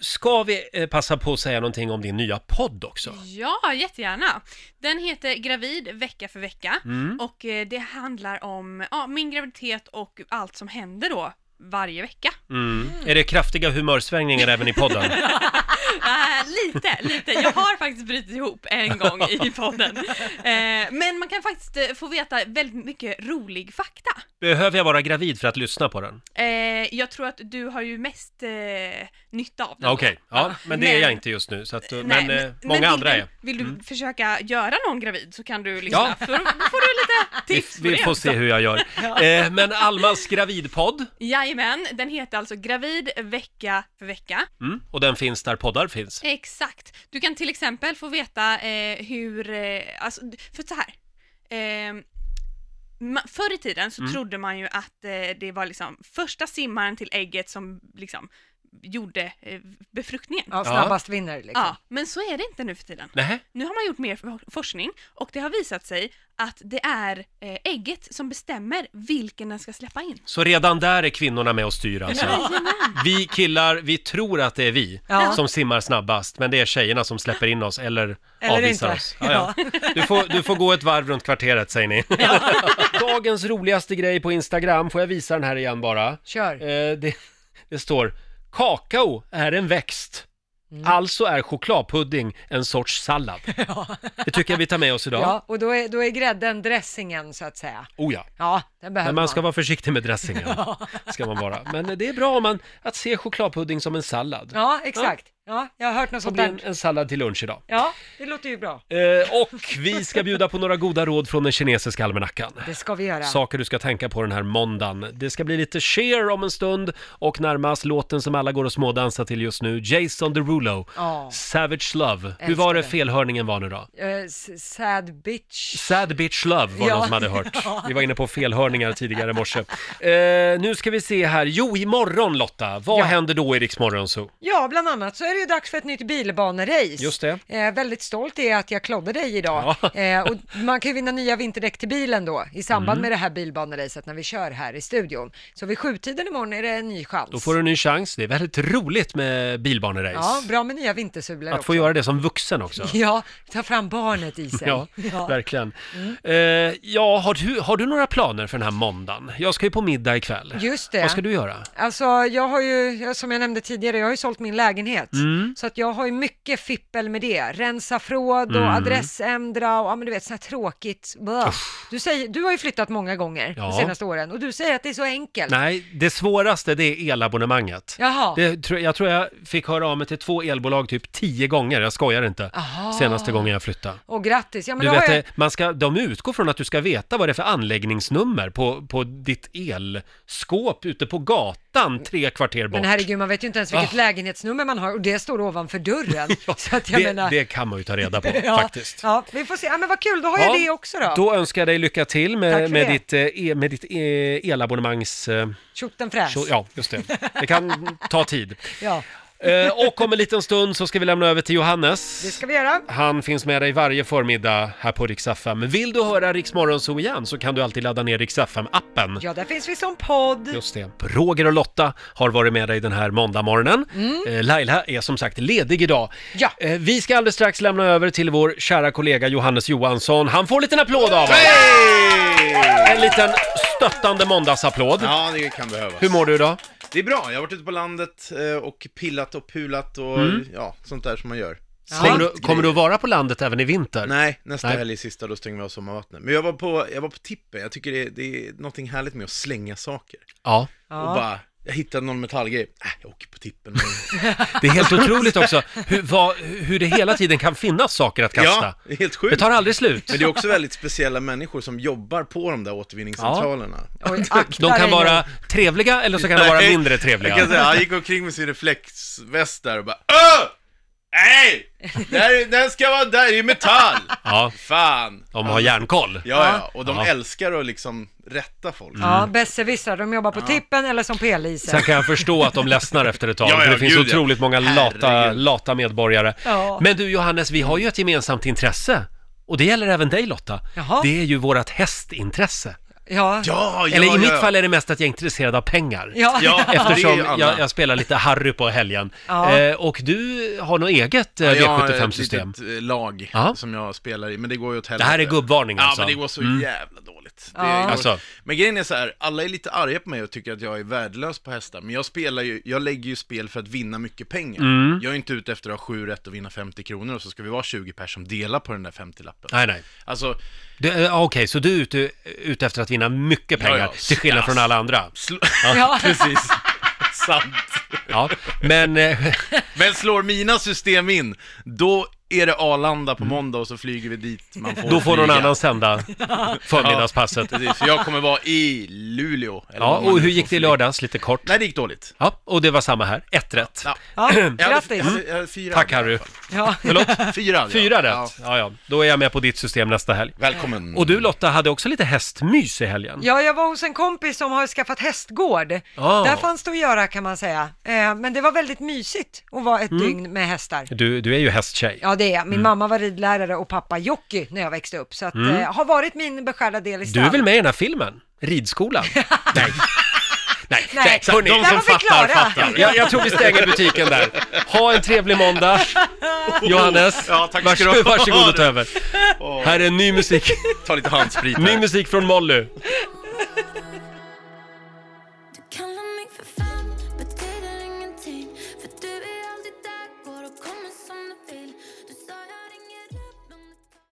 [SPEAKER 1] Ska vi eh, passa på att säga någonting om din nya podd också?
[SPEAKER 8] Ja, jättegärna. Den heter Gravid vecka för vecka
[SPEAKER 1] Mm.
[SPEAKER 8] och eh, det handlar om ja, min graviditet och allt som händer då varje vecka.
[SPEAKER 1] Mm. Är det kraftiga humörsvängningar även i podden?
[SPEAKER 8] Äh, lite, lite. Jag har faktiskt brutit ihop en gång i podden. Eh, men man kan faktiskt eh, få veta väldigt mycket rolig fakta.
[SPEAKER 1] Behöver jag vara gravid för att lyssna på den?
[SPEAKER 8] Eh, jag tror att du har ju mest eh, nytta av det.
[SPEAKER 1] Ja, Okej, ja, men det är
[SPEAKER 8] Men-
[SPEAKER 1] jag inte just nu, så att, eh,
[SPEAKER 8] Nej,
[SPEAKER 1] men, eh,
[SPEAKER 8] men
[SPEAKER 1] många
[SPEAKER 8] vill
[SPEAKER 1] andra
[SPEAKER 8] du,
[SPEAKER 1] är. Mm.
[SPEAKER 8] Vill du försöka göra någon gravid så kan du lyssna, för då får du lite
[SPEAKER 1] Vi,
[SPEAKER 8] tips på
[SPEAKER 1] vi
[SPEAKER 8] det
[SPEAKER 1] får
[SPEAKER 8] också.
[SPEAKER 1] se hur jag gör.
[SPEAKER 8] Ja.
[SPEAKER 1] Eh, men Almas gravidpodd,
[SPEAKER 8] Jajamän, den heter alltså Gravid vecka för vecka.
[SPEAKER 1] mm, och den finns där poddar finns.
[SPEAKER 8] Exakt. Du kan till exempel få veta eh, hur, eh, alltså, för så här. Eh, ma- förr i tiden så
[SPEAKER 4] Mm.
[SPEAKER 8] trodde man ju att eh, det var liksom första simmaren till ägget som liksom gjorde eh, befruktningen.
[SPEAKER 2] Ja, snabbast vinner liksom.
[SPEAKER 8] Ja, men så är det inte nu för tiden.
[SPEAKER 1] Nähä?
[SPEAKER 8] Nu har man gjort mer for- forskning och det har visat sig att det är eh, ägget som bestämmer vilken den ska släppa in.
[SPEAKER 1] Så redan där är kvinnorna med och styr alltså. Vi killar, vi tror att det är vi
[SPEAKER 8] Ja.
[SPEAKER 1] som simmar snabbast, men det är tjejerna som släpper in oss eller,
[SPEAKER 2] Eller
[SPEAKER 1] avvisar
[SPEAKER 2] inte.
[SPEAKER 1] oss. Ja, ja. Du, får, du får gå ett varv runt kvarteret säger ni. Dagens roligaste grej på Instagram, får jag visa den här igen bara?
[SPEAKER 2] Kör.
[SPEAKER 1] Eh, det, det står kakao är en växt.
[SPEAKER 2] Mm.
[SPEAKER 1] Alltså är chokladpudding en sorts sallad. Det tycker jag vi tar med oss idag.
[SPEAKER 2] Ja, och då är, då är grädden dressingen så att säga.
[SPEAKER 1] Oh ja.
[SPEAKER 2] Ja, den behöver
[SPEAKER 1] Men man ska vara försiktig med dressingen. Ska man vara. Men det är bra om man, att se chokladpudding som en sallad.
[SPEAKER 2] Ja, exakt. Ja, jag har hört något
[SPEAKER 1] Det
[SPEAKER 2] sånt
[SPEAKER 1] blir en,
[SPEAKER 2] där.
[SPEAKER 1] en sallad till lunch idag.
[SPEAKER 2] Ja, det låter ju bra.
[SPEAKER 1] Eh, och vi ska bjuda på några goda råd från den kinesiska almanackan.
[SPEAKER 2] Det ska vi göra.
[SPEAKER 1] Saker du ska tänka på den här måndagen. Det ska bli lite Cher om en stund och närmast låten som alla går och smådansar till just nu, Jason Derulo,
[SPEAKER 2] Ja.
[SPEAKER 1] Savage Love. Hur
[SPEAKER 2] Älskar
[SPEAKER 1] var det
[SPEAKER 2] den.
[SPEAKER 1] felhörningen var nu då?
[SPEAKER 2] Eh, s- sad bitch.
[SPEAKER 1] Sad bitch love var
[SPEAKER 2] Ja.
[SPEAKER 1] någon som hade hört.
[SPEAKER 2] Ja.
[SPEAKER 1] Vi var inne på felhörningar tidigare i morse. Eh, nu ska vi se här. Jo, imorgon Lotta, vad händer då i Rix Morgon Zoo?
[SPEAKER 2] Ja, bland annat så är det ju dags för ett nytt bilbanerace.
[SPEAKER 1] Just det.
[SPEAKER 2] Eh, väldigt stolt är jag att jag klodde dig idag. Eh, och man kan ju vinna nya vinterdäck till bilen då i samband
[SPEAKER 1] Mm.
[SPEAKER 2] med det här bilbaneracet när vi kör här i studion. Så vid sjutiden imorgon är det en ny chans.
[SPEAKER 1] Då får du en ny chans. Det är väldigt roligt med bilbanerace.
[SPEAKER 2] Ja, bra med nya vintersulor
[SPEAKER 1] Att
[SPEAKER 2] också.
[SPEAKER 1] få göra det som vuxen också.
[SPEAKER 2] Ja, ta fram barnet i sig.
[SPEAKER 1] Ja,
[SPEAKER 2] Ja. Mm.
[SPEAKER 1] verkligen. Eh, ja, har du, har du några planer för den här måndagen? Jag ska ju på middag ikväll.
[SPEAKER 2] Just det.
[SPEAKER 1] Vad ska du göra?
[SPEAKER 2] Alltså jag har ju, jag- som jag nämnde tidigare, jag har ju sålt min lägenhet.
[SPEAKER 1] Mm.
[SPEAKER 2] Så att jag har ju mycket fippel med det. Rensa förråd och
[SPEAKER 1] Mm.
[SPEAKER 2] adressändra och ja men du vet sånt här tråkigt. Blah. Du, säger, du har ju flyttat många gånger
[SPEAKER 1] Ja.
[SPEAKER 2] de senaste åren och du säger att det är så enkelt.
[SPEAKER 1] Nej, det svåraste det är elabonnemanget.
[SPEAKER 2] Jaha.
[SPEAKER 1] Det, tror- jag tror jag fick höra av mig till två elbolag typ tio gånger, jag skojar inte,
[SPEAKER 2] Aha.
[SPEAKER 1] senaste gången jag flyttade.
[SPEAKER 2] Och grattis, ja men
[SPEAKER 1] du
[SPEAKER 2] då har
[SPEAKER 1] vet,
[SPEAKER 2] jag...
[SPEAKER 1] eh, man ska, de utgår från att du ska veta vad det är för anläggningsnummer på, på ditt elskåp ute på gatan tre kvarter bort.
[SPEAKER 2] Men herregud, man vet ju inte ens vilket
[SPEAKER 1] Ah.
[SPEAKER 2] lägenhetsnummer man har och det står ovanför dörren. så att jag
[SPEAKER 1] det,
[SPEAKER 2] menar...
[SPEAKER 1] det kan man ju ta reda på
[SPEAKER 2] ja,
[SPEAKER 1] faktiskt.
[SPEAKER 2] Ja, vi får se. Ja, men vad kul, då har jag det också då.
[SPEAKER 1] Då önskar jag dig lycka till
[SPEAKER 2] Tack
[SPEAKER 1] med,
[SPEAKER 2] för
[SPEAKER 1] med
[SPEAKER 2] det.
[SPEAKER 1] ditt, eh, e- med ditt eh, elabonnemangs... eh,
[SPEAKER 2] Tjottenfräs.
[SPEAKER 1] tjo- Ja, just det. Det kan ta tid.
[SPEAKER 2] Ja.
[SPEAKER 1] Eh, Och om en liten stund så ska vi lämna över till Johannes.
[SPEAKER 2] Det ska vi göra.
[SPEAKER 1] Han finns med dig varje förmiddag här på Rix FM. Vill du höra Rix Morgonzoo igen så kan du alltid ladda ner Rix FM-appen.
[SPEAKER 2] Ja, där finns vi som podd.
[SPEAKER 1] Just det. Roger och Lotta har varit med dig den här måndagmorgonen. Eh, Laila är som sagt ledig idag.
[SPEAKER 2] Mm.
[SPEAKER 1] Eh,
[SPEAKER 2] Ja.
[SPEAKER 1] Vi ska alldeles strax lämna över till vår kära kollega Johannes Johansson. Han får en liten applåd av oss! En liten stöttande måndagsapplåd.
[SPEAKER 14] Ja, det kan behövas.
[SPEAKER 1] Hur mår du idag?
[SPEAKER 14] Det är bra, jag har varit ute på landet eh, och pillat och pulat och
[SPEAKER 1] Mm.
[SPEAKER 14] ja, sånt där som man gör.
[SPEAKER 1] Kommer, du, kommer du att vara på landet även i vinter?
[SPEAKER 14] Nej, nästa helg är sista, då stänger vi av sommarvattnet. Men jag var på, jag var på tippen, jag tycker det, det är någonting härligt med att slänga saker.
[SPEAKER 1] Ja.
[SPEAKER 14] Och bara, jag hittade någon metallgrej, äh, jag åker på tippen.
[SPEAKER 1] Det är helt otroligt också hur, vad, hur det hela tiden kan finnas saker att kasta.
[SPEAKER 14] Ja, det är helt sjukt.
[SPEAKER 1] Det tar aldrig slut.
[SPEAKER 14] Men det är också väldigt speciella människor som jobbar på de där återvinningscentralerna.
[SPEAKER 1] De kan vara trevliga eller så kan de vara
[SPEAKER 14] Nej,
[SPEAKER 1] mindre trevliga.
[SPEAKER 14] Jag kan säga, han gick omkring med sin reflexväst där och bara Öh! Nej! Där, den ska vara där, det är metall!
[SPEAKER 1] Ja.
[SPEAKER 14] Fan!
[SPEAKER 1] De har järnkoll.
[SPEAKER 14] Ja, ja, och de
[SPEAKER 1] Ja.
[SPEAKER 14] älskar att liksom rätta folk.
[SPEAKER 2] Ja, besserwissrar, de jobbar på tippen eller som
[SPEAKER 1] Sen
[SPEAKER 2] pelisen.
[SPEAKER 1] kan jag förstå att de ledsnar efter ett tag,
[SPEAKER 14] Ja, ja,
[SPEAKER 1] för det finns
[SPEAKER 14] gud, ja.
[SPEAKER 1] otroligt många lata, lata medborgare.
[SPEAKER 2] Ja.
[SPEAKER 1] Men du Johannes, vi har ju ett gemensamt intresse. Och det gäller även dig Lotta.
[SPEAKER 2] Jaha.
[SPEAKER 1] Det är ju vårt hästintresse.
[SPEAKER 2] Ja.
[SPEAKER 1] Eller i mitt fall är det mest att jag är intresserad av pengar.
[SPEAKER 2] Ja. Ja, det är
[SPEAKER 1] Eftersom
[SPEAKER 2] ju alla.
[SPEAKER 1] jag, jag spelar lite Harry på helgen.
[SPEAKER 14] Ja.
[SPEAKER 1] Eh, och du har något eget eh,
[SPEAKER 14] jag har ett
[SPEAKER 1] V75-system.
[SPEAKER 14] litet eh, lag
[SPEAKER 1] Ja.
[SPEAKER 14] som jag spelar i, men det går ju åt
[SPEAKER 1] Det
[SPEAKER 14] helvete.
[SPEAKER 1] här är gubbvarning alltså.
[SPEAKER 14] Ja, men det går så
[SPEAKER 1] Mm.
[SPEAKER 14] jävla dåligt. Det
[SPEAKER 1] Ja.
[SPEAKER 14] går...
[SPEAKER 1] Alltså.
[SPEAKER 14] Men grejen är så här, alla är lite arga på mig och tycker att jag är värdelös på hästar, men jag spelar ju, jag lägger ju spel för att vinna mycket pengar.
[SPEAKER 1] Mm.
[SPEAKER 14] Jag är inte ute efter att ha sju rätt och vinna 50 kronor och så ska vi vara 20 pers som delar på den där 50-lappen.
[SPEAKER 1] Nej, nej.
[SPEAKER 14] Alltså,
[SPEAKER 1] Du, eh, Okej, så du är ute, ute efter att vinna mycket
[SPEAKER 14] Ja, ja.
[SPEAKER 1] pengar, till skillnad
[SPEAKER 14] Ass-
[SPEAKER 1] från alla andra?
[SPEAKER 14] Ja, precis. Sant.
[SPEAKER 1] Ja, men... eh,
[SPEAKER 14] Men slår mina system in, då är det Arlanda på måndag och så flyger vi dit man får
[SPEAKER 1] Mm. Då får någon
[SPEAKER 14] flyga.
[SPEAKER 1] annan sända förmiddagspasset.
[SPEAKER 14] Ja, precis, för jag kommer vara i Luleå. eller
[SPEAKER 1] Ja,
[SPEAKER 14] var man
[SPEAKER 1] och hur
[SPEAKER 14] nu får
[SPEAKER 1] gick det i
[SPEAKER 14] flyga.
[SPEAKER 1] lördags, lite kort?
[SPEAKER 14] Nej, det gick dåligt.
[SPEAKER 1] Ja, och det var samma här, ett rätt.
[SPEAKER 2] Ja,
[SPEAKER 14] Jag
[SPEAKER 1] Mm.
[SPEAKER 2] grattis.
[SPEAKER 14] hade, jag hade fyra
[SPEAKER 1] Tack Harry.
[SPEAKER 2] Ja.
[SPEAKER 1] Förlåt?
[SPEAKER 14] Fyra, ja.
[SPEAKER 1] Fyra rätt.
[SPEAKER 14] Ja.
[SPEAKER 1] Ja. ja, Då är jag med på ditt system nästa helg.
[SPEAKER 14] Välkommen.
[SPEAKER 1] Och du Lotta hade också lite hästmys i helgen.
[SPEAKER 2] Ja, jag var hos en kompis som har skaffat hästgård.
[SPEAKER 1] Ah.
[SPEAKER 2] Där fanns det att göra kan man säga. Eh, Men det var väldigt mysigt att vara ett
[SPEAKER 1] Mm.
[SPEAKER 2] dygn med hästar.
[SPEAKER 1] Du, du är ju hästtjej.
[SPEAKER 2] Ja, det är jag. Min mamma var ridlärare och pappa jockey när jag växte upp, så att,
[SPEAKER 1] Mm.
[SPEAKER 2] eh, har varit min beskärda del
[SPEAKER 1] Du
[SPEAKER 2] i
[SPEAKER 1] är
[SPEAKER 2] stallet.
[SPEAKER 1] väl med i den här filmen? Ridskolan? Nej. Nej,
[SPEAKER 2] Nej,
[SPEAKER 1] nej. Hörni,
[SPEAKER 2] där var vi klara.
[SPEAKER 1] Jag, jag tror vi stänger butiken där. Ha en trevlig måndag, Johannes.
[SPEAKER 14] Ja, tack ska du ha.
[SPEAKER 1] Varsågod och ta över.
[SPEAKER 14] Åh.
[SPEAKER 1] Här är ny musik.
[SPEAKER 14] Ta lite handsprit här.
[SPEAKER 1] Ny musik från Molly.
[SPEAKER 15] Kallar mig för fan